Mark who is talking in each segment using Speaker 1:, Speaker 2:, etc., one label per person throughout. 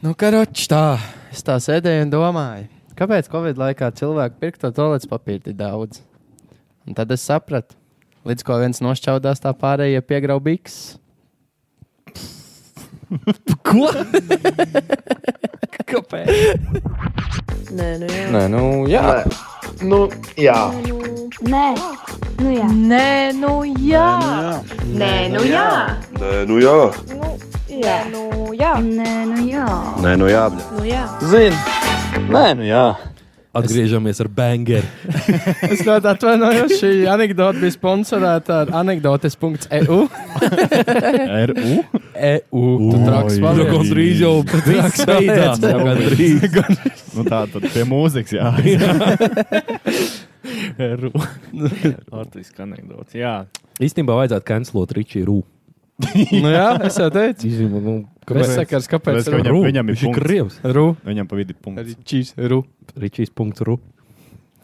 Speaker 1: Nu, karoči, tā. Es tā sēdēju un domāju, kāpēc Covid laikā cilvēki pirka to toaletes papīru tik daudz. Un tad es sapratu, līdz ko viens nošķaudās, tā pārējie piegrauba biks.
Speaker 2: Ko?
Speaker 1: Kāpēc?
Speaker 3: Nē, nu jā.
Speaker 2: Nē, nu jā.
Speaker 4: Nu, jā.
Speaker 5: Nē, nu jā.
Speaker 3: Nē, nu jā. Nē, nu jā.
Speaker 6: Nē, nu jā,
Speaker 3: Jā, nu jā.
Speaker 5: Nē, nu jā.
Speaker 6: nē, nu jā.
Speaker 3: Nu jā.
Speaker 2: Zini. Nē, nu jā.
Speaker 7: Atgriežamies ar bangeru.
Speaker 1: Es ļoti atvainojos, šī anekdote bija sponsorēta ar E anekdotes.eu.
Speaker 2: RU.
Speaker 1: EU. Tu traks
Speaker 2: Ui.
Speaker 7: Nu,
Speaker 1: vārds.
Speaker 7: gandrīz jau
Speaker 1: Viss
Speaker 7: traks
Speaker 1: beidzās.
Speaker 7: beidzās. Jā, gandrīz.
Speaker 2: Nu tā tad pie mūzikas jā. RU. Latvijas anekdote. Jā.
Speaker 7: Īstenībā vajadzētu kancelot Ričiju Rū.
Speaker 1: Nu jā, es jau teicu.
Speaker 7: Izņemot, nu,
Speaker 1: Kāpēc? Sakars, kāpēc?
Speaker 7: Ru.
Speaker 1: Ru.
Speaker 2: Viņam- viņam ir
Speaker 7: Viņš ir
Speaker 2: punkts.
Speaker 7: krievs.
Speaker 1: Ru.
Speaker 2: Viņam pa vidu
Speaker 1: Arī
Speaker 2: punkts.
Speaker 1: čīs. Ru.
Speaker 7: Ričijs punkts Rū.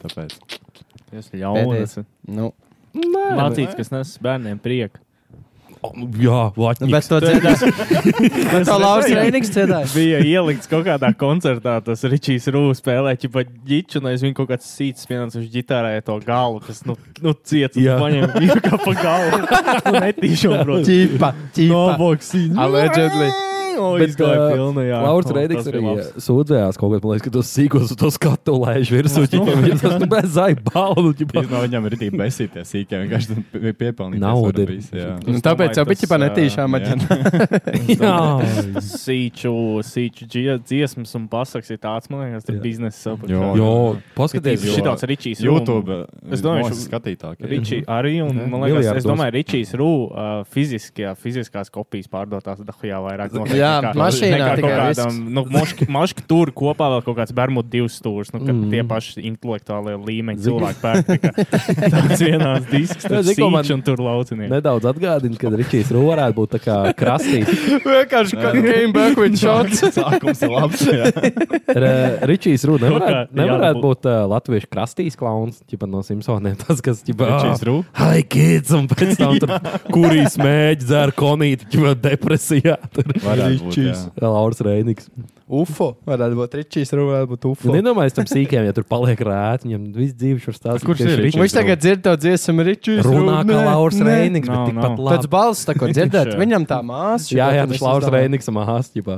Speaker 2: Tāpēc.
Speaker 8: Jūs
Speaker 1: Pēdējais.
Speaker 8: ļaunprātīgi.
Speaker 1: Nu.
Speaker 8: Mācīts, kas nes bērniem prieku.
Speaker 7: Jā,
Speaker 1: Nu, bet
Speaker 7: Latvijas.
Speaker 1: to dzirdēs. Tā Lauris Reinigs dzirdēs.
Speaker 8: Bija ielikts kaut kādā koncertā, tas Ričijs Rūs spēlēja ķipa ģiču, un aizvien kaut kāds sīts pienācis uz ģitārē to galu, kas, nu, nu ciet, un
Speaker 7: Jā.
Speaker 8: paņem viņu kā pa galu. Un netīšām, protams.
Speaker 1: Ķīpa, ķīpa.
Speaker 8: Noboksīņu.
Speaker 1: Allegedly.
Speaker 8: O,
Speaker 7: Bet,
Speaker 8: izgāja
Speaker 7: ā,
Speaker 8: pilnu, jā.
Speaker 7: Lauris
Speaker 8: O,
Speaker 7: Reidings
Speaker 8: tas
Speaker 7: arī
Speaker 8: bija labs.
Speaker 7: ā, sūdzējās kaut kādā veidā, ka tos sīkos uz to skatu lēš virsū. Viņam tas tur bez zaibalu.
Speaker 2: Īstenībā viņam ir tīpa besīties sīkā. Vienkārši tam pie- piepelnīt.
Speaker 7: Nauda ir.
Speaker 1: Nu, tāpēc jau
Speaker 8: domāju,
Speaker 1: bija ķipa
Speaker 8: tas,
Speaker 1: netīšām.
Speaker 2: jā.
Speaker 1: maķi.
Speaker 7: Jā,
Speaker 8: Sīču, sīču dzie- dziesmas un pasaks ir tāds, man liekas, tas
Speaker 7: Jā.
Speaker 8: biznesa sapratums.
Speaker 2: Jo.
Speaker 7: jo, paskaties.
Speaker 2: Jo.
Speaker 8: Šitāds Ričijs Rū.
Speaker 2: YouTube. eh,
Speaker 8: Es domāju,
Speaker 2: ka
Speaker 8: šo-
Speaker 2: skatītāk. ir.
Speaker 8: Ričī arī, un
Speaker 7: Ne?
Speaker 8: man liekas,
Speaker 7: Miliardos.
Speaker 8: es domāju, Ričijs Rū uh, fiziskajā, fiziskās kopijas pārdotās dahujā vairāk. noteikti
Speaker 1: Jā,
Speaker 8: nekā-
Speaker 1: mašīnā
Speaker 8: nekā
Speaker 1: tikai
Speaker 8: kaut
Speaker 1: risks.
Speaker 8: kādam, nu, moški, moški tur kopā vēl kaut kāds bermudu divs stūrs, nu, kad
Speaker 7: Mm.
Speaker 8: mm. tie paši intelektuālie līmeņi
Speaker 7: Zini-
Speaker 8: cilvēki pērk tikai tāds vienās disks, tad
Speaker 7: Zini, ko man-
Speaker 8: sīč un tur laucinieki.
Speaker 7: Nedaudz atgādina, ka Ričijs Rū varētu būt tā kā krastīs.
Speaker 1: Vienkārši came back with shots.
Speaker 2: Sākums ir labs. jā.
Speaker 7: Re- Ričijs Rū
Speaker 8: Kaut
Speaker 7: nevarētu,
Speaker 8: kā
Speaker 7: nevarētu
Speaker 8: jābūt.
Speaker 7: būt uh, latviešu krastīs klauns, ķipa no Simpsoniem. Tas, kas ķipa,
Speaker 2: Ričijs Rū?
Speaker 7: Hi, kids! Un pēc tam tur kurīs mēģi dzēr konīti, ķipa depresijā. Tur.
Speaker 2: Varētu būt, jā.
Speaker 1: Ričijs.
Speaker 7: Lauris Reinigs.
Speaker 1: UFO. Varētu būt Ričijs, Ru varētu būt
Speaker 7: Es
Speaker 1: UFO.
Speaker 7: nedomāju, tam sīkiem, ja tur paliek rēti, viņam visu dzīvi šur stāsta.
Speaker 2: Kurš
Speaker 7: ka tieši
Speaker 2: ir
Speaker 7: Ričijs
Speaker 1: Viņš tagad dzird to dziesmu Ričijs. Ru,
Speaker 7: runā kā
Speaker 1: nē,
Speaker 7: Lauris
Speaker 1: nē.
Speaker 7: Reinigs, bet
Speaker 8: Nav,
Speaker 7: tikpat
Speaker 8: nav.
Speaker 1: Tāds
Speaker 7: labi.
Speaker 1: balss, tā ko dzirdēt,
Speaker 8: Šajā.
Speaker 1: viņam tā māsa.
Speaker 7: Jā, jā,
Speaker 1: šitā,
Speaker 7: tas
Speaker 1: tad
Speaker 7: Lauris
Speaker 1: es domāju.
Speaker 7: Reinigs mahās, ķipa.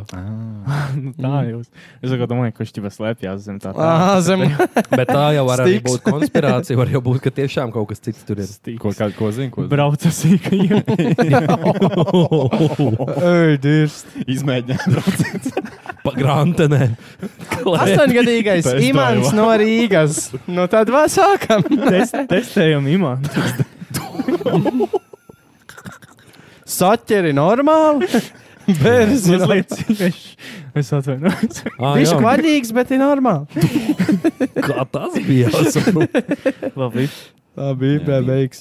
Speaker 8: Nu, Tā jūs. Es tā kā domāju, ka viņš ķipa slēpjas zem tā. tā.
Speaker 1: Ā, zem.
Speaker 7: Bet tā jau var arī
Speaker 1: Stiks.
Speaker 7: būt konspirācija, var jau būt, ka tiešām kaut kas cits tur ir.
Speaker 8: Stīgs.
Speaker 2: Ko, kā, ko zinu? Ko zinu?
Speaker 8: Brauca sīkajiem.
Speaker 1: Ej, dirst.
Speaker 2: Izmēģināt.
Speaker 7: Pa grantenē.
Speaker 1: Astoņgadīgais
Speaker 2: Pēc tā
Speaker 1: Imants
Speaker 2: jau.
Speaker 1: no Rīgas. Nu, tad vēl sākam.
Speaker 8: Test, testējam imantu.
Speaker 1: Saķeri normāli. Bērns ir
Speaker 8: Mazliet sīkais. Es atvainojos.
Speaker 1: Viņš ir kvaļīgs, bet ir normāli.
Speaker 7: Kā tas bija?
Speaker 8: Labi.
Speaker 1: Tā bija
Speaker 2: Jā.
Speaker 1: beigas.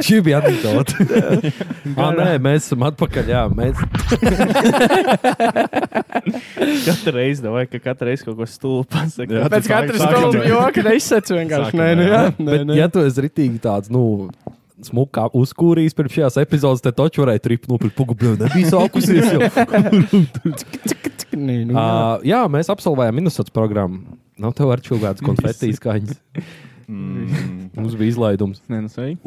Speaker 7: Šī bija anekdote. Jā, nē, mēs esam atpakaļ. Jā, mēs
Speaker 8: Katru reizi, vai ka katru reizi kaut ko stulbu pasakā.
Speaker 2: Jā,
Speaker 1: Pēc
Speaker 2: Sāk-
Speaker 1: katras
Speaker 2: sākam
Speaker 1: stundas
Speaker 2: jau.
Speaker 1: joka neizsaka vienkārši.
Speaker 2: Sākam
Speaker 1: Nē, nu
Speaker 2: jau.
Speaker 1: jā, nē,
Speaker 7: Bet,
Speaker 1: nē.
Speaker 7: ja tu esi ritīgi tāds, nu, smukā uzkūrījis pirms šīs epizodes, tad taču varēja tripnu pret pugubļu. Nebija sākusies jau.
Speaker 1: Nē, nu jā.
Speaker 7: Uh, jā, mēs absolvējām minusats programmu. Nav tev ar čūgādas konfetīs skaņas. Mums bija izlaidums.
Speaker 8: Nē, nu sveiki.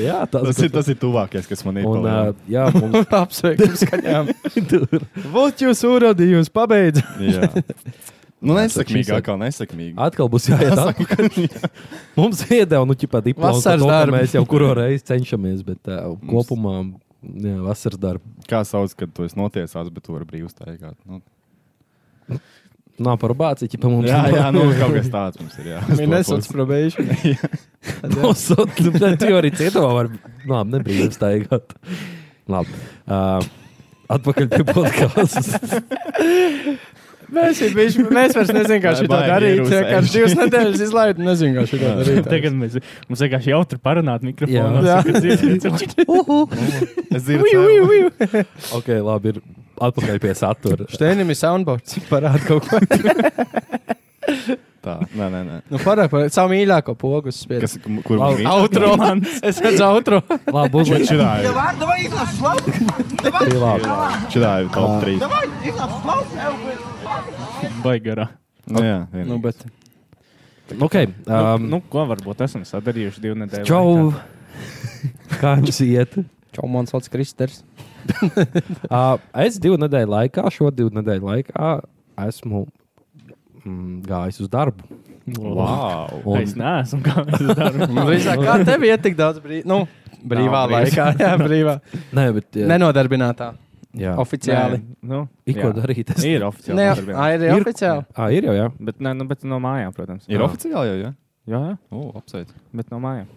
Speaker 7: Jā, tas,
Speaker 2: Tas ir tas ir tuvākais, kas man ir.
Speaker 7: Un, uh,
Speaker 2: palicis.
Speaker 7: jā, mums
Speaker 1: Apsveikam skaņām. Vot jūs urodījums, pabeidz.
Speaker 2: Jā. Nu,
Speaker 7: Tātad šis
Speaker 2: nesakrīt,
Speaker 7: ir-
Speaker 2: kā nesakrīt.
Speaker 7: atkal būs jāiet. atpakaļ. Mums iedeva, nu, ķipā, diplomu, par
Speaker 1: Vasaras
Speaker 7: to, ka
Speaker 1: darbi.
Speaker 7: mēs jau kuru reizi cenšamies, bet uh, kopumā jā, vasaras darba.
Speaker 2: Kā sauc, kad tu esi notiesāts, bet tu vari brīvi staigāt? Nu.
Speaker 7: Nav par bāciņu, ja mums
Speaker 2: Jā, jā, nu kaut kas tāds mums ir. Jā,
Speaker 1: Minnesota probation.
Speaker 7: Nosūtīt, tad jau arī cietumā var labi, nebrīvi staigāt. Labi. Uh, atpakaļ pie podkāstas.
Speaker 1: Mēs, ir bijuši, mēs vairs nezinām, kā
Speaker 2: Vai
Speaker 1: šī tā
Speaker 2: baigi
Speaker 1: darīt.
Speaker 2: ir
Speaker 1: Vienkārši
Speaker 2: uzsēžu.
Speaker 1: divas nedēļas izlaidu, nezinām, kā šī tā darīt.
Speaker 8: Tagad mēs, mums vienkārši jautri parunāt mikrofonu.
Speaker 1: Jā.
Speaker 8: Jā, jā.
Speaker 2: Es dzirdu,
Speaker 7: ok, labi, ir atpakaļ pie satura.
Speaker 1: Štēnim ir soundboards. Parāda kaut ko.
Speaker 2: ka tā. Nē, nē, nē.
Speaker 1: Nu, parāk par savu mīļāko pogu spēlēt.
Speaker 2: Kas, kur
Speaker 7: Lau-
Speaker 2: man ir?
Speaker 1: Outro man! Es redzu, outro!
Speaker 7: Labi, uzliek.
Speaker 2: Čirāju,
Speaker 7: Bija labi.
Speaker 2: čirāju top 3.
Speaker 8: Baigarā.
Speaker 2: Nu, jā,
Speaker 1: Nu,
Speaker 2: vienīgi.
Speaker 1: bet
Speaker 7: Ok. nu,
Speaker 8: Um,
Speaker 7: Um,
Speaker 8: nu, ko varbūt esam sadarījuši divu nedēļu?
Speaker 7: čau. Kā jums iet?
Speaker 1: čau, man sauc Kristers.
Speaker 7: Uh, es divu nedēļu laikā, šo divu nedēļu laikā, esmu mm, gājis uz darbu.
Speaker 2: Wow.
Speaker 8: laikā. Es neesmu kā mēs darām.
Speaker 1: Nu, visā, kā tev iet tik daudz brīvā? Nu, brīvā
Speaker 8: Nav brīvs.
Speaker 1: laikā, jā, brīvā.
Speaker 7: Nē, bet jā,
Speaker 1: Nenodarbinātā,
Speaker 7: jā.
Speaker 1: oficiāli.
Speaker 8: Nu,
Speaker 7: Iko
Speaker 8: jā.
Speaker 7: darīt. Es...
Speaker 8: Ir
Speaker 1: Nē,
Speaker 8: oficiāli.
Speaker 1: ā,
Speaker 8: darbiem.
Speaker 1: ir arī oficiāli.
Speaker 7: À, ir jau, jā.
Speaker 8: Bet, nē, nu, bet no mājām, protams.
Speaker 2: Ir oficiāli jau, jā?
Speaker 8: Jā, jā,
Speaker 2: O, apsveic.
Speaker 8: bet no mājām.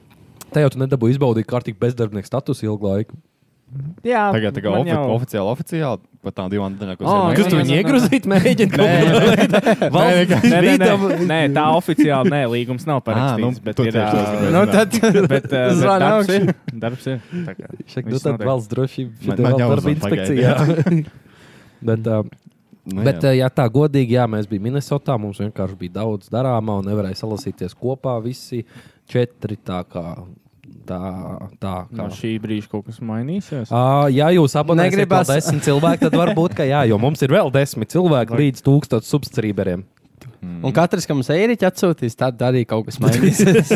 Speaker 7: Te jau tu nedabūji izbaudīt kārtīgi bezdarbnieku statusu ilgu laiku.
Speaker 8: Jā,
Speaker 2: Tagad tā kā
Speaker 8: man
Speaker 2: ofi
Speaker 8: jau-
Speaker 2: oficiāli, oficiāli, pat tām divām nedēļām, ko
Speaker 1: Ā,
Speaker 2: es
Speaker 1: kas tu viņu
Speaker 7: iegrozīt mēģini?
Speaker 8: Nē,
Speaker 7: Valsts
Speaker 8: nē, nē,
Speaker 7: rītam.
Speaker 8: nē, nē, tā oficiāli nē, līgums
Speaker 2: Ā,
Speaker 8: nav
Speaker 2: nu,
Speaker 8: parakstīts. bet
Speaker 2: to
Speaker 8: ir,
Speaker 2: tieši
Speaker 8: ā,
Speaker 2: to es gribēju
Speaker 1: Nu, tad
Speaker 8: Bet, eh, bet
Speaker 1: Zvani
Speaker 8: darbs
Speaker 1: augšup.
Speaker 8: ir. Darbs ir. Tā kā
Speaker 7: Šeit
Speaker 8: viss
Speaker 7: nu tad
Speaker 8: notiek.
Speaker 7: valsts drošība,
Speaker 2: Man-
Speaker 7: šeit
Speaker 2: man
Speaker 7: valsts darba
Speaker 2: jāuzvan
Speaker 7: inspekcija. Bet, um,
Speaker 2: Nu,
Speaker 7: bet
Speaker 2: jā.
Speaker 7: eh, ja tā godīgi, jā, mēs bijām Minnesotā, mums vienkārši bija daudz darāmā un nevarēja salasīties kopā visi četri. Tā kā, tā, tā kā.
Speaker 8: No Ah, šī brīža kaut kas mainīsies.
Speaker 7: Uh, ja jūs abonējat vēl
Speaker 1: Negribas.
Speaker 7: desmit cilvēku, tad varbūt, ka jā, jo mums ir vēl desmit cilvēki līdz tūkstošiem substrīberiem.
Speaker 1: Un katrs, kam sēriķi atsūtīs, tad arī kaut kas mainīsies.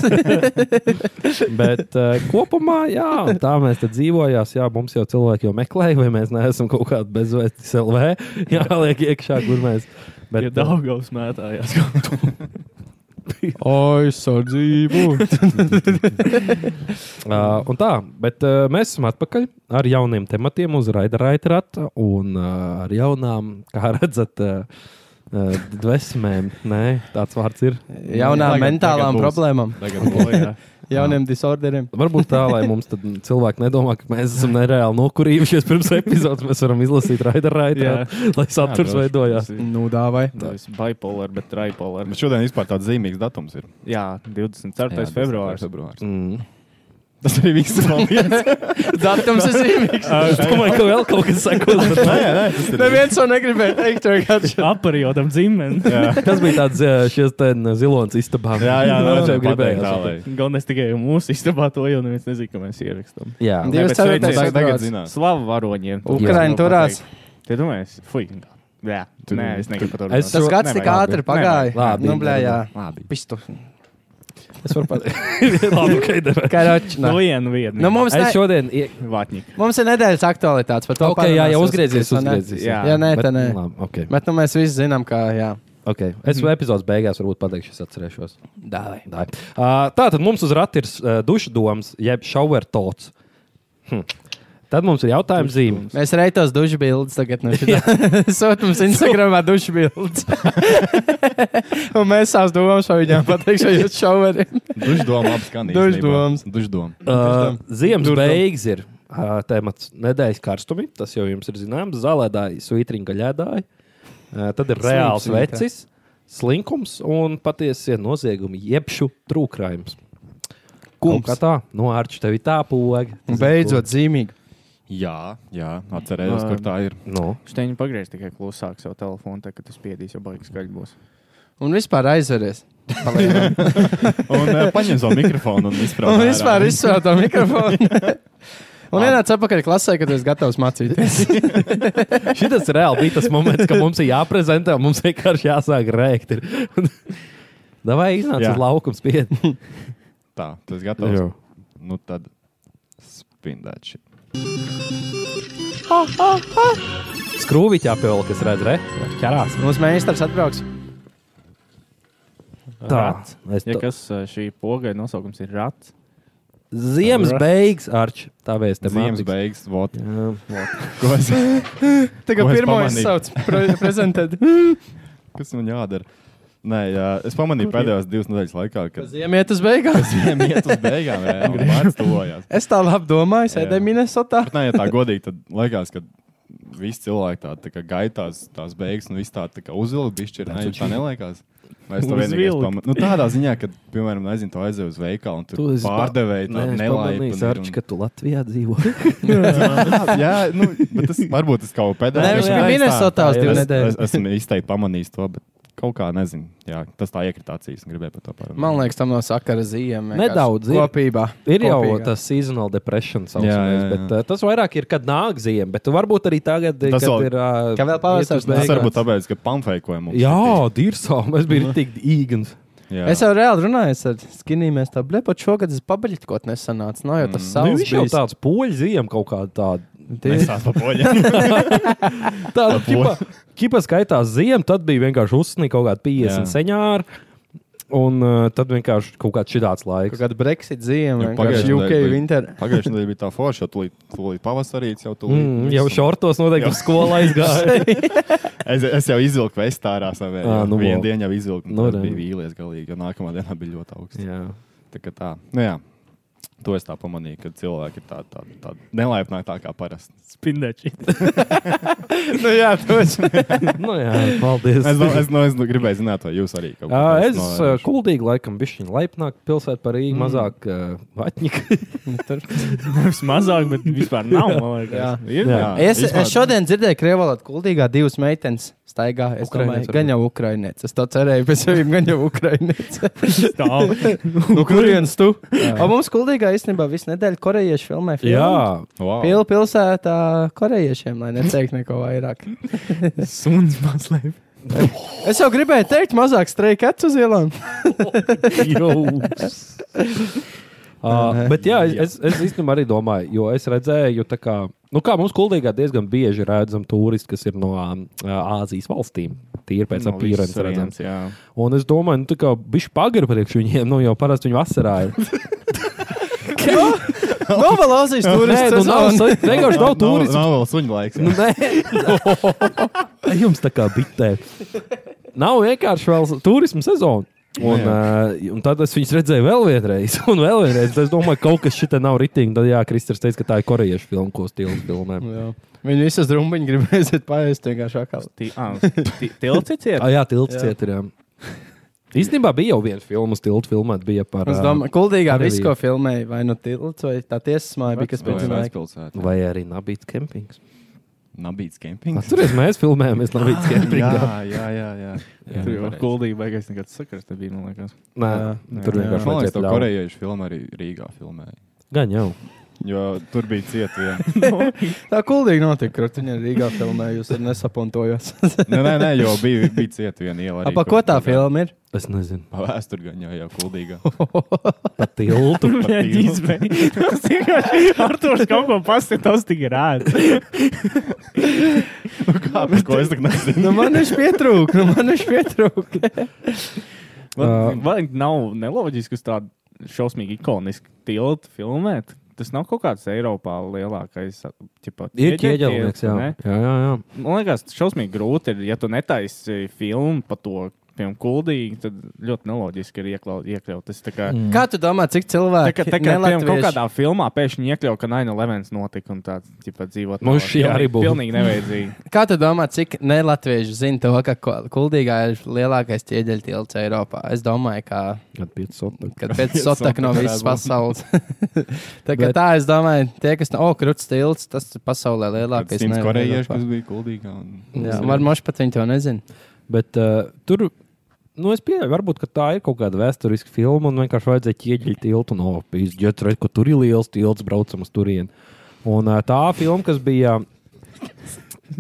Speaker 7: Bet uh, kopumā, jā, tā mēs te dzīvojām. Jā, mums jau cilvēki jau meklēja, vai mēs neesam kaut kādi bezvēsti SLV. Jā, liek iekšā, kur mēs. Bet,
Speaker 8: Ja Daugavs mētājās.
Speaker 1: Oi, sardzību!
Speaker 7: Uh, un tā, bet uh, mēs esam atpakaļ ar jauniem tematiem uz Raida Raitrata un uh, ar jaunām, kā redzat, uh, uh, dvesmēm. Nē, tāds vārds ir.
Speaker 1: Jaunām
Speaker 2: Tagad-
Speaker 1: mentālām
Speaker 2: tagad būs.
Speaker 1: problēmām,
Speaker 2: Tagad būs.
Speaker 1: jauniem disorderiem.
Speaker 7: Varbūt tā, lai mums tad cilvēki nedomā, ka mēs esam nereāli nokurījušies pirms epizodes. Mēs varam izlasīt Raida Raitratu, lai saturs
Speaker 2: droši.
Speaker 7: veidojās.
Speaker 1: Nu, dāvai.
Speaker 8: Tas ir bipolar, bet tripolar.
Speaker 2: Bet šodien vispār tāds zīmīgs datums ir.
Speaker 8: Jā, 24. februāris.
Speaker 2: februārs.
Speaker 7: Mm.
Speaker 2: Tas arī viss ir paldies.
Speaker 1: Datums ir zīmīgs.
Speaker 7: Es domāju, ka vēl kaut kas sakos. bet nē.
Speaker 1: Neviens to negribēja teikt, vai kāds.
Speaker 8: Aparījām dzimteni.
Speaker 7: Tas bija tāds eh, šis te, eh, zilonis istabā.
Speaker 2: Jā, jā,
Speaker 7: Nu,
Speaker 2: nu,
Speaker 7: jau
Speaker 2: gribēju
Speaker 7: gribējās.
Speaker 2: tā, lai.
Speaker 8: Galvenais tikai mūsu istabā to jau neviens nezina, ka mēs ierakstām.
Speaker 7: Jā,
Speaker 1: Divi- Divas
Speaker 8: Nē, bet sveiciens.
Speaker 1: ceturtais
Speaker 2: Tagad
Speaker 1: februārs.
Speaker 2: zinās.
Speaker 8: Slavu varoņiem. nu,
Speaker 1: Ukraiņi turās.
Speaker 8: Tie domājās, fuj. Jā, nē, es negribu par to
Speaker 7: Es-
Speaker 8: runāt.
Speaker 1: Tas gads tik
Speaker 8: Nevajag.
Speaker 1: ātri pagāja.
Speaker 7: Labi.
Speaker 1: Nu, blē, jā.
Speaker 7: Labi.
Speaker 1: Pistu.
Speaker 7: Es varu pateikt. Labi, ok, dara.
Speaker 1: Karočina.
Speaker 8: Nu, vienu, vienu.
Speaker 1: Nu, mums, ne,
Speaker 7: Es šodien. ie-
Speaker 8: Vātņik.
Speaker 1: mums ir nedēļas aktualitātes. par to
Speaker 7: Ok, jā, jau
Speaker 1: parunāsim,
Speaker 7: uzgriezies,
Speaker 1: vai ne?
Speaker 7: uzgriezies.
Speaker 8: Jā.
Speaker 1: Jā, nē,
Speaker 7: Bet-
Speaker 1: tā nē.
Speaker 7: labi, Okay.
Speaker 1: Bet nu, mēs visi zinām, ka jā.
Speaker 7: Okay. Es jau epizodes beigās varbūt pateikšu, es atcerēšos. Dāvai. Dāvai. Uh, tā tad mums uz rati ir uh, duša domas, jeb šauver tots. Hm. Tad mums ir jautājums zīme.
Speaker 1: Mēs reitos dušu bildes tagad no šīs. Sūtums Instagramā dušu bildes. Un mēs savus domas par viņām pateikšu, ja šoveri.
Speaker 2: Dušdoma apskan.
Speaker 1: Dušdoms.
Speaker 2: Dušdoma.
Speaker 7: Uh, Ziemas
Speaker 1: Tur tam.
Speaker 7: beigas ir uh, temats nedēļas karstumi. Tas jau jums ir zināms. Zālēdāji, svītriņa gaļēdāji. Uh, tad ir reāls
Speaker 1: Slims,
Speaker 7: vecis, slinkums un patiesie noziegumi, jebšu trūkrājums. Kaut
Speaker 1: Kungs.
Speaker 7: Kā tā? No ārču tev ir tā poga.
Speaker 1: Beidzot, zīmīgi.
Speaker 2: Jā, jā, atcerējos, kur tā ir.
Speaker 7: No.
Speaker 8: Šteņi pagriez tikai klusāk savu telefonu, tā, kad tas piedīs, jau baigs skaļi būs.
Speaker 1: Un vispār aizveries.
Speaker 2: Un eh, paņem savu mikrofonu un izprāst.
Speaker 1: Un vispār izsvērt to mikrofonu. Un ienāca atpakaļ klasē, kad es gatavs mācīties.
Speaker 7: Šis reāli bija tas moments, kad mums ir jāprezentē, un mums vienkārši jāsāk rēkt. Davai iznāc
Speaker 2: Jā.
Speaker 7: uz laukums piet.
Speaker 2: Tā, tas gatavs. Nu tad spindēt šī.
Speaker 7: Skrūviķā pēl, kas redz, re? Ķerās.
Speaker 1: Mums meistars atbrauks.
Speaker 7: Tā. Es
Speaker 8: Ja
Speaker 7: to...
Speaker 8: kas eh, šī pogai nosaukums ir rats,
Speaker 7: Ziemas beigas, Arč. Tā vēst. te
Speaker 2: Zīmes
Speaker 7: mācīgs.
Speaker 2: beigas. vot.
Speaker 7: Jā.
Speaker 2: Ko es-
Speaker 1: Tagad
Speaker 2: Ko es
Speaker 1: pirmo es
Speaker 2: pamanīju?
Speaker 1: sauc pre prezentēt.
Speaker 2: Kas man jādara? Nē, jā, es pamanīju pēdējās divas nedēļas laikā, kad
Speaker 1: Ziemiet uz beigās.
Speaker 2: Viņam iet uz beigām, jau tādā stāvoklī.
Speaker 1: Es tā labi domāju,
Speaker 2: Jā.
Speaker 1: sēdēju Minnesotā.
Speaker 2: Nē, ja tā godīgi, tad liekas, ka visi cilvēki tā, tā kā gaitās tās beigas, un viss tā, tā kā uzvilka pišķi. Nē, tā neliekas. Vai Es to vienīgais
Speaker 8: Uzvilkt.
Speaker 2: pamanīju. Nu, tādā ziņā, ka, piemēram, nezinu, to aizēju uz veikalu, un
Speaker 7: Tu
Speaker 2: tur
Speaker 7: esi pa-
Speaker 2: pārdevēja tādu
Speaker 7: Nē, Nu, es pamanīju, Arč,
Speaker 2: nelaiku.
Speaker 7: ka tu Latvijā dzīvo.
Speaker 2: Jā, nu, bet tas varbūt tas kaut
Speaker 1: Nē,
Speaker 2: kā pēdējais.
Speaker 1: viņš
Speaker 7: jā,
Speaker 1: bija
Speaker 7: es tā,
Speaker 1: Minnesotā uz
Speaker 7: jā,
Speaker 1: divu
Speaker 2: Es,
Speaker 1: nedēļu.
Speaker 2: es, esmu izteikti pamanījis to, bet kaut kā nezinu. Jā, tas tā iekrita acīs un gribēju par to parunāt.
Speaker 1: Man liekas, tam no sakara ziemē.
Speaker 7: Nedaudz ir.
Speaker 1: Kopībā.
Speaker 7: Ir jau
Speaker 1: Kopīgā.
Speaker 7: tas sezonāla depresija,
Speaker 2: Jā, jā, jā.
Speaker 7: bet uh, tas vairāk ir, kad nāk ziema. Bet varbūt arī tagad,
Speaker 2: Tas
Speaker 7: kad
Speaker 2: vēl-
Speaker 7: ir. Uh,
Speaker 1: Ka vēl pavasaris
Speaker 2: Tas
Speaker 1: beigās.
Speaker 2: varbūt tāpēc, ka pamfēkojam.
Speaker 7: Jā, Dirsā, es biju tik īgns.
Speaker 2: jā.
Speaker 1: Es jau reāli runāju ar skinīm, mēs tā blepot šogad es pabeļķi kaut nesanācu. Nav jau tas
Speaker 7: Nu,
Speaker 1: savs.
Speaker 7: viņš jau tāds poļu ziema kaut kāda tāda.
Speaker 1: Tie-
Speaker 2: Nesās pa poļiem.
Speaker 7: Tāda ķipa, ķipa skaitās ziema, tad bija vienkārši uzsnīga kaut kāda 50
Speaker 2: Jā.
Speaker 7: senjāra. Un uh, tad vienkārši kaut kāds šāds
Speaker 1: Kaut
Speaker 7: laiks.
Speaker 1: kāda Brexit ziema,
Speaker 2: Jā,
Speaker 1: vienkārši
Speaker 2: pagājušajā
Speaker 1: UK
Speaker 2: nedēļā bija-
Speaker 1: winter.
Speaker 2: Pagājušajā nedēļā bija tā forša, jau tūlīt, tūlīt pavasarī jau tūlīt.
Speaker 7: Mm, jau
Speaker 2: visu.
Speaker 7: šortos noteikti uz skolu aizgāja.
Speaker 2: Es, es jau izvilku vestā ārā savā.
Speaker 7: Ā, nu
Speaker 2: Vienu
Speaker 7: vēl.
Speaker 2: dienu jau izvilku, un no,
Speaker 7: Nu, re.
Speaker 2: bija vīlies galīgi, jo nākamā dienā bija ļoti augsts.
Speaker 7: Jā.
Speaker 2: Tā kā tā, nu jā, to es tā pamanīju, ka cilvēki ir tādi tā, tā nelaipnāki tā kā parasti.
Speaker 8: Spindēči.
Speaker 2: nu, jā, to es.
Speaker 7: nu, jā, paldies.
Speaker 2: Es, no, es, no, es no, gribēju zināt, vai jūs arī kaut
Speaker 7: Ā,
Speaker 2: ko
Speaker 7: Es ā, kuldīgi, laikam, bišķiņ laipnāk pilsētu par Rīgu, mm. mazāk uh, vaķņika.
Speaker 1: Nu,
Speaker 8: Nevis mazāk, bet vispār nav. man liekas.
Speaker 1: Jā.
Speaker 8: Ir?
Speaker 2: Jā.
Speaker 1: Es,
Speaker 2: Vispār-
Speaker 1: es šodien dzirdēju, ka Krievijā gudrīgā divas meitenes staigā. Es
Speaker 7: Ukrainietes
Speaker 1: domāju, gan jau Ukrainietes. Es to cerēju, bet viņam gan jau Ukrainietes.
Speaker 8: Tā.
Speaker 1: no kurienes tu? O, mums gudrīgā īstenībā visu nedēļu korejiešu filmē. filmu.
Speaker 7: Jā,
Speaker 2: Wow.
Speaker 1: Pilu pilsētā korejiešiem, lai neteiktu neko vairāk.
Speaker 8: Suns mazliet.
Speaker 1: Es jau gribēju teikt, mazāk streika acu uz ielām.
Speaker 7: jūs. Uh, bet jā, es, es, es īstenībā arī domāju, jo es redzēju, tā kā, nu kā mums kuldīgā diezgan bieži redzam turisti, kas ir no ā, Āzijas valstīm. Tīri pēc
Speaker 2: No visas
Speaker 7: apgājas
Speaker 2: sarienas,
Speaker 7: redzams.
Speaker 2: jā.
Speaker 7: Un es domāju, nu, tā kā bišķi pagri priekš viņiem, nu jau parasti viņi vasarā ir.
Speaker 1: Nav vēl Azijas
Speaker 7: Nē, nu,
Speaker 1: turists.
Speaker 7: nav,
Speaker 1: sezona.
Speaker 7: sa- vienkārši nav
Speaker 2: Nav,
Speaker 7: turistu.
Speaker 2: nav vēl suņu laiks.
Speaker 7: Nu,
Speaker 2: jā.
Speaker 7: nē, jums tā kā bitē. Nav vienkārši vēl turisma sezona. Un, uh, un tad es viņus redzēju vēl vienreiz, un vēl vienreiz. Tad Es domāju, ka kaut kas šitā nav rītīgi. Tad, jā, Kristers teica, ka tā ir korejiešu filma, ko stila
Speaker 2: Nu
Speaker 7: filmē.
Speaker 1: Jā. Viņi visas drumbiņas gribēsiet paiest vienkārši akāli.
Speaker 8: Tilts ir.
Speaker 7: Ah, jā, tilts cieturā. Īstenībā bija jau viena filma, tilts filmēt, bija par
Speaker 1: Es
Speaker 7: ā,
Speaker 1: domāju, ka gudrīgā
Speaker 7: Krievija.
Speaker 1: visu, ko filmēja, vai nu tilts, vai tā tiesas māja bija, kas
Speaker 2: Vai
Speaker 1: piedzināja.
Speaker 2: aizpilsēta?
Speaker 7: vai arī Nabīts Kempings.
Speaker 2: Nabīts kempings.
Speaker 7: Atcerieties, mēs filmējāmies Nabīts Kempingā.
Speaker 2: Jā, jā, jā. jā.
Speaker 8: Tur jau
Speaker 2: pareizi.
Speaker 8: kuldīgi beigās nekāds sakars nebija, man liekas.
Speaker 7: Nē,
Speaker 1: Jā,
Speaker 7: tur
Speaker 1: jā.
Speaker 7: vienkārši
Speaker 2: Man liekas,
Speaker 7: vajadzēja
Speaker 2: to
Speaker 7: ļaut.
Speaker 2: korejiešu filmu arī Rīgā filmēja.
Speaker 7: Gan jau.
Speaker 2: Jo tur bija cieta viena.
Speaker 1: Tā kuldīgi notika, kur viņa Rīgā filmējusi, un nesapuntojos.
Speaker 2: Nē, nē, nē, jau bija, bija cieta viena iela. arī,
Speaker 1: Pa
Speaker 2: kur-
Speaker 1: ko tā
Speaker 2: kur-
Speaker 1: filma ir?
Speaker 7: Es nezinu,
Speaker 2: Pa vēsturi gan jau, jau kuldīgā.
Speaker 7: par tiltu.
Speaker 2: Pat
Speaker 8: Viņa
Speaker 2: tīlu.
Speaker 8: izbeigta. Tas vienkārši ar to kaut ko pasakot, tas tik rāda.
Speaker 2: Kāpēc? Ko es tik nezinu?
Speaker 1: Nu, man viņš pietrūka, nu, man viņš pietrūka.
Speaker 7: Ā.
Speaker 8: Man man nav neloģiski uz tādu šausmīgi ikonisku tiltu filmēt. Tas nav kaut kāds Eiropā lielākais. Ķipa,
Speaker 7: Ir
Speaker 8: ķieģeļu
Speaker 7: ķieģelnieks, jā.
Speaker 8: ne?
Speaker 7: jā, jā, jā.
Speaker 8: Man liekas, tas šausmīgi grūti ir. Ja tu netaisi filmu par to, piemēram, kuldīgi, tad ļoti neloģiski ir ieklau- iekļaut. Tas tā kā, mm.
Speaker 1: Kā tu domā, cik
Speaker 8: tā
Speaker 1: cilvēki
Speaker 8: kā, tā kā piemēram, kaut kādā filmā pēkšņi iekļaut, ka 9-11 notika un tāds ģipa, dzīvot.
Speaker 7: Nu,
Speaker 8: tālāk.
Speaker 7: šī
Speaker 8: Pilnīgi-
Speaker 7: arī būtu.
Speaker 8: Pilnīgi nevajadzīgi.
Speaker 1: kā tu domā, cik nelatvieši zina to, ka ko- kuldīgā ir lielākais ķieģeļtilts Eiropā? Es domāju, ka
Speaker 7: Kad 500.
Speaker 1: Nu, kad pēc sotak no visas pasaules. tā kā
Speaker 7: Bet-
Speaker 1: tā, es domāju, tie, kas, o, kruts tilts, tas ir pasaulē lielākais.
Speaker 2: Simts
Speaker 1: ne
Speaker 2: korejiešu,
Speaker 1: Eiropā.
Speaker 2: kas bija kuldīgā. Un...
Speaker 1: Jā, varbūt pat viņi to nezina.
Speaker 7: Bet uh, tur, nu, es pieņemu, varbūt ka tā ir kaut kāda vēsturiska filma, un vienkārši vajadzēja ķieģeļt tiltu no apgājas. Džets redz, ka tur ir liels tilts, braucam uz turieni. Un uh, tā filma, kas bija.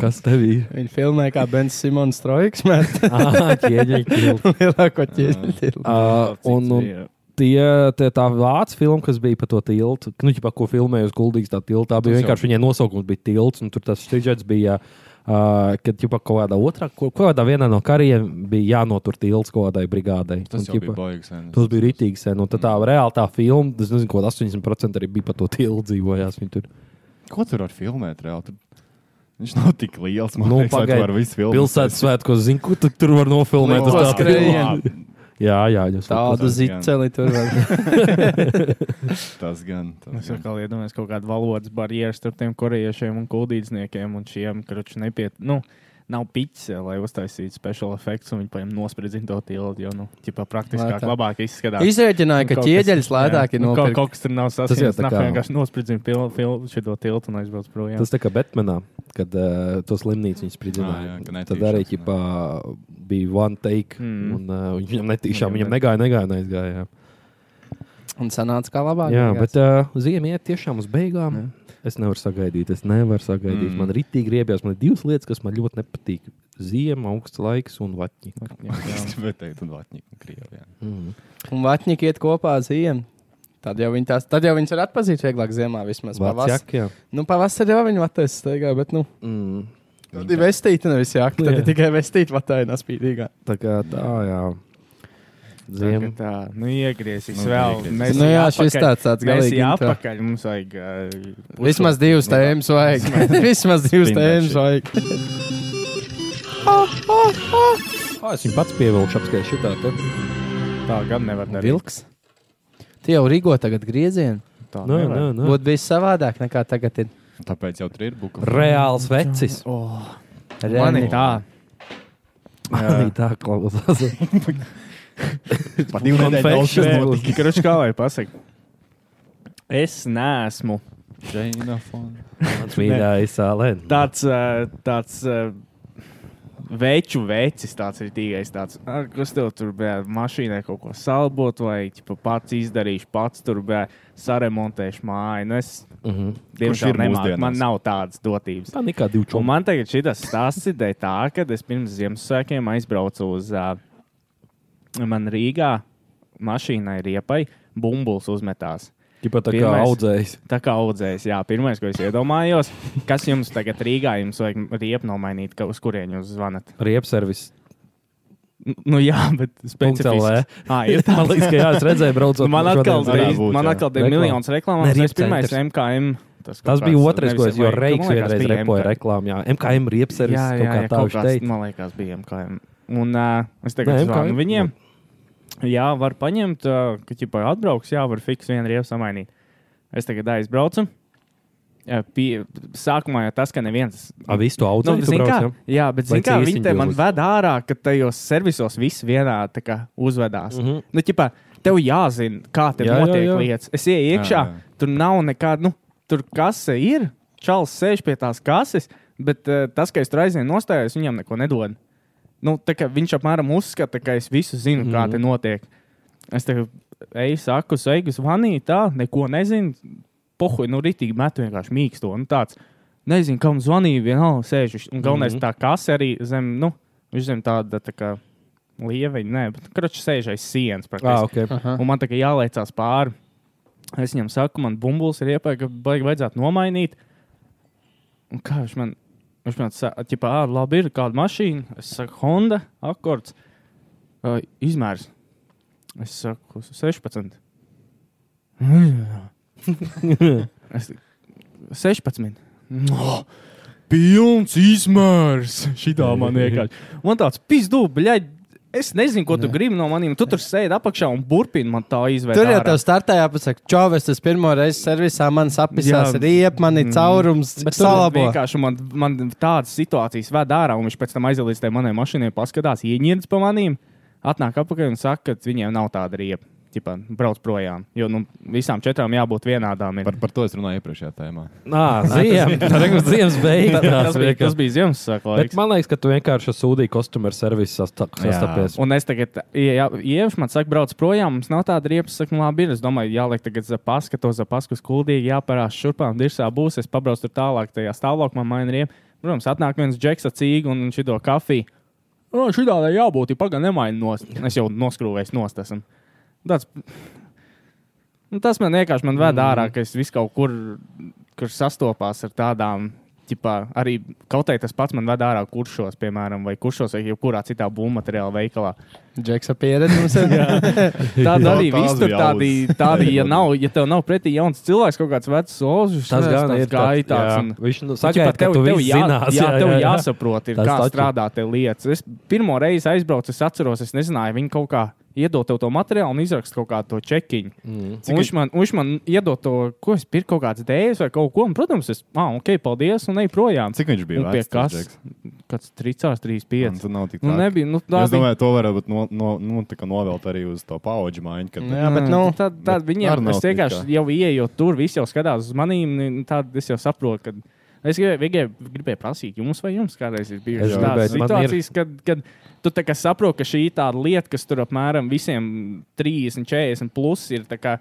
Speaker 7: Kas tev bija?
Speaker 1: Viņi filmē kā Bens Simons Trojks, mēs
Speaker 7: Ah, ķieģeļt tiltu.
Speaker 1: lielāko ķieģeļtiltu.
Speaker 7: Uh, un, un tie, tie, tā vācu filma, kas bija par to tiltu, nu, ķipā, ko filmēja uz Guldīgas, tā tiltā, bija
Speaker 2: Tas jau-
Speaker 7: vienkārši viņai nosaukums bija tilts, un tur tas sižets bija. Uh, kad jau kaut kādā otrā, ko- kaut kādā vienā no kariem bija jānotur tilts kaut kādai brigādei.
Speaker 2: Tas
Speaker 7: Un,
Speaker 2: jau
Speaker 7: ķipa,
Speaker 2: bija baigs. sen.
Speaker 7: Tas bija rītīgi sen, un tad tā reāli tā filma, tas nezinu, ko 80% arī bija par to tiltu dzīvojās. Viņi tur
Speaker 2: Ko tur var filmēt reāli? Tur... Viņš nav tik liels. Man
Speaker 7: Nu,
Speaker 2: liekas, vai tu
Speaker 7: pagaid,
Speaker 2: vari visu filmu.
Speaker 7: pilsētas svētkos zina, ko tu tur var nofilmēt.
Speaker 1: Lielo
Speaker 7: uz tā
Speaker 1: skrējienu.
Speaker 7: pilna. Jā, jā, jūs
Speaker 1: Tādu
Speaker 2: tas gan.
Speaker 1: ziceli tur vēl.
Speaker 2: Tas gan.
Speaker 8: Es
Speaker 2: Tas gan.
Speaker 8: atkal iedomājos kaut kādu valodas barjeru starp tiem korejiešiem un kuldīdzniekiem un šiem kručiem nepiet. Nu, Nav piķis, jā, lai uztaisītu special effects, un viņi paņem nospriedzina to tiltu. Jo, nu, tā praktiskāk,
Speaker 1: Lētāk.
Speaker 8: labāk izskatās.
Speaker 1: Izrēķināja, ka
Speaker 8: Kaut kas-
Speaker 1: ķieģeļs lētāk
Speaker 8: jā,
Speaker 1: ir
Speaker 8: nu, Kaut,
Speaker 1: nopirkt.
Speaker 8: kaut kas tur nav
Speaker 7: jau
Speaker 8: sasniegts.
Speaker 7: tā
Speaker 8: Nāk,
Speaker 7: kā-
Speaker 8: vienkārši nospriedzina pil- pil- šo tiltu un aizbrauc projām.
Speaker 7: Tas tā kā Batmanā, kad uh, to slimnīcu viņš spridzināja.
Speaker 2: Ah, jā, ka netīšām,
Speaker 7: Tad arī
Speaker 2: jā.
Speaker 7: ķipā, bija one take, mm.
Speaker 8: Mm.
Speaker 7: un uh, viņš viņam netīšām,
Speaker 8: Viņam
Speaker 7: viņam
Speaker 8: ne-
Speaker 7: negāja, negāja, neaizgāja. jā.
Speaker 1: Un sanāca, kā labāk.
Speaker 7: Jā,
Speaker 1: beigās.
Speaker 7: bet uh, ziemē iet tiešām uz beigām. Jā. Es nevaru sagaidīt, es nevaru sagaidīt. Mm.
Speaker 2: Mm.
Speaker 7: Man ir rītīgi griebjās, man ir divas lietas, kas man ļoti nepatīk. Ziema, augsts laiks un vatņi.
Speaker 2: Es gribēju teikt, un Vatņika Krievijā.
Speaker 7: Mm.
Speaker 1: Un vatņiki iet kopā ar ziemu. Tad jau viņi tās, tad jau viņas ir atpazīt vieglāk ziemā vismaz. Pavas,
Speaker 7: Vācijak, jā.
Speaker 1: nu, pavasarī jau viņi vatēs staigā, bet, nu,
Speaker 7: Mm.
Speaker 2: Nu,
Speaker 1: tad ir vestīti, nevis jāk. Tad
Speaker 7: Jā.
Speaker 1: ir tikai vestīti vatēna spīdīgā.
Speaker 7: Tā kā tā, jā. Ziema.
Speaker 8: Ziem. Tā, nu, iegriezīs
Speaker 2: Nu,
Speaker 8: vēl.
Speaker 2: iegriezīs.
Speaker 8: Mēs
Speaker 1: Nu, jā,
Speaker 8: jau
Speaker 1: šis
Speaker 8: atpakaļ-
Speaker 1: tāds tāds
Speaker 8: Mēs
Speaker 1: galīgi
Speaker 8: jau
Speaker 1: intro.
Speaker 8: atpakaļ. Mums vajag. Uh,
Speaker 1: Vismaz divas tēmas vajag. Vismaz divas
Speaker 2: Spindēšana.
Speaker 1: tēmas vajag.
Speaker 7: Oh, es viņu pats pievilkšu, apskaitīju šitā. Te.
Speaker 8: tā gan nevar darīt.
Speaker 1: Vilks. Tie jau Rīgo tagad griezienu.
Speaker 8: Tā
Speaker 1: Nu,
Speaker 7: Nē,
Speaker 8: nevar.
Speaker 7: nē, nē.
Speaker 1: Būtu bijis savādāk nekā tagad ir.
Speaker 2: Tāpēc jau tur ir buka.
Speaker 7: Reāls vecis.
Speaker 8: Oh, man
Speaker 1: Reāli.
Speaker 8: ir tā.
Speaker 7: Arī tā klausās.
Speaker 2: Pat divu nedēļu
Speaker 7: Konfekšu
Speaker 2: daudz kas
Speaker 7: reāls.
Speaker 2: notika.
Speaker 8: Kruč, kā lai pasaka? Es neesmu
Speaker 2: Džeina fona.
Speaker 7: Mans mīļākais sālēns.
Speaker 8: tāds, uh, tāds uh, veču vecis, tāds ir tīgais. Tāds, "Ar, kas tev tur bija mašīnā kaut ko salbot, vai ķipa, pats izdarīšu, pats tur bija saremontējuši māju. Nu, es
Speaker 7: Mhm.
Speaker 2: Kurš ir
Speaker 8: diemžēl nemāku,
Speaker 2: mūsdienās?
Speaker 8: man nav tādas dotības.
Speaker 7: Tā nekā divu
Speaker 8: Un
Speaker 7: čūmu.
Speaker 8: man tagad šī stāsts ideja tā, ka es pirms Ziemassvētkiem aizbraucu uz uh, man Rīgā. Mašīnā ir iepai, bumbulis uzmetās.
Speaker 7: Tāpat tā kā
Speaker 8: Pirmais.
Speaker 7: audzējs.
Speaker 8: Tā kā audzējs, jā, pirmais, ko es iedomājos, kas jums tagad Rīgā jums vajag riepu nomainīt, ka uz kurien jūs zvanat?
Speaker 7: Riepservis.
Speaker 8: N- Nu, jā, bet specifiski.
Speaker 7: LV.
Speaker 8: Ah, ir tā.
Speaker 7: E. Man liekas, ka jā, es redzēju, braucot.
Speaker 8: Nu, man atkal
Speaker 7: šodien
Speaker 2: bija-
Speaker 7: zvanā.
Speaker 8: bija,
Speaker 2: varētu būt,
Speaker 8: man
Speaker 2: jā.
Speaker 8: atkal bija
Speaker 7: Reklāma.
Speaker 8: miljons reklāmām,
Speaker 7: Ne,
Speaker 8: un es
Speaker 7: Ripcentrs.
Speaker 8: pirmais MKM.
Speaker 7: Tas
Speaker 8: kaut
Speaker 7: bija
Speaker 8: kāds,
Speaker 7: otrais, ko es
Speaker 8: nezinu,
Speaker 7: jau
Speaker 8: vai-
Speaker 7: reiks
Speaker 8: Nu, man liekas,
Speaker 7: vienreiz
Speaker 8: bija
Speaker 7: repoju
Speaker 8: MKM.
Speaker 7: reklāmā. MKM riepservis.
Speaker 8: Jā, jā, jā,
Speaker 7: Kaut kā tā
Speaker 8: kaut
Speaker 7: viņš
Speaker 8: kāds,
Speaker 7: teica.
Speaker 8: man liekas, bija MKM. Un uh, es
Speaker 7: Nē,
Speaker 8: tagad
Speaker 7: MKM.
Speaker 8: zvanu viņiem. Jā, var paņemt, uh, ka ķipa atbrauks, jā, var fiks vienu riepu samainīt. Es tagad aizbraucu. Jā, Pie, sākumā jau tas, ka neviens.
Speaker 7: A, visu to
Speaker 8: Nu,
Speaker 7: audzēju. tu
Speaker 8: zini
Speaker 7: brauc,
Speaker 8: kā,
Speaker 7: jā?
Speaker 8: jā, bet
Speaker 7: Vai
Speaker 8: zini kā,
Speaker 7: cīsiņi
Speaker 8: viņi te man
Speaker 7: jūs?
Speaker 8: ved ārā, ka tajos servisos viss vienā tā kā uzvedās.
Speaker 7: Mhm.
Speaker 8: Nu, ķipā, tev jāzina, kā tev
Speaker 7: Jā, jā,
Speaker 8: notiek
Speaker 7: jā.
Speaker 8: lietas. Es ieju iekšā,
Speaker 2: Jā, jā.
Speaker 8: tur nav nekāda, nu, tur kase ir. Čals sēž pie tās kases, bet uh, tas, ka es tur aizēju, nostājos, viņam neko nedod. Nu, tā kā viņš apmēram uzskata, ka es visu zinu, mm -hmm. kā
Speaker 7: Mhm.
Speaker 8: te notiek. Es te eju, saku, sveiku, zvanīju, tā, neko nezinu. Pohuļ, nu, rītīgi metu vienkārši mīksto. Nu, tāds, nezinu, kam zvanīju, vienalga sēžu. Un galvenais,
Speaker 7: Mhm.
Speaker 8: mm -hmm. tā kase arī zem, nu, viņš zem tāda, tā kā lieveņa, nē, bet kračs sēž aiz sienas.
Speaker 7: Ā,
Speaker 8: praktiski.
Speaker 7: Ah, ok.
Speaker 1: Aha.
Speaker 8: Un man tā kā jāliecās pāri. Es viņam saku, man bumbulis ir iepērk, ka baigi vajadzētu nomainīt. Un kā viņš man, viņš man saka, ķipā, ā, labi, ir kāda mašīna. Es saku, Honda, akords, uh, izmērs. Es saku, 16. es, 16. No. Pilns izmērs. Šitā man vienkārši. Man tāds pizdu, bļaļ. Es nezinu, ko tu gribi no maniem. Tu tur sēdi apakšā un burpini man tā izvēlēt.
Speaker 1: Tur jau tā startējā pasakā, čovēs, tas pirmo reizi servisā man sapisās
Speaker 8: Jā.
Speaker 1: riep, man ir
Speaker 8: Mm.
Speaker 1: caurums,
Speaker 8: Bet tur
Speaker 1: salabo.
Speaker 8: vienkārši man, man tādas situācijas ved ārā, un viņš pēc tam aiziet līdz tai manai mašīnai, paskatās, ieņirdas pa manīm, atnāk apakaļ un saka, ka viņiem nav tāda riepa. Tipa, brauc projām. Jo nu, visām četrām jābūt vienādām. ir.
Speaker 2: Par, par to es runāju iepriekšējā tēmā.
Speaker 7: Nā, ziem. Tā ir ziemas beigās.
Speaker 8: tas, bija,
Speaker 7: vienkārši.
Speaker 8: tas bija Ziemassvētku
Speaker 7: Bet
Speaker 8: laiks.
Speaker 7: man liekas, ka tu vienkārši ar sūdīju kostumu ar servisu sasta- sastapies.
Speaker 8: Un es tagad, ja ievieš man saka, brauc projām, mums nav tāda riepa, es saku, nu, labi, ir. es domāju, jāliek tagad zapas, ka to zapasku skuldīgi jāparās šurpām, dirsā būs, es pabraucu tur tālāk, tajā stāvlokumā maina riepa. Protams, atnāk viens džeksa cīga un viņš ido kafiju. Nu, šī tādā jābūt, ja pagaidi nemaina nost. Es jau noskrūvēju nost esmu. Tāds... Nu, tas man vienkārši man ved ārā, ka es vis kaut kur, kur sastopās ar tādām. Ķipā, arī kaut kā tas pats man ved ārā kuršos, piemēram, vai kuršos, vai jebkurā citā būvmateriāla veikalā.
Speaker 1: Džeksa pieredze mums ir.
Speaker 8: Tāda arī
Speaker 2: tās
Speaker 8: viss tur
Speaker 2: bija
Speaker 8: tādi,
Speaker 2: audzes.
Speaker 8: tādi ja, nav, ja tev nav pretī jauns cilvēks, kaut kāds vecs solis,
Speaker 7: Tas gan ir tāds-
Speaker 8: gaitāts.
Speaker 7: jā.
Speaker 8: un-
Speaker 7: Viņš nu,
Speaker 8: Nu,
Speaker 7: sagaida,
Speaker 8: ķipā,
Speaker 7: ka tu
Speaker 8: tev
Speaker 7: visu
Speaker 8: jā-
Speaker 7: zinās.
Speaker 8: Jā, tev jāsaprot, ir,
Speaker 7: Tas
Speaker 8: kā
Speaker 7: taču.
Speaker 8: strādā te lietas. Es pirmo reizi aizbraucu, es atceros, es nezināju, viņi kaut kā iedod tev to materiālu un izraksta kaut kādu to čekiņu.
Speaker 7: Mm.
Speaker 8: Un Viņš man, un viņš man iedod to, ko es pirku, kaut kādas dēļas vai kaut ko. Un, protams, es, ah, ok, paldies, un ej projām.
Speaker 2: Cik viņš bija
Speaker 8: Un pie
Speaker 2: vecs? tas
Speaker 8: kas?
Speaker 2: Džeks?
Speaker 8: kāds tricārs, trīs
Speaker 2: Un
Speaker 8: pieci.
Speaker 2: tur nav tik
Speaker 8: Nu,
Speaker 2: traki.
Speaker 8: nebija, nu, tā
Speaker 2: Es
Speaker 8: bija.
Speaker 2: domāju, to varētu būt no, no, nu, tā kā novelt arī uz to paudžu maiņu. Kad,
Speaker 1: Jā,
Speaker 7: Mm.
Speaker 1: bet, nu,
Speaker 8: tā, tā,
Speaker 2: bet
Speaker 8: viņiem,
Speaker 2: ar nav
Speaker 8: es vienkārši
Speaker 2: tā
Speaker 8: jau ieeju tur, visi jau skatās uz manīm. Tad es jau saprotu, ka es gribēju, gribēju, gribēju prasīt jums, vai jums kādreiz ir
Speaker 7: Es
Speaker 8: bijušas
Speaker 7: gribēju,
Speaker 8: tādas
Speaker 7: man ir-
Speaker 8: situācijas, kad, kad tu tā kā saproti, ka šī ir tāda lieta, kas tur apmēram visiem 30, 40 plus ir tā kā,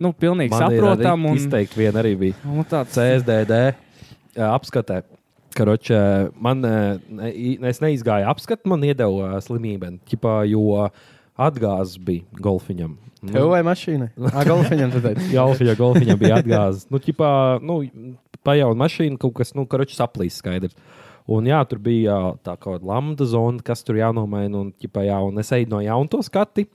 Speaker 8: nu, pilnīgi saprotama.
Speaker 7: Un...
Speaker 8: Un,
Speaker 7: Izteikti viena arī bija.
Speaker 8: un tāds,
Speaker 7: CSDD ā, apskatē. Karoče, man, ā, ne, i- es neizgāju apskati, man iedeva ā, slimību, ķipā, jo atgāzes bija golfiņam. Nu,
Speaker 1: Tev vai mašīnai? Ar golfiņiem tad teikt.
Speaker 7: Jā, Alfija golfiņam bija atgāzes. Nu, ķipā, nu, pajauna mašīna, kaut kas, nu, karoče, saplīs skaidrs. Un jā, tur bija ā, tā kā lambda zona, kas tur jānomaina, un, ķipā, jā, un es eju no jauna to skati.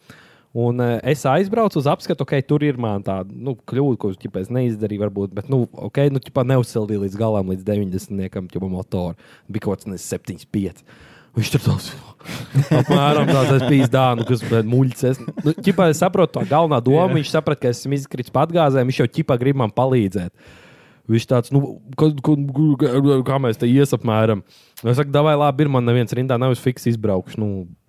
Speaker 7: Un eh, es aizbraucu uz apskatu, ok, tur ir man tāda nu, kļūda, ko ķipa, es neizdarīju, varbūt, bet, nu, ok, nu, ķipa, neuzsildīju līdz galam, līdz 90-niekam, jau motoru. Bija kaut kas, nezinu, 75. Viņš tur tāds - apmēram tāds - es biju dānu, kas bija muļķis. Es, nu, ķipa, es saprotu to galvenā domu, viņš saprata, ka esmu izkritis padgāzē, viņš jau ķipa grib man palīdzēt. Viņš tāds, nu, ka- ka- ka- kā mēs te iesapmēram. Es saku, dabai, labi, ir man neviens rindā, nav es fiks izbraukšu, nu,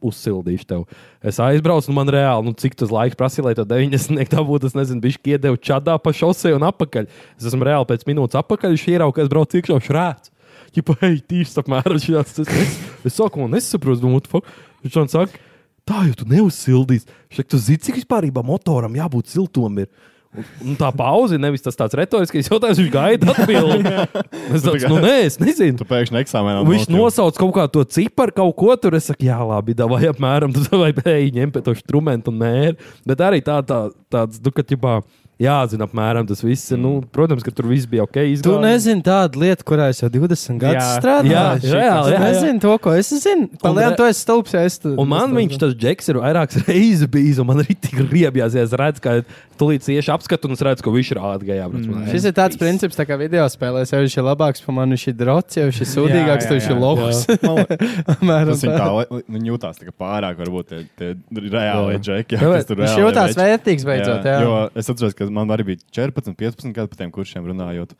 Speaker 7: uzsildīšu tevi. Es aizbraucu, un man reāli, nu, cik tas laiks prasīja, lai to 90 tā būtu, es nezinu, viņš iedeva čadā pa šosei un apakaļ. Es esmu reāli pēc minūtes apakaļ, viņš ierauga, ka es braucu iekšā šrāts. Čipa, hei, tīrs apmēram šāds. Es, es, es saku, un es saprotu, domāju, what the fuck. Viņš man saka, tā jau tu neuzsildīsi. Viņš saka, tu zini, cik vispār motoram jābūt siltumam. Ir. Un, un tā pauze, nevis tas tāds retoriskais jautājums, viņš gaida atbildību. Es domāju, nu nē, es nezinu.
Speaker 2: Tu pēkšņi eksāmenā
Speaker 7: Viņš
Speaker 2: nokļuvi.
Speaker 7: nosauc kaut kādu to ciparu, kaut ko tur. Es saku, jā, labi, tā vai apmēram tā, vai pēkšņi ņem pie to instrumentu un mēri. Bet arī tā, tā tāds, nu, ka ķipā jāzina apmēram tas viss. ir. Nu, protams, ka tur viss bija ok.
Speaker 1: Tu
Speaker 7: izgājies.
Speaker 1: nezini tādu lietu, kurā es jau 20 gadus
Speaker 8: Jā.
Speaker 1: strādāju.
Speaker 7: Jā,
Speaker 1: Šī-
Speaker 7: reāli, jā,
Speaker 1: Es
Speaker 7: jā.
Speaker 1: nezinu to, ko es zinu. Palēn,
Speaker 7: re-
Speaker 1: tu esi stulbs, ja es tu.
Speaker 7: Un man viņš tas džeks ir vairākas reizes bijis, un man arī tik riebjās, ja es redzu, ka tulīt cieši apskatu, un es redzu, ka viņš ir ātrgājā. Mm.
Speaker 1: Šis ir tāds princips, tā kā video spēlēs. Ja viņš ir labāks par mani, viņš ir drots, ja viņš ir sūdīgāks,
Speaker 8: jā,
Speaker 1: tad viņš ir
Speaker 8: jā.
Speaker 1: lohs.
Speaker 2: Tas
Speaker 1: Apmēram
Speaker 2: viņa
Speaker 1: tā.
Speaker 2: tā, lai- viņi jutās tā kā pārāk, varbūt tie, tie reāli džeki. jā,
Speaker 7: Jā,
Speaker 2: kas tur
Speaker 1: Viņš
Speaker 2: reāli
Speaker 1: jūtās
Speaker 2: veči.
Speaker 1: Nu, vērtīgs beidzot. Jā,
Speaker 2: Jo es atceros, ka man arī bija 14, 15 gadi par tiem kursiem runājot.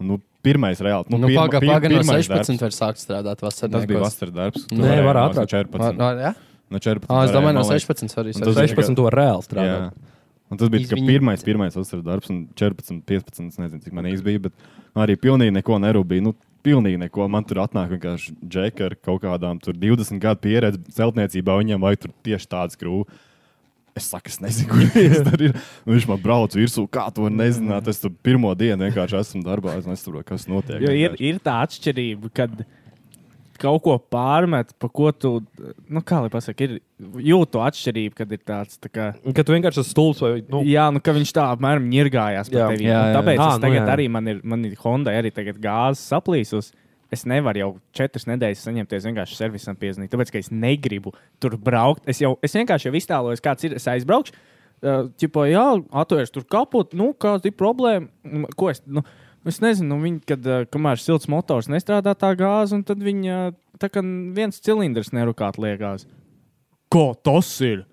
Speaker 2: Un, nu, pirmais reāli. Nu,
Speaker 1: Nu,
Speaker 2: pirma,
Speaker 1: Pagaidām,
Speaker 2: pi-
Speaker 1: paga, no
Speaker 2: pirmais
Speaker 1: 16
Speaker 2: darbs.
Speaker 1: var sākt strādāt vasarā.
Speaker 2: Tas bija vasaras darbs. Tu
Speaker 1: Nē,
Speaker 2: varēji
Speaker 7: var
Speaker 2: mācīt
Speaker 7: ātrāk.
Speaker 2: No 14. No 14
Speaker 1: Es
Speaker 2: varēji,
Speaker 1: domāju, no
Speaker 2: man liekas.
Speaker 1: 16 arī.
Speaker 2: Un tas
Speaker 1: sākt.
Speaker 2: bija-
Speaker 7: 16. var reāli
Speaker 2: Jā.
Speaker 7: strādāt.
Speaker 2: Un tas bija tikai
Speaker 1: Izviņi.
Speaker 2: pirmais, pirmais vasaras darbs, un 14, 15, es nezinu, cik man īsti bija, bet man arī pilnīgi neko nerūpīja. Nu, pilnīgi neko. Man tur atnāk vienkārši džeki ar kaut kādām tur 20 gadu pieredzi celtniecībā, viņiem vajag tur tieši tādas grūti. Es saku, es nezinu, kur viņš tur ir. Un Viņš man brauc virsū, kā to var nezināt. Es tur pirmo dienu vienkārši esmu darbā, es nesaprotu, kas notiek.
Speaker 8: Jo ir,
Speaker 2: vienkārši.
Speaker 8: ir tā atšķirība, kad kaut ko pārmet, pa ko tu, nu, kā lai pasakā, ir jūtu atšķirību, kad ir tāds. Tā kā,
Speaker 7: Kad tu vienkārši esi stulbs vai nu,
Speaker 8: Nu, jā, nu, ka viņš tā apmēram ņirgājās
Speaker 7: Jā.
Speaker 8: par tevi.
Speaker 1: Jā,
Speaker 8: Un
Speaker 1: jā.
Speaker 8: Tāpēc
Speaker 7: Ā,
Speaker 8: ah,
Speaker 7: nu
Speaker 8: es tagad
Speaker 7: jā.
Speaker 8: nu, arī man ir, man ir Honda, arī tagad gāzes saplīsus. Es nevaru jau četras nedēļas saņemties vienkārši servisam piezīmēt, tāpēc, ka es negribu tur braukt. Es, jau, es vienkārši jau iztēlojos, kāds ir, es aizbraukšu. Tipo, jā, atvērš tur kaput, nu, kāda ir problēma. Nu, Ko es, nu, es nezinu, nu, viņi, kad, ā, kamēr silts motors nestrādā tā gāze, un tad viņi, ā, tā kā viens cilindrs nerukāt liekās. Kā tas ir?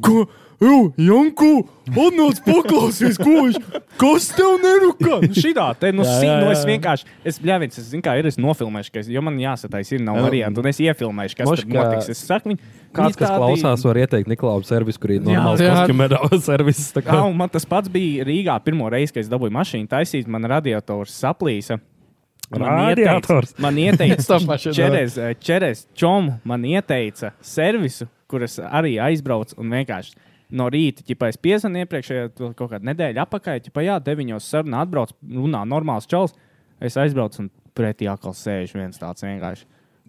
Speaker 8: Ko? Jū, Janku, atnāc paklausies, ko viņš. Kas tev nerūkā? Nu, šitā, te, nu,
Speaker 7: Jā,
Speaker 8: sī,
Speaker 7: jā,
Speaker 8: nu,
Speaker 7: jā.
Speaker 8: es vienkārši, es bļāvins, es zinu, kā ir, es nofilmēšu, ka es, jo man jāsataisa, ir nav
Speaker 2: Jā.
Speaker 8: variantu, un es iefilmēšu, kas
Speaker 7: Moška,
Speaker 8: tur notiks. Es saku, viņi,
Speaker 7: kāds,
Speaker 8: viņi
Speaker 7: kas
Speaker 8: tādi-
Speaker 7: klausās, var ieteikt Niklaudu servisu, kur ir
Speaker 8: Jā,
Speaker 7: normāls
Speaker 1: jā.
Speaker 7: kostumēdāvā servis. tā
Speaker 8: Jā,
Speaker 7: kā.
Speaker 8: un man tas pats bija Rīgā pirmo reizi, kad es dabūju mašīnu taisīt, man radiators saplīsa. Man ieteica,
Speaker 7: Radiators.
Speaker 8: man ieteica
Speaker 1: Es to pašu
Speaker 8: Čeres, eh, Čeres Čomu man ieteica servisu, kur es arī aizbraucu un vienkārši no rīta, ja es piezvanu iepriekšējā to kaut kādā nedēļā apakā, ja jau deviņos sarunā atbrauc, runā normāls čels, es aizbraucu un pretī atkal sēž viens tāds vienkārši.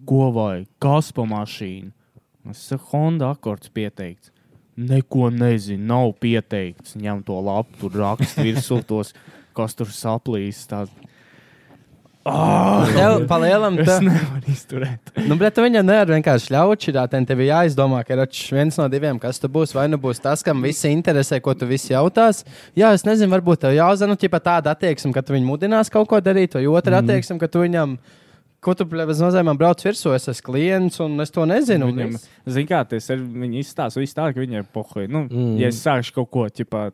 Speaker 8: Ko vai kas pa mašīnu? Es saku, Honda akords pieteikts. Neko nezinu, nav pieteikts. Ņem to lapu, tur rakstu virsū tos, kas tur saplīs. Tā...
Speaker 1: Tev palielam,
Speaker 8: Es
Speaker 1: tev.
Speaker 8: nevaru izturēt.
Speaker 1: Nu, bet tu viņam nevar vienkārši ļaut šitā, ten tev ir jāizdomā, ka ir atš- viens no diviem, kas tu būsi. Vai nu būs tas, kam visi interesē, ko tu visi jautās. Jā, es nezinu, varbūt tev jāzina, nu, tāda attieksme, ka tu viņu mudinās kaut ko darīt, vai
Speaker 8: Mhm.
Speaker 1: otra mm. attieksme, ka tu viņam, ko tu plēvis nozīmē, brauc virsū, es esmu klients un es to nezinu. Nu,
Speaker 8: Viņam,
Speaker 1: Viņam...
Speaker 8: Nu, zini, kā tas ir. Viņi izstāsta visu tā, ka viņiem pohoja. Nu, mm. Ja es sākšu kaut ko, tipā,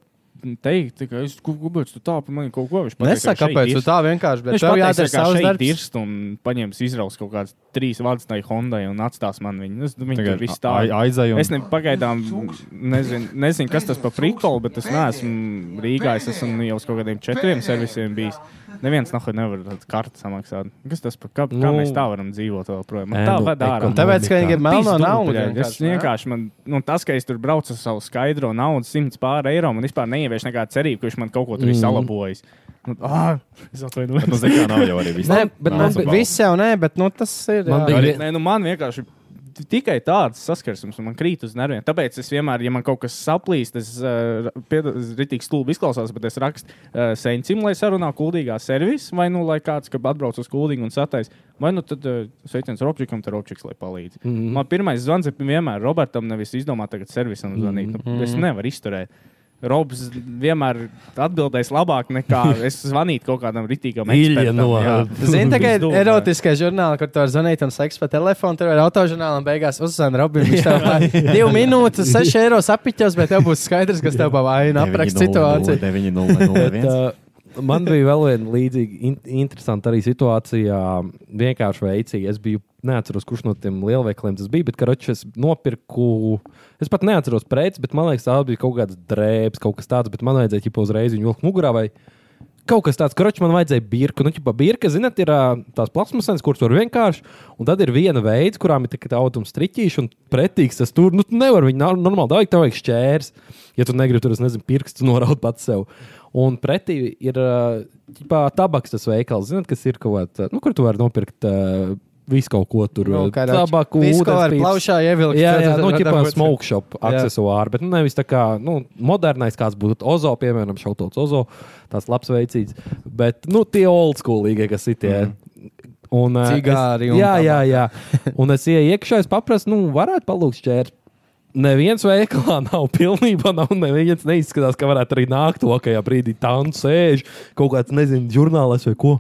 Speaker 8: teikt, ka es gubēju, tu tā par mani kaut ko viņš pateiks,
Speaker 1: Nesaka,
Speaker 8: ka šeit
Speaker 1: kāpēc tu
Speaker 8: dirst.
Speaker 1: tā vienkārši. Bet
Speaker 8: Viņš
Speaker 1: tev
Speaker 8: pateiks,
Speaker 1: jādara
Speaker 8: ka
Speaker 1: savs
Speaker 8: šeit
Speaker 1: darbs.
Speaker 8: dirst un paņems izraus kaut kādas trīs vārdus tai Hondai un atstās man viņu. Nu, Es, viņi tur viss tā.
Speaker 2: aizēju.
Speaker 8: Es ne, pagaidām nezinu, nezinu, kas tas par prikolu, bet es neesmu Rīgā. Es esmu nu jau uz kaut kādiem četriem servisiem bijis. Neviens nahuj nevar tādu kartu samaksāt. Kas tas par kā, kā
Speaker 7: Nu.
Speaker 8: mēs tā varam dzīvot vēl
Speaker 7: Ē,
Speaker 8: projām? Man tā
Speaker 7: nu,
Speaker 8: vada ārā.
Speaker 7: ekonomi-
Speaker 1: Tāpēc, ka viņi ir melno
Speaker 8: Pizdu,
Speaker 1: naudu.
Speaker 8: bļaļ, Es vienkārši, man, nu, tas, ka es tur braucu ar savu skaidro naudu, 100 pār eiro, man vispār neievieš nekādu cerību, ka viņš man kaut ko tur ir
Speaker 7: Mm.
Speaker 8: salabojis. Nu, ā, es atvainojos.
Speaker 2: Nu, zini, kā nav jau arī viss.
Speaker 1: Nē, bet
Speaker 2: Nav
Speaker 1: man,
Speaker 2: zabalts.
Speaker 1: viss jau nē, bet nu, tas ir.
Speaker 7: Man
Speaker 1: jā.
Speaker 7: bija-
Speaker 8: Arī, nē, nu man vienkārši t- tikai tāds saskarsmes, un man krīt uz nerviem. Tāpēc es vienmēr, ja man kaut kas saplīst, es uh, rītīgi stulbi izklausās, bet es rakstu uh, sencim, lai sarunā kuldīgā servisu, vai nu lai kāds, kad atbrauc uz kuldīgu un satais, vai nu tad uh, sveiciens Robčikam, tad Robčiks, lai palīdz. Mm -hmm. Man pirmais zvans ir vienmēr Robertam, nevis izdomāt tagad servisam zvanīt. Mm -hmm. nu, es nevaru izturēt. Robs vienmēr atbildēs labāk nekā es zvanītu kaut kādam rītīgam
Speaker 7: Ilja
Speaker 8: ekspertam.
Speaker 7: no-
Speaker 8: jā.
Speaker 1: Zini, tā kā ir
Speaker 8: Pizdu, jā.
Speaker 1: erotiskie žurnāli, kur tu vari zvanīt un seksu pa telefonu, tur ir autožurnāli un beigās uzzvanīt Robinu. Viņš tev tā divu minūtu, seši eiro apiķos, bet tev būs skaidrs, kas tev pa vainu apraksta situāciju.
Speaker 2: 9,001.
Speaker 7: Bet, uh, man bija vēl viena līdzīga in interesanta arī situācija. Vienkārši veicīgi. Es biju, neatceros, kurš no tiem lielveikaliem tas bija, bet karoči es nopirku. Es pat neatceros preci, bet man liekas, tā bija kaut kāds drēbes, kaut kas tāds, bet man vajadzēja jau uzreiz viņu vilkt mugurā. Vai Kaut kas tāds, kurš man vajadzēja birku. Nu, ķipa, birka, zinot, ir ā, tās plasmasas, kuras var vienkārši. Un tad ir viena veids, kurām ir tāds autors striķīšs un pretīgs. Tas tur, nu, tu nevar viņu nor- normāli dabūt, tev vajag šķērs. Ja tu negribi tur, es nezinu, pirksts noraut pats sev. Un pretī ir ā, ķipā, tabaks tas veikals, zinot, kas ir kaut kāds, ā, nu, kur tu vari nopirkt ā, visu kaut ko tur.
Speaker 1: Nu,
Speaker 7: ā,
Speaker 1: karoči,
Speaker 7: tabaku,
Speaker 1: visu, ko var
Speaker 7: ūdenspīpes.
Speaker 1: plaušā ievilkt,
Speaker 7: Jā,
Speaker 1: tad
Speaker 7: jā,
Speaker 1: var
Speaker 7: nu, ķipā,
Speaker 1: dabūt.
Speaker 7: smoke shop
Speaker 1: Jā.
Speaker 7: aksesuāri, bet nu, nevis tā kā nu, modernais, kāds būtu Ozo, piemēram, šautots Ozo, tās labs veicīts. Bet nu, tie old schoolīgie, kas ir tie. Un, eh,
Speaker 1: Mhm. Cigāri
Speaker 7: es,
Speaker 1: un
Speaker 7: jā,
Speaker 1: tā
Speaker 7: jā, jā. Un es ieju iekšā, es paprasu, nu, varētu palūgt šķērs. Neviens veikalā nav pilnībā, nav neviens neizskatās, ka varētu arī nākt to, ka jau brīdī tam sēž kaut kāds, nezinu, žurnālists vai ko.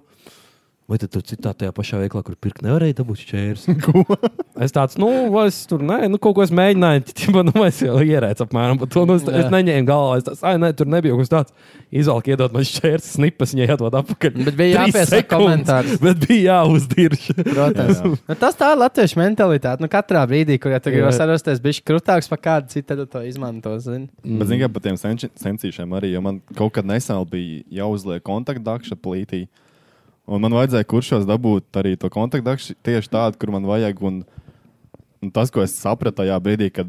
Speaker 7: Vai tad tur citā tajā pašā veiklā, kur pirkt, nevarēja dabūt šķērs? Es tāds, nu, es tur nē, nu, kaut ko es mēģināju, tipā, nu, es jau ierēcu apmēram par to. Nu, es, es
Speaker 1: Jā.
Speaker 7: neņēmu galvā, es tāds, ah, nē, tur nebija kaut kas tāds. Izvēlēt, iedot man šķērs, snipas, viņa iedod apakaļ.
Speaker 1: Bet bija
Speaker 7: Trīs
Speaker 1: jāpiesaka
Speaker 7: sekundes,
Speaker 1: komentārs.
Speaker 7: Bet bija jāuzdirž.
Speaker 1: Protams.
Speaker 2: Jā, jā.
Speaker 1: Nu, tas tā ir latviešu mentalitāte. Nu, katrā brīdī, kur ja tu gribi
Speaker 7: Jā.
Speaker 1: sarasties, bija krūtāks par kādu citu, tad tu to izmanto. zini.
Speaker 2: Bet, zināmā mērā, par tiem senči- sensīšiem arī, jo man kaut kad nesen bija jāuzliek kontaktdakša plītī. Un man vajadzēja kuršos dabūt arī to kontaktdakšu tieši tādu, kur man vajag. Un, un tas, ko es sapratu tajā brīdī, kad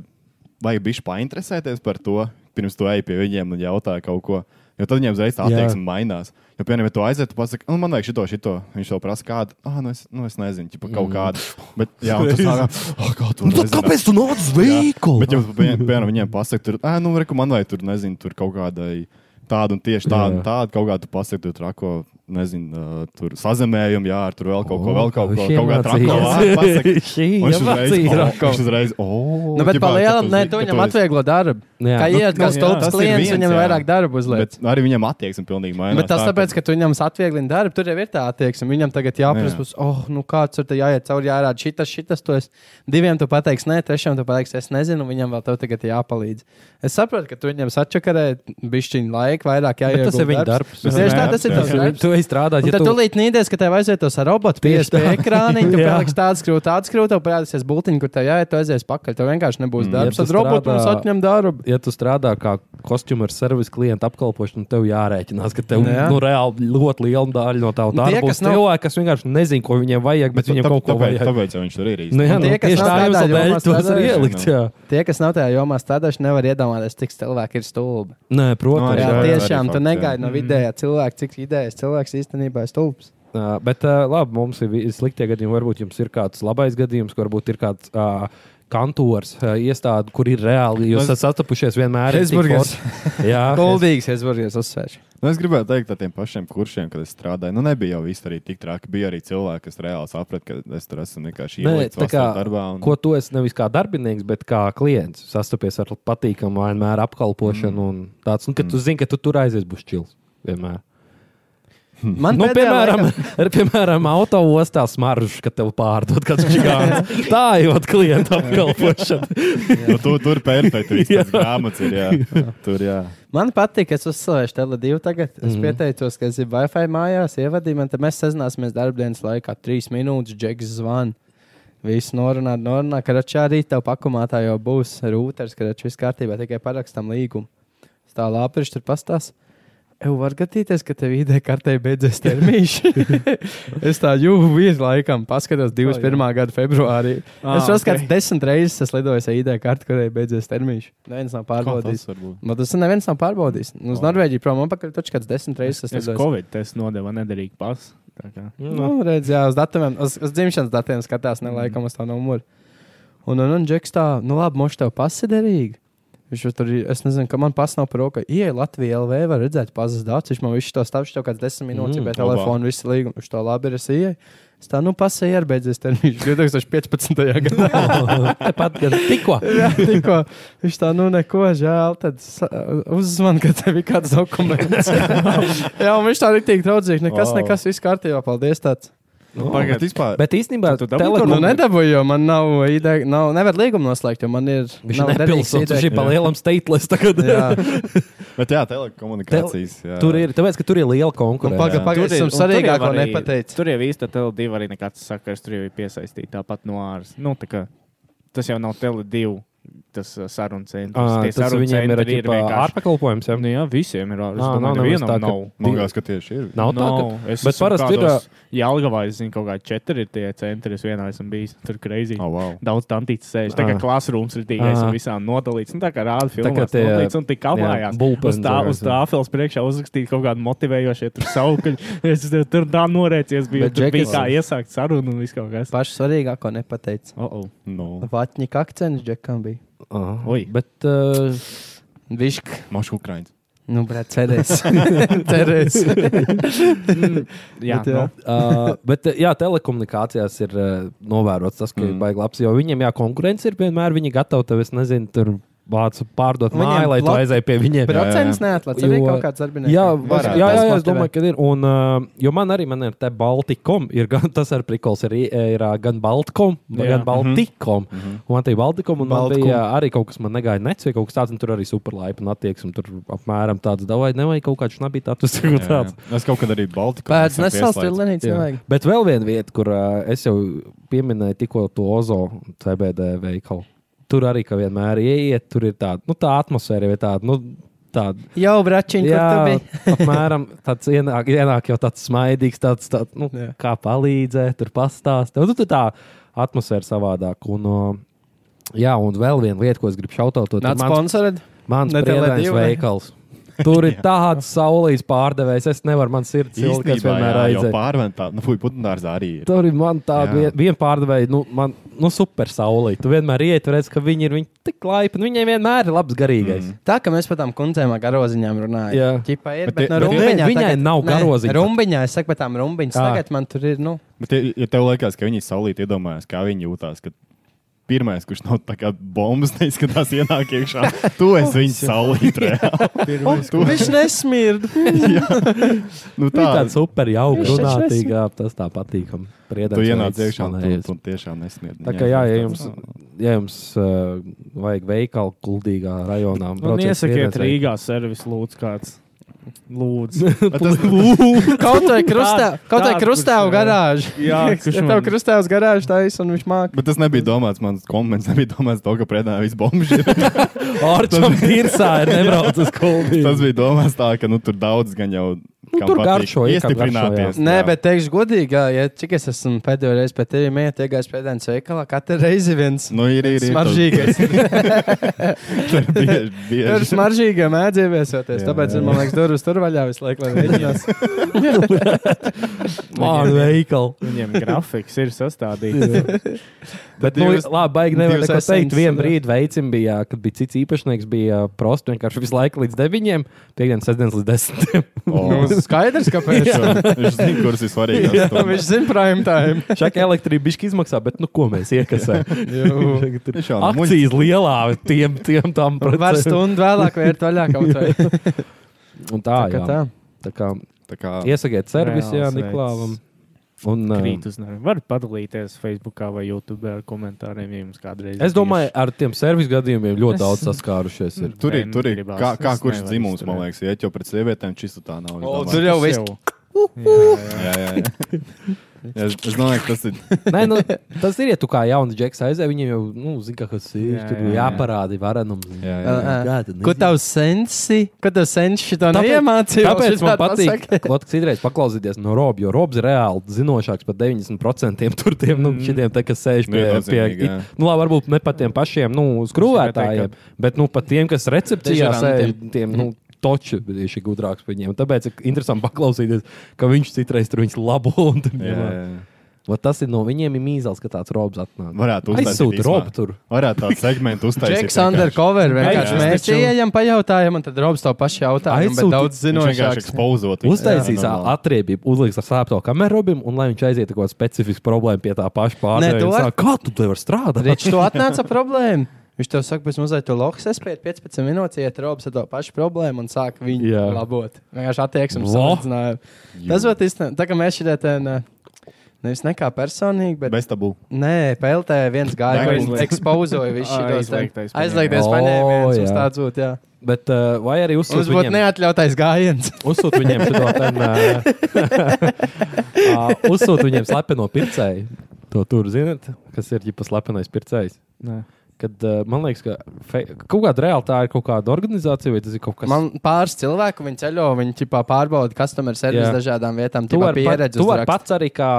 Speaker 2: vajag bišķi painteresēties par to, pirms tu ej pie viņiem un jautā kaut ko. Jo tad viņiem uzreiz tā
Speaker 7: Jā.
Speaker 2: attieksme mainās. Jo, piemēram, ja tu aiziet, tu pasaki, nu, man vajag šito, šito. Viņš jau prasa, kādu. Ah, nu, es, nu, es nezinu, ķipa, kaut kādu. Bet, jā, un tas nāk, ah, kā tu
Speaker 7: Mm. Nu, tad
Speaker 2: nezināji?"
Speaker 7: kāpēc tu nāc uz
Speaker 2: Jā.
Speaker 7: veikalu?
Speaker 2: Bet, ja pie- piemēram, viņiem pasakā, tur, "Ā, nu, reku, man vajag tur, nezinu, tur kaut kādai tādu un tieši tādu,
Speaker 7: Jā.
Speaker 2: un tādu kaut kādu pasakā, tur trako, nezinu, ā, tur sazemējumu, jā, ar tur vēl kaut ko, vēl kaut ko, kaut kādu trako vārdu pasaka. Un Viņš uzreiz,
Speaker 7: Šī
Speaker 2: o,
Speaker 7: ir.
Speaker 2: viņš uzreiz, o,
Speaker 1: Nu, bet
Speaker 2: ķipā,
Speaker 1: pa
Speaker 2: ka
Speaker 1: lielam,
Speaker 2: tu
Speaker 1: nē,
Speaker 2: zini,
Speaker 1: tu
Speaker 2: ka
Speaker 1: viņam
Speaker 2: tu esi-
Speaker 1: atvieglo darbu.
Speaker 7: Jā.
Speaker 1: Kā
Speaker 7: Nu,
Speaker 1: iet, kas
Speaker 2: jā,
Speaker 1: topā
Speaker 2: tas ir
Speaker 1: klients,
Speaker 2: viens,
Speaker 1: viņam
Speaker 2: jā.
Speaker 1: vairāk darbu uzliek.
Speaker 2: Bet arī viņam attieksme pilnīgi mainās.
Speaker 1: Bet tas
Speaker 2: tā,
Speaker 1: tāpēc, ka tu viņam atvieglini darbu, tur jau ir tā attieksme. Viņam tagad jāprasa,
Speaker 2: Jā.
Speaker 1: būs, oh, nu kāds tur te jāiet cauri, jārāda šitas, šitas. To es diviem tu pateiksi, nē, trešajam tu pateiksi, es nezinu, un viņam vēl tev tagad jāpalīdz. Es saprotu, ka tu viņam sačakarē bišķiņu laiku, vairāk jāiet.
Speaker 7: tas ir viņa darbs.
Speaker 1: Bet tieši tā,
Speaker 2: Jā,
Speaker 1: tas ir
Speaker 2: jā.
Speaker 1: tas darbs.
Speaker 7: Tu ej strādāt,
Speaker 1: Un
Speaker 7: ja
Speaker 1: tad tu
Speaker 7: tu
Speaker 1: līdz nīdies, ka tev aiziet uz robotu,
Speaker 7: Tieši
Speaker 1: pieies pie
Speaker 7: tā.
Speaker 1: ekrāna, tu
Speaker 7: Jā.
Speaker 1: pieliks tādu skrūtu, tādu skrūtu, parādīsies bultiņa, kur tev jāiet, tu aizies pakaļ. Tev vienkārši nebūs darbs.
Speaker 7: Mm, ja tu
Speaker 1: Tad robotu mums
Speaker 7: strādā-
Speaker 1: atņem darbu.
Speaker 7: ja tu strādā kā kostīmu ar servisu klientu apkalpošanu, nu, tev jārēķinās, ka tev
Speaker 1: Nu, jā. Nu,
Speaker 7: nu, reāli ļoti liela daļa no tā
Speaker 1: tie,
Speaker 7: darba
Speaker 1: kas
Speaker 7: būs
Speaker 1: nav-
Speaker 7: cilvēki, kas vienkārši nezina, ko viņiem vajag, bet
Speaker 2: Bet
Speaker 7: viņiem
Speaker 2: tā-
Speaker 7: kaut ko
Speaker 2: tāpēc,
Speaker 7: vajag.
Speaker 2: tāpēc jau viņš tur ir īsti.
Speaker 7: Nu, jā,
Speaker 1: Un
Speaker 7: nu,
Speaker 1: tie, kas
Speaker 7: tieši
Speaker 1: nav
Speaker 7: tā
Speaker 1: tādā
Speaker 7: iemesla
Speaker 1: jomā
Speaker 7: dēļ tos ir
Speaker 1: strādājuši,
Speaker 7: ielikt.
Speaker 2: nu.
Speaker 7: Jā.
Speaker 1: Tie, kas nav tajā jomā strādājuši, nevar iedomāties, cik cilvēki ir stulbi.
Speaker 7: Nē,
Speaker 2: Nu,
Speaker 1: Jā,
Speaker 7: protams. jā.
Speaker 2: arī
Speaker 1: tiešām tu
Speaker 2: fakts, jā.
Speaker 1: negaidi no vidējā cilvēka, cik idejas cilvēks īstenībā ir stulbs.
Speaker 7: Uh, bet uh, labi, mums ir vi- sliktie gadījumi. Varbūt jums ir kāds labais gadījums, kur varbūt ir kāds uh, kantors, uh, iestāde, kur ir reāli. Jūs esat sastapušies vienmēr. ir tik
Speaker 1: Hesburgers.
Speaker 7: forši. Jā,
Speaker 1: Kuldīgs, es varu jūs uzsvērt.
Speaker 2: Nu, es gribēju teikt, ka tiem pašiem kursiem, kad es strādāju, nu, nebija jau viss arī tik traki. Bija arī cilvēki, kas reāli saprata, ka es tur esmu vienkārši
Speaker 7: Nē,
Speaker 2: ielicis
Speaker 7: tā kā,
Speaker 2: savā darbā. Un...
Speaker 7: Ko tu esi nevis kā darbinieks, bet kā klients sastopies ar patīkamu Nu, vienmēr apkalpošanu. Mm. Un tāds, un, kad mm. tu zini, ka tu tur aizies, būs čils. Vienmēr.
Speaker 1: Man
Speaker 7: Nu,
Speaker 1: pēdējā
Speaker 7: piemēram,
Speaker 1: laikā-
Speaker 7: ir, piemēram, autoostā smaržu, kad tev pārdod kāds čigāns. Tā jau ir klienta apkalpošana.
Speaker 2: Nu, tu, tur perfekti viss
Speaker 7: Jā.
Speaker 2: tas grāmatas ir. Jā. Tur jā.
Speaker 1: Man patīk, ka es uzsācu Tele2 tagad. Es mm -hmm. pieteicos, ka es esmu Wi-Fi mājās, ievadīju, man te mēs sazināmies darbdienas laikā. Trīs minūtes, džeks zvan. Viss norunāt, norunāt, ka račā arī tev pakumātā jau būs rūters, ka račā viss kārtībā, tikai parakstam līgumu. Es Tā lāpiņš tur pastāsta. Evo, var gadīties, ka tev ID kartē beidzies termiņš. es tā jūtu, bija laikam, paskatās 21. gada februārī.
Speaker 8: Ah,
Speaker 1: Ah, es
Speaker 8: ok.
Speaker 1: saskatu, okay. desmit reizes esmu lidojis ar ID karti, kurai beidzies termiņš. Neviens nav
Speaker 2: Kā
Speaker 1: pārbaudījis.
Speaker 2: tas var būt?
Speaker 1: Nu, tas neviens nav pārbaudījis. Nu, Uz Norvēģiju prom un atpakaļ taču kāds desmit reizes
Speaker 8: Es
Speaker 1: lidojis.
Speaker 8: Covid testu nodevu nederīgu pasu. Tā kā.
Speaker 1: Nu, redz, jā, uz datumiem, uz, uz dzimšanas datiem skatās, ne laikam uz tā numuru. Un, un, un Džeks tā, nu labi, moš tev pasiderīgi. Viņš jau tur, ir- es nezinu, ka man pas nav par roka. Iej, Latvija LV var redzēt pazas datus, viņš man visu to stāv, viņš tev kāds desmit minūtes, mm,
Speaker 7: Mm,
Speaker 1: bet
Speaker 2: labā.
Speaker 1: telefonu visu līgumu, viņš to labi ir, es ieju. Es tā, nu pasēju ar beidzies termiņš 2015. gadā.
Speaker 7: Tāpat kā tikko.
Speaker 1: Jā, tikko viņš tā, nu, neko žēl. Tad sa- uzzvan, ka tev ir kāds dokuments. Jā, un viņš tā arī tiek draudzīgs. Nekas,
Speaker 2: Wow.
Speaker 1: wow. nekas, viss kārtībā. Paldies. Tāds.
Speaker 2: Nu, Pagaidiet,
Speaker 8: bet
Speaker 2: vispār.
Speaker 7: Bet īstenībā
Speaker 8: Tu- tu dabūji
Speaker 1: Nu,
Speaker 7: telekomu
Speaker 8: kaut
Speaker 1: nedabūju, jo man nav ideja, nav, nevar līgumu noslēgt, jo man ir.
Speaker 7: Viņš
Speaker 1: nav
Speaker 7: ir
Speaker 1: derīgs
Speaker 7: nepilsots, viņš ir
Speaker 1: ideja.
Speaker 7: pa lielam stateless tagad.
Speaker 1: Jā,
Speaker 2: Bet jā, telekomunikācijas. Jā.
Speaker 7: Tur ir, tāpēc, ka tur ir liela
Speaker 8: Nu,
Speaker 1: un
Speaker 7: konkurence.
Speaker 1: pagaidi, pagaidi, es jums svarīgāko nepateicu.
Speaker 8: Tur jau īsti Tele2 arī nekāds sakars, tur jau ir piesaistīta tāpat no āras. Nu, tā kā tas jau nav Tele2, tas uh, sarunu centrs.
Speaker 7: Ā,
Speaker 8: Tie
Speaker 7: Ah, Tas
Speaker 8: sarunu
Speaker 7: viņiem ir
Speaker 8: centri
Speaker 7: ģipā
Speaker 8: vienkārši-
Speaker 7: ārpakalpojums. jā?
Speaker 8: Nu, jā, visiem ir
Speaker 7: Ā,
Speaker 8: āras. Nā,
Speaker 7: nav
Speaker 8: nav, nav,
Speaker 7: nevis tā,
Speaker 8: nav,
Speaker 7: ka-
Speaker 8: nav.
Speaker 2: Man liekas, ka tieši ir.
Speaker 7: Nav tā, ka
Speaker 8: es
Speaker 7: bet
Speaker 8: esmu
Speaker 7: parasti ir, uh,
Speaker 8: kādos Jelgavā es zinu, kaut kādi četri ir tie centri. Es vienā esmu bijis tur greizi.
Speaker 2: Oh, wow.
Speaker 8: Daudz tantītas sēž. Tā kā
Speaker 7: Ah.
Speaker 8: klasrūms ir tīkais
Speaker 7: Ah.
Speaker 8: un visām nodalīts. Nu, tā kā rāda
Speaker 7: Tā kā
Speaker 8: filmās
Speaker 7: tie,
Speaker 8: nodalīts un tik
Speaker 7: jā,
Speaker 8: kamājās. Uz
Speaker 7: bullpens
Speaker 8: tā,
Speaker 7: vai
Speaker 8: uz
Speaker 7: kā.
Speaker 8: tā afels priekšā uzrakstīt kaut kādu motivējošu tur saukuļu. es te- tur tā norēcies, biju,
Speaker 1: Bet
Speaker 8: tur bija
Speaker 1: Džekis-
Speaker 8: kā iesākt sarunu un viss kaut kas.
Speaker 1: pašu svarīgāko nepateicu.
Speaker 8: Oh, oh.
Speaker 2: Nu,
Speaker 1: Vatņika akcents Džekam bija.
Speaker 7: Aha.
Speaker 8: Oi.
Speaker 7: Bet uh,
Speaker 1: Višk,
Speaker 2: Mašu Ukraiņas.
Speaker 1: nu, brāt, cerēs. cerēs.
Speaker 8: Jā, nu.
Speaker 1: Bet, jā.
Speaker 8: jā.
Speaker 7: Uh, bet jā, telekomunikācijās ir uh, novērots tas, ka mm. ir baigi labs. Jo viņiem jā, konkurence ir vienmēr. Viņi gatavo tev, es nezinu, tur vācu pārdot
Speaker 1: Viņiem
Speaker 7: māju, lai tu
Speaker 1: plat-
Speaker 7: aizēji pie viņiem.
Speaker 1: Procents neatlaiž. Arī
Speaker 7: Jo-
Speaker 1: kaut kāds darbinieks.
Speaker 7: Jā, var,
Speaker 2: varētu.
Speaker 7: jā, jā,
Speaker 1: Tas
Speaker 7: jā, es
Speaker 1: motivē.
Speaker 7: domāju, ka ir. Un, uh, jo man arī man ir te Baltikom, ir gan, tas ar prikols ir, ir uh, gan Baltkom, jā.
Speaker 8: Jā.
Speaker 7: gan Baltikom. Mm -hmm. Un man te bija Baltikom, un Baltkom. man
Speaker 1: Baltkom.
Speaker 7: bija arī kaut kas, man negāja nec, vai kaut kas tāds, un tur arī superlaipna attieksme, tur apmēram tāds, davai, nevajag kaut kāds šnabīt atus,
Speaker 2: Jā,
Speaker 7: kaut tāds.
Speaker 2: jā. Es kaut kad arī Baltiku.
Speaker 1: Pēc nesals tur lenīts
Speaker 7: Jā.
Speaker 1: nevajag.
Speaker 7: Bet vēl viena vieta, kur uh, es jau pieminēju, tikko to Ozo CBD veikalu. Tur arī, ka vienmēr ieiet, tur ir tāda nu, tā atmosfēra, jau tāda. Nu, tāda
Speaker 1: Jau, bračiņ, kur tu biji?
Speaker 7: apmēram tāds ienāk, ienāk jau tāds smaidīgs, tāds, tāds nu,
Speaker 1: Jā.
Speaker 7: kā palīdzēt, tur pastāstīt. Nu, tur tā atmosfēra savādāk. Un, uh, Jā, un vēl viena lieta, ko es gribu šautāt, ir
Speaker 1: Nāc,
Speaker 7: mans,
Speaker 1: sponsorēt.
Speaker 7: mans
Speaker 1: ne
Speaker 7: priedēns
Speaker 1: Tele2, ne?
Speaker 7: veikals. Tur ir tāds saulīts pārdevējs. Es nevaru, man sirds ir ilga, es vienmēr
Speaker 2: jau
Speaker 7: aizēju.
Speaker 2: pārventā. Nu, fuj, putnārzā arī ir.
Speaker 7: Tur ir man
Speaker 2: Jā.
Speaker 7: tāda vien- viena pārdevēja, nu, man, nu super saulīta. Tu vienmēr iet, redz, ka viņi ir viņi tik laipni. Viņiem vienmēr ir labs garīgais. Mm.
Speaker 1: Tā kā mēs par tām kundzēm ar garoziņām runājam.
Speaker 7: Jā.
Speaker 1: Ķipa ir, bet,
Speaker 2: Bet
Speaker 1: bet
Speaker 2: tie-
Speaker 1: no
Speaker 2: bet
Speaker 1: rumbiņā.
Speaker 7: viņai
Speaker 1: tagad-
Speaker 7: nav
Speaker 1: Nē,
Speaker 7: garoziņas.
Speaker 1: Rumbiņā, es saku par tām rumbiņām.
Speaker 7: Ā.
Speaker 1: Tagad man tur ir, nu,
Speaker 2: Bet, ja- ja tev liekas, ka viņi saulīt iedomājās, kā viņi jūtās, kad pirmais, kurš nav tā kā bombas, neizskatās ienāk iekšā, tu esi viņu saulīt. reāli. Tu-
Speaker 1: viņš nesmird.
Speaker 2: Nu,
Speaker 7: Tā ir
Speaker 2: tā,
Speaker 7: tāda super jauka,
Speaker 1: Viņš ir
Speaker 7: runātīga, tas tā patīkami.
Speaker 2: tu ienāc
Speaker 7: veids,
Speaker 2: iekšā
Speaker 7: man
Speaker 2: un
Speaker 7: aiziet.
Speaker 2: tu, tu tiešām nesmiedz.
Speaker 7: Tā kā jā, ja jums, ja jums uh, vajag veikalu kuldīgā rajonā,
Speaker 8: Un
Speaker 7: brauciet
Speaker 8: iesakiet
Speaker 7: piedēcēt.
Speaker 8: Rīgā servis lūdzu kāds. Lūdzu.
Speaker 1: Kaut vai krustā,
Speaker 8: Tā-
Speaker 1: kaut vai
Speaker 8: tā,
Speaker 1: krustā
Speaker 8: kurš, jā.
Speaker 1: garāžā.
Speaker 8: Jā, kurš
Speaker 1: ja tev
Speaker 8: man-
Speaker 1: krustā uz garāžu taisa un viņš māk.
Speaker 2: Bet tas nebija domāts, mans komments nebija domāts to, ka pretnā viss bombas ir.
Speaker 7: Orčam Tirsā ir nebrauc uz kuldīgu.
Speaker 2: Tas bija domāts tā, ka nu, tur daudz gan jau kam
Speaker 7: Nu, tur
Speaker 2: patīk
Speaker 7: garšo, ja kam
Speaker 2: iestiprināties.
Speaker 7: garšo,
Speaker 1: Nē, bet teikšu godīgi, jā, ja cik es esmu pēdējo reizi pie tevis mēģinājis iegājis pēdējā veikalā, katra reize viens.
Speaker 2: Nu, ir, ir, ir.
Speaker 1: Smaržīgais.
Speaker 2: Tur bieži,
Speaker 1: Tur ir
Speaker 2: bieži.
Speaker 1: smaržīgi mēdzēviesoties,
Speaker 2: Jā,
Speaker 1: tāpēc
Speaker 2: jā,
Speaker 1: ir, man liekas, durvis tur vaļā visu laiku, lai mēģinās.
Speaker 7: Vārdu veikalu.
Speaker 8: Viņiem grafiks ir sastādīts.
Speaker 7: Bet, nu,
Speaker 1: divas-
Speaker 7: labi, baigi nevar
Speaker 1: divas
Speaker 7: neko teikt.
Speaker 1: esens, jā.
Speaker 7: Vienu brīdi veicim bija, kad bija cits īpašnieks, bija uh, prosts vienkārši visu laiku līdz 9, 5, 6 līdz 10.
Speaker 1: Nu,
Speaker 2: O,
Speaker 1: Skaidrs, kāpēc.
Speaker 2: Viņš zina, kurš ir
Speaker 1: Jā,
Speaker 2: svarīgākais.
Speaker 1: viņš zina prime time.
Speaker 7: Šāda elektrība bija izmaksā, bet nu, ko mēs iekasējam?
Speaker 2: Viņš jau nav muļķis.
Speaker 7: Akcijas lielā, tiem, tiem tam
Speaker 1: Var
Speaker 7: procentiem.
Speaker 1: stundu vēlāk vērt vaļā kaut vai.
Speaker 7: Un Tā,
Speaker 1: Tā kā
Speaker 7: jā.
Speaker 1: tā.
Speaker 7: tā kā
Speaker 2: Tā kā
Speaker 7: Iesakiet servisu, Jā,
Speaker 8: Reāls
Speaker 7: Niklāvam. Un, uh, ā,
Speaker 8: Krīt uz nerviem. Varat padalīties Facebook vai YouTube ar komentāriem, ja jums kādreiz.
Speaker 7: es domāju, ar tiem servisu gadījumiem
Speaker 8: Es-
Speaker 7: ļoti daudz saskārušies. Ir.
Speaker 2: tur ir,
Speaker 8: Nē, nu,
Speaker 2: tur ir
Speaker 8: gribās.
Speaker 2: kā, kā
Speaker 8: Es
Speaker 2: kurš
Speaker 8: nevaru
Speaker 2: dzimums, man
Speaker 8: izturēt.
Speaker 2: liekas, iet jau pret sievietēm, čisto tā nav. es domāju.
Speaker 1: tur jau viss.
Speaker 2: Jā, jā, jā. Jā, es, es domāju, ka tas ir.
Speaker 7: Nē, nu, tas ir, ja tu kā jauns džeks aizēji, viņiem jau, nu, zina, ka tas ir.
Speaker 8: Jā,
Speaker 7: Tur
Speaker 8: jā, jā.
Speaker 7: jāparāda varenums.
Speaker 2: Jā, jā,
Speaker 1: Ā,
Speaker 2: jā.
Speaker 1: ā.
Speaker 7: Jā, tad
Speaker 1: Ko
Speaker 7: nezinu.
Speaker 1: tavs sensi? Ko tavs sensi šito
Speaker 7: Tāpēc-
Speaker 1: neiemācīja?
Speaker 7: Tāpēc
Speaker 1: Šitā
Speaker 7: man patīk,
Speaker 1: pasaka.
Speaker 7: ka citreiz paklausīties no Robs, jo Robs ir reāli zinošāks par 90% tur tiem, nu,
Speaker 2: Mm.
Speaker 7: šitiem, te, kas sēž pie, pie
Speaker 2: Viennozīmīgi, jā.
Speaker 7: nu, labi, varbūt ne pat tiem pašiem, nu, skrūvētājiem, bet, nu, pat tiem, kas recepcijā sēž,
Speaker 1: Dežurantiem.
Speaker 7: tiem, nu, toči ir gudrāks par viņiem. Tāpēc ir interesanti paklausīties, ka viņš citreiz tur viņus labo. Un, tur
Speaker 2: Jā,
Speaker 7: ņemā.
Speaker 2: jā, jā.
Speaker 7: Vot tas ir no viņiem ir mīzels, ka tāds Robs atnāk.
Speaker 2: Varētu uztaisīt.
Speaker 7: Aizsūta
Speaker 2: īsumā.
Speaker 7: Robs tur.
Speaker 2: Varētu tādu segmentu uztaisīt.
Speaker 1: Džeks undercover vienkārši.
Speaker 2: Jā, jā.
Speaker 1: Mēs ieejam, pajautājam, un tad Robs to pašu jautājumu.
Speaker 7: Aizsūti-
Speaker 1: nu, Bet daudz
Speaker 2: Zinošāks,
Speaker 1: zinošāks.
Speaker 2: ekspozot.
Speaker 7: Uztaisīs atriebību, uzliks ar slēpto kameru robim, un lai viņš aiziet ar kaut kādu specifisku problēmu pie tā
Speaker 1: Nē,
Speaker 7: paša
Speaker 1: tu
Speaker 7: pārdevēja. un
Speaker 1: vari-
Speaker 7: sāk, Kā tu te vari strādāt?
Speaker 1: Rīčs to atnāca problēmu. Viņš tev saka, pēc mazliet to loks spēļ 15 minūtes, iet robs ar to pašu problēmu un sāk viņu
Speaker 7: Jā.
Speaker 1: Jā. labot. Vienkārši attieksmes
Speaker 7: Lo.
Speaker 1: salīdzinājumu. Tas var īstenībā, tā kā mēs šeit tādā nevis nekā personīgi, bet
Speaker 2: Bez tabu.
Speaker 1: nē, PLT viens gāja,
Speaker 2: Vai
Speaker 1: kurš
Speaker 8: aizliegt?
Speaker 1: ekspozoja visu šo
Speaker 8: Aizliegtais paņēmiens.
Speaker 1: Aizliegties
Speaker 7: O,
Speaker 1: paņēmiens,
Speaker 7: Oh, jā.
Speaker 1: mums tāds būtu, jā.
Speaker 7: Bet, uh, vai arī
Speaker 1: Mums
Speaker 7: uzsūtīt
Speaker 1: būtu
Speaker 7: viņiem,
Speaker 1: neatļautais gājiens.
Speaker 7: uzsūt viņiem, šito ten, uh, uh, uzsūt viņiem slepeno pircēju? To tur zinat, kas ir ģipa slepenais pircējs.
Speaker 8: Nē.
Speaker 7: Kad, uh, man liekas, ka fe, kaut kāda reāla tā ir kaut kāda organizācija, vai tas ir kaut kas
Speaker 1: Man pāris cilvēku viņi ceļo, viņi ķipā pārbauda customer service
Speaker 7: Jā.
Speaker 1: dažādām vietām,
Speaker 7: Tu
Speaker 1: ķipā
Speaker 7: vari pat-
Speaker 1: pieredzi
Speaker 7: tu vari
Speaker 1: uzrakst.
Speaker 7: pats arī kā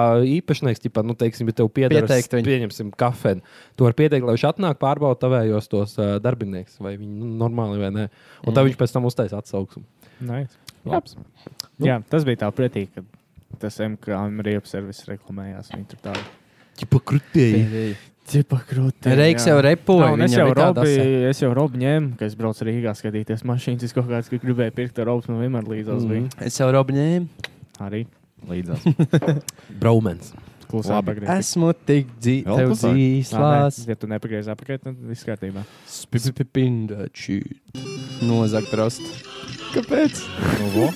Speaker 7: īpašnieks, ja nu, teiksim, ja tev pieder,
Speaker 1: Pieteikt viņu.
Speaker 7: pieņemsim, kafēnu. Tu vari pieteikt, lai viņš atnāk, pārbauda tavējos tos uh, darbiniekus, vai viņi nu, normāli vai nē. Un mm. tad viņš pēc tam uztaisīs atsauksmi.
Speaker 8: Nice.
Speaker 7: Labs.
Speaker 1: Nu.
Speaker 8: Jā, tas bija tā pretī, kad tas MKM riepas servis reklamējās. Viņi tur tādu
Speaker 7: Čipa krutēji.
Speaker 8: cipa krūti.
Speaker 1: Reiks jau repoja.
Speaker 8: Nav, Nu, un es
Speaker 1: viņam
Speaker 8: jau
Speaker 1: ir tāda
Speaker 8: robu,
Speaker 1: asa.
Speaker 8: es jau robu ņēmu, kad es braucu Rīgā skatīties mašīnas. Es kaut kāds ka gribēju pirkt ar robu, man vienmēr līdzās
Speaker 1: Mm.
Speaker 7: Mhm.
Speaker 8: bija.
Speaker 1: Es jau robu ņēmu.
Speaker 8: Arī
Speaker 2: Līdzās.
Speaker 7: Braumens.
Speaker 8: klusā
Speaker 2: Labi.
Speaker 8: pagrieztā.
Speaker 1: Esmu tik dzīves,
Speaker 2: Vēl
Speaker 1: tev
Speaker 2: klusāk?
Speaker 1: dzīslās.
Speaker 8: Ja tu nepagriez apakaļ, tad viss kārtībā.
Speaker 1: Spipindači. Nozag prost. Kāpēc?
Speaker 2: Nu, vo.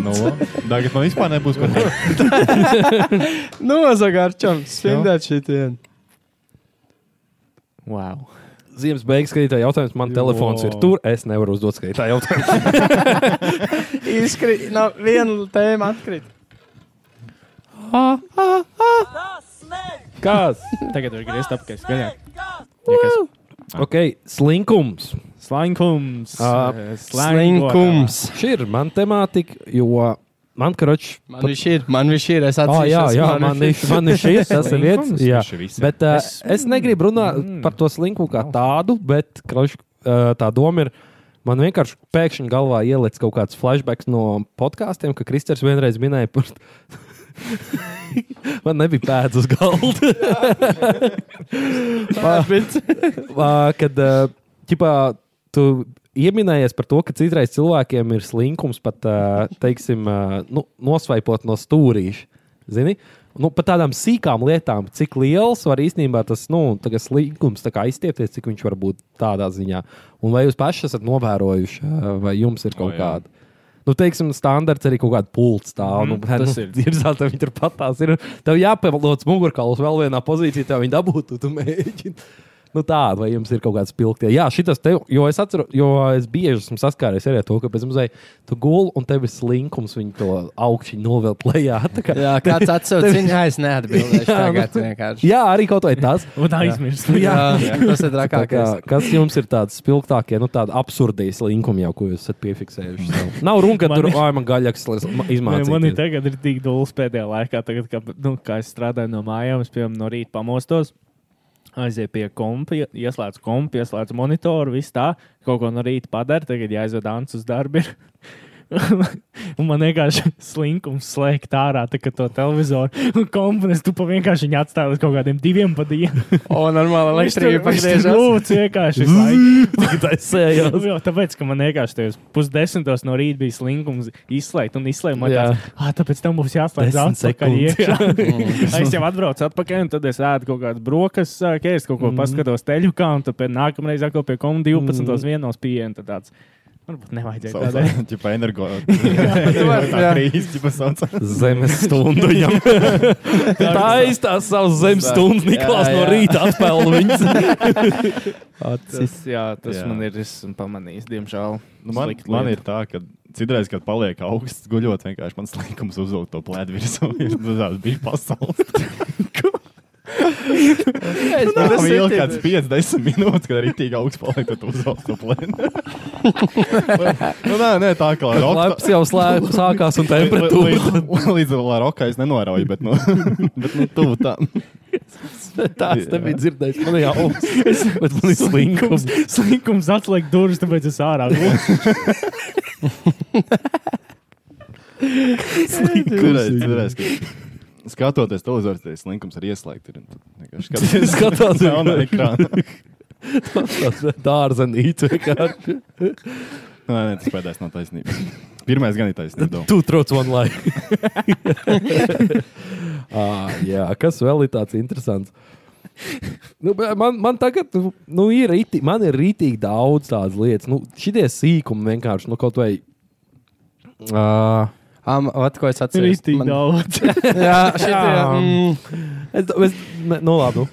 Speaker 2: Nu, vo. Tagad man vispār nebūs ko teikt.
Speaker 1: Nozag arčam. Spipindači tien.
Speaker 8: Wow.
Speaker 7: Ziemas beigas skatītāja jautājums. Man telefons ir tur. Es nevaru uzdot skatītāju jautājumu.
Speaker 1: Izkrīt. Nav viena tēma atkrīt.
Speaker 7: Kas?
Speaker 8: Tagad var griezt apakaļ skaļāk. Ja kas
Speaker 7: ok, slinkums.
Speaker 8: Slankums.
Speaker 7: Ah,
Speaker 8: eh,
Speaker 1: Slinkums.
Speaker 7: Šī ir man temātika, jo man karoči.
Speaker 1: Man viņš ir, man viņš ir, es
Speaker 7: Oh,
Speaker 1: atceros.
Speaker 7: jā, jā, man ir šis, tas ir viens.
Speaker 8: Slinkums?
Speaker 7: Jā,
Speaker 2: Viņš ir visi.
Speaker 7: Bet, uh, es,
Speaker 8: Es-
Speaker 7: es negribu runāt mm.
Speaker 8: Mm.
Speaker 7: par to slinku kā tādu, bet krauš, uh, tā doma ir. Man vienkārši pēkšņi galvā ielicis kaut kāds flashback no podkāstiem, ka Kristers vienreiz minēja par. Man nebija pēdas uz galda. Ā, Kad ā, ķipā, tu ieminējies par to, ka citreiz cilvēkiem ir slinkums pat, ā, teiksim, ā, nu, nosvaipot no stūrīša. Zini? Nu, pat tādām sīkām lietām, cik liels var īstenībā tas nu, tā kā slinkums tā kā aizstiepties, cik viņš var būt tādā ziņā. Un vai jūs paši esat novērojuši, ā, vai jums ir kaut
Speaker 2: O,
Speaker 7: oh,
Speaker 2: jā.
Speaker 7: kāda? Nu, teiksim, standarts arī kaut kāda pults tā,
Speaker 8: Mhm,
Speaker 7: mm, nu, tas nu, ir. Dzirdāt, tev viņi tur patās ir. Tev jāpielots mugurkauls vēl vienā pozīcijā, tev viņi dabūtu, tu mēģini. Nu tāda, vai jums ir kaut kāds spilgti. Jā, šitas te, jo es atceros, jo es bieži esmu saskāries arī ar to, ka pēc muzeja tu guli un tev ir slinkums, viņi to augšņi novelk lejā. tā kā-
Speaker 1: Jā, kāds atceras viņu, jā, es neatbildēšu
Speaker 7: Jā, nu.
Speaker 1: tagad vienkārši.
Speaker 7: jā, arī kaut vai tas.
Speaker 8: Un aizmirst.
Speaker 1: Jā, tas ir
Speaker 7: Tā
Speaker 1: trakākais.
Speaker 7: Kā, kas jums ir tāds spilgtākie, nu tādi absurdie slinkumi jau, ko jūs esat piefiksējuši? Sev? Nav runa, ka
Speaker 8: Man
Speaker 7: tur,
Speaker 8: ir-
Speaker 7: ai, man gaļaks
Speaker 8: Nē, Man ir
Speaker 7: izmācīties.
Speaker 8: tagad ir tik dūlis pēdējā laikā, tagad, kad nu, kā es strādāju no mājām, es piemēram no rīta pamostos. Aizēju pie kompa, ieslēdzu kompu, ieslēdzu monitoru, viss tā. Kaut ko no rīta padara, tagad jāizved Ants uz darbu. ir. un man vienkārši slinkums slēgt ārā, tā kā to televizoru un komponents tu pa vienkārši viņu atstāju uz kaut kādiem diviem padiem.
Speaker 1: O, normāli elektrība pagriežas.
Speaker 8: Lūdzu, vienkārši. visu laiku.
Speaker 7: Es sēju.
Speaker 8: Nu, jā, Tāpēc, ka man vienkārši tajos pusdesmitos no rīta bija slinkums izslēgt un izslēgt. Man
Speaker 7: Jā.
Speaker 8: tāds, ah, tāpēc tam būs jāslēdz
Speaker 7: Desmit
Speaker 8: zelta
Speaker 7: sekundes. Mm.
Speaker 8: iekšā. es jau atbraucu atpakaļ, un tad es ēdu kaut kādas brokastis,
Speaker 7: Mhm.
Speaker 8: sāku
Speaker 7: Mhm.
Speaker 8: ēst kaut ko, mm. paskatos teļukā, un tad pie- nākamreiz atkal pie komu 12. Mm. vienos pieejam. Tad tāds, Varbūt nevajadzēja tādā.
Speaker 2: Tāpat energo. Tā krīze, tipa sauc.
Speaker 7: Zemes stundu viņam. tā aizstās savas zemes stundas, Niklās
Speaker 1: Jā,
Speaker 7: no
Speaker 1: jā.
Speaker 7: rīta atspēlē viņas.
Speaker 8: Tas, jā, tas
Speaker 2: Jā.
Speaker 8: jā. man ir esmu pamanījis, diemžēl.
Speaker 2: Nu, man,
Speaker 8: Slikta
Speaker 2: man
Speaker 8: lieta.
Speaker 2: ir tā, ka citreiz, kad paliek augsts guļot, vienkārši man slinkums uzvilkt to plēdu virsmu. Ir tāds bija pasaules.
Speaker 1: Es
Speaker 2: Tā
Speaker 1: tas
Speaker 2: bija
Speaker 1: ir-
Speaker 2: kāds 5-10 minūtes, kad arī tik augsts paliek, tad tu uzvilkt to plēdu. nu, nē, nē, tā kā roka.
Speaker 7: Laps jau slēp, sākās un temperatūra.
Speaker 2: Līdz, līdz ar roka es nenorauju, bet, nu, bet, nu tuvu tam.
Speaker 7: Tās nebija dzirdējis. Man jau augs. Bet man ir slinkums.
Speaker 8: Slinkums atslēgt durvis, tāpēc es ārā gulēju.
Speaker 2: Citreiz, citreiz, kad... Skatoties televizoru, tas slinkums ir ieslēgts. ir, un tad vienkārši Skaties,
Speaker 7: Skatās,
Speaker 2: nav no ekrāna.
Speaker 7: Dārzenīte vienkārši.
Speaker 2: Nē, nē, tas pēdējais nav taisnība. Pirmais gan ir taisnība.
Speaker 7: Two throats one life. ah, jā, kas vēl ir tāds interesants? Nu, bet man, man tagad nu, nu, ir, rīti, man ir rītīgi daudz tādas lietas. Nu, šitie sīkumi vienkārši nu, kaut vai. Uh,
Speaker 1: Am, vat, ko es atceros.
Speaker 8: Rītīgi
Speaker 1: Man-
Speaker 8: daudz.
Speaker 1: Jā, mm, šitie,
Speaker 7: es, es, ne, nu, labi, nu.
Speaker 1: mm,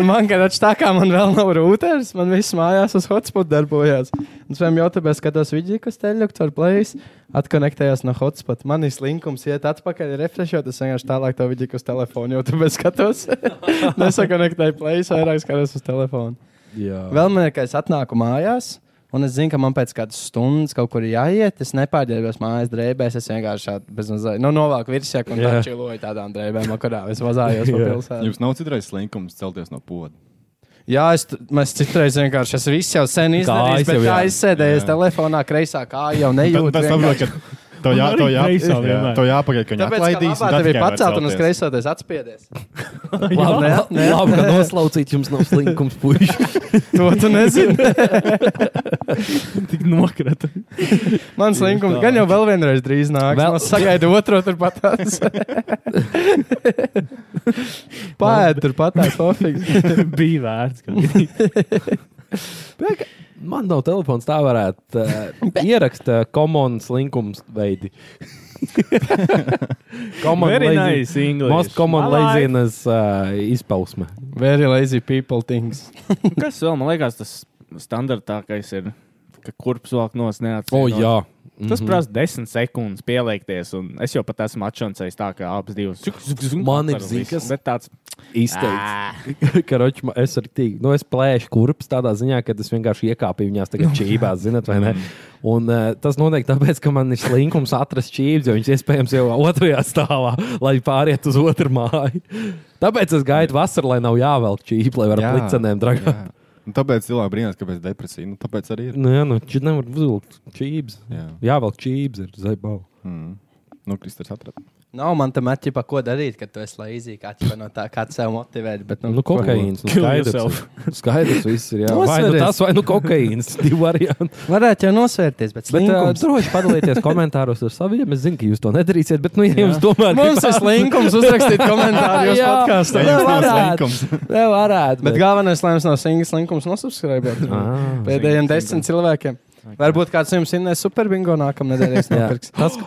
Speaker 1: nu man garāts tā, kā man vēl nav routers, man viss mājās uz hotspot darbojās. Un sviem jautājumā skatās vidžī, kas teļukts ar plējas, atkonektējās no hotspot. Man ir slinkums iet atpakaļ, refrešot, es vienkārši tālāk to vidžī, kas telefonu YouTube skatos. Nesakonektēju plējas, vairāk skatos uz telefonu.
Speaker 7: Jā.
Speaker 1: Vēl man ir, ka es atnāku mājās. Un es zinu, ka man pēc kādas stundas kaut kur jāiet. Es nepārģērbos mājas drēbēs. Es vienkārši tādu bezmazliet nu, novāku virsmu un
Speaker 7: Jā.
Speaker 1: tādu čiloju tādām drēbēm, no kurām es mazājos pa
Speaker 7: Jā.
Speaker 1: pilsētu.
Speaker 2: Jums nav citreiz slinkums celties no poda.
Speaker 1: Jā, es, t- mēs citreiz vienkārši esmu viss jau sen izdarījis,
Speaker 7: Kājas
Speaker 1: bet
Speaker 7: jau,
Speaker 1: kā
Speaker 7: jā.
Speaker 1: aizsēdējies
Speaker 2: Jā.
Speaker 1: telefonā, kreisā kājā jau
Speaker 2: Tad
Speaker 1: nejūtu.
Speaker 2: tad
Speaker 1: vienkārši.
Speaker 2: saprot, ka to jā,
Speaker 8: Man
Speaker 2: to
Speaker 8: arī
Speaker 2: jā,
Speaker 8: kreisā
Speaker 2: jā,
Speaker 8: vienmēr.
Speaker 2: to jāpagaid, ka viņi
Speaker 1: Tāpēc, ka
Speaker 2: atlaidīs.
Speaker 1: labā tev ir pacelt un uz kreisoties atspiedies.
Speaker 7: Labi,
Speaker 1: Jā.
Speaker 7: ne, labi, ka noslaucīt jums nav slinkums, puiši.
Speaker 1: To tu nezini.
Speaker 8: Tik nokrata.
Speaker 1: Mans linkums gan jau vēl vienreiz drīz nāks.
Speaker 7: Vēl-
Speaker 1: Vēl... Sagaidu otru turpat. Pāēd turpat, pofīgi.
Speaker 8: Bija vērts. ka-
Speaker 7: Man nav telefons, tā varētu uh, ierakstīt komunas linkums veidi. Common
Speaker 8: Very
Speaker 7: lazy-
Speaker 8: nice English.
Speaker 7: Most common
Speaker 8: I like.
Speaker 7: laziness uh, izpausme.
Speaker 1: Very lazy people things.
Speaker 8: Kas vēl man liekas, tas standartākais ir, ka kurps vēl nos neatsakās.
Speaker 7: O, Oh, jā. Mhm.
Speaker 8: Tas prasa desmit sekundes pieliekties, un es jau pat esmu atšancējis tā, ka abas divas
Speaker 7: Man ir zini,
Speaker 8: zīmes.
Speaker 7: kas-
Speaker 8: Bet tāds
Speaker 7: Izteikts. Karoči, ma- es arī tīk, nu, es plēšu kurpes tādā ziņā, ka es vienkārši iekāpu viņās tagad čībās, zinat, vai ne? Un uh, tas notiek tāpēc, ka man ir slinkums atrast čības, jo viņas iespējams jau otrajā stāvā, lai pāriet uz otru māju. Tāpēc es gaidu vasaru, lai nav jāvelk čība, lai varētu plicenēm dragāt.
Speaker 2: Nu, Tāpēc cilvēki brīnās, kāpēc depresija. Nu, tāpēc arī ir.
Speaker 7: Nu, jā, nu, či nevar uzvilkt čības.
Speaker 2: Jā,
Speaker 7: Jā, vēl čības ir zaibā.
Speaker 2: mm. nu, Kristers atrada.
Speaker 1: Nav man tam atķipa, ko darīt, kad tu esi lazy, kāds no tā, kāds sev motivēt. Bet,
Speaker 7: Nu, kokaīns. Nu,
Speaker 8: Kill
Speaker 7: skaidrs,
Speaker 8: yourself.
Speaker 7: ir. skaidrs viss ir. Jā. Vai nu
Speaker 1: Nosveries.
Speaker 7: tas, vai nu kokaīns. Divi varianti.
Speaker 1: Varētu jau nosvērties, bet
Speaker 7: Bet uh,
Speaker 1: slinkums. Bet,
Speaker 7: droši padalieties komentāros ar saviem. Es zinu, ka jūs to nedarīsiet, bet, nu, ja jā. jums tomēr
Speaker 1: Mums ir slinkums uzrakstīt komentāru jūsu
Speaker 7: Jā.
Speaker 1: podkāstā.
Speaker 7: Jā. Vēl varētu.
Speaker 1: Bet galvenais lēmums no singla slinkums nosubscribēt.
Speaker 7: Ah.
Speaker 1: Pēdējiem desmit cilvēkiem. Varbūt kāds jums ir superbingo nākamā nedēļā.
Speaker 7: Jā.
Speaker 1: nopirks. Tas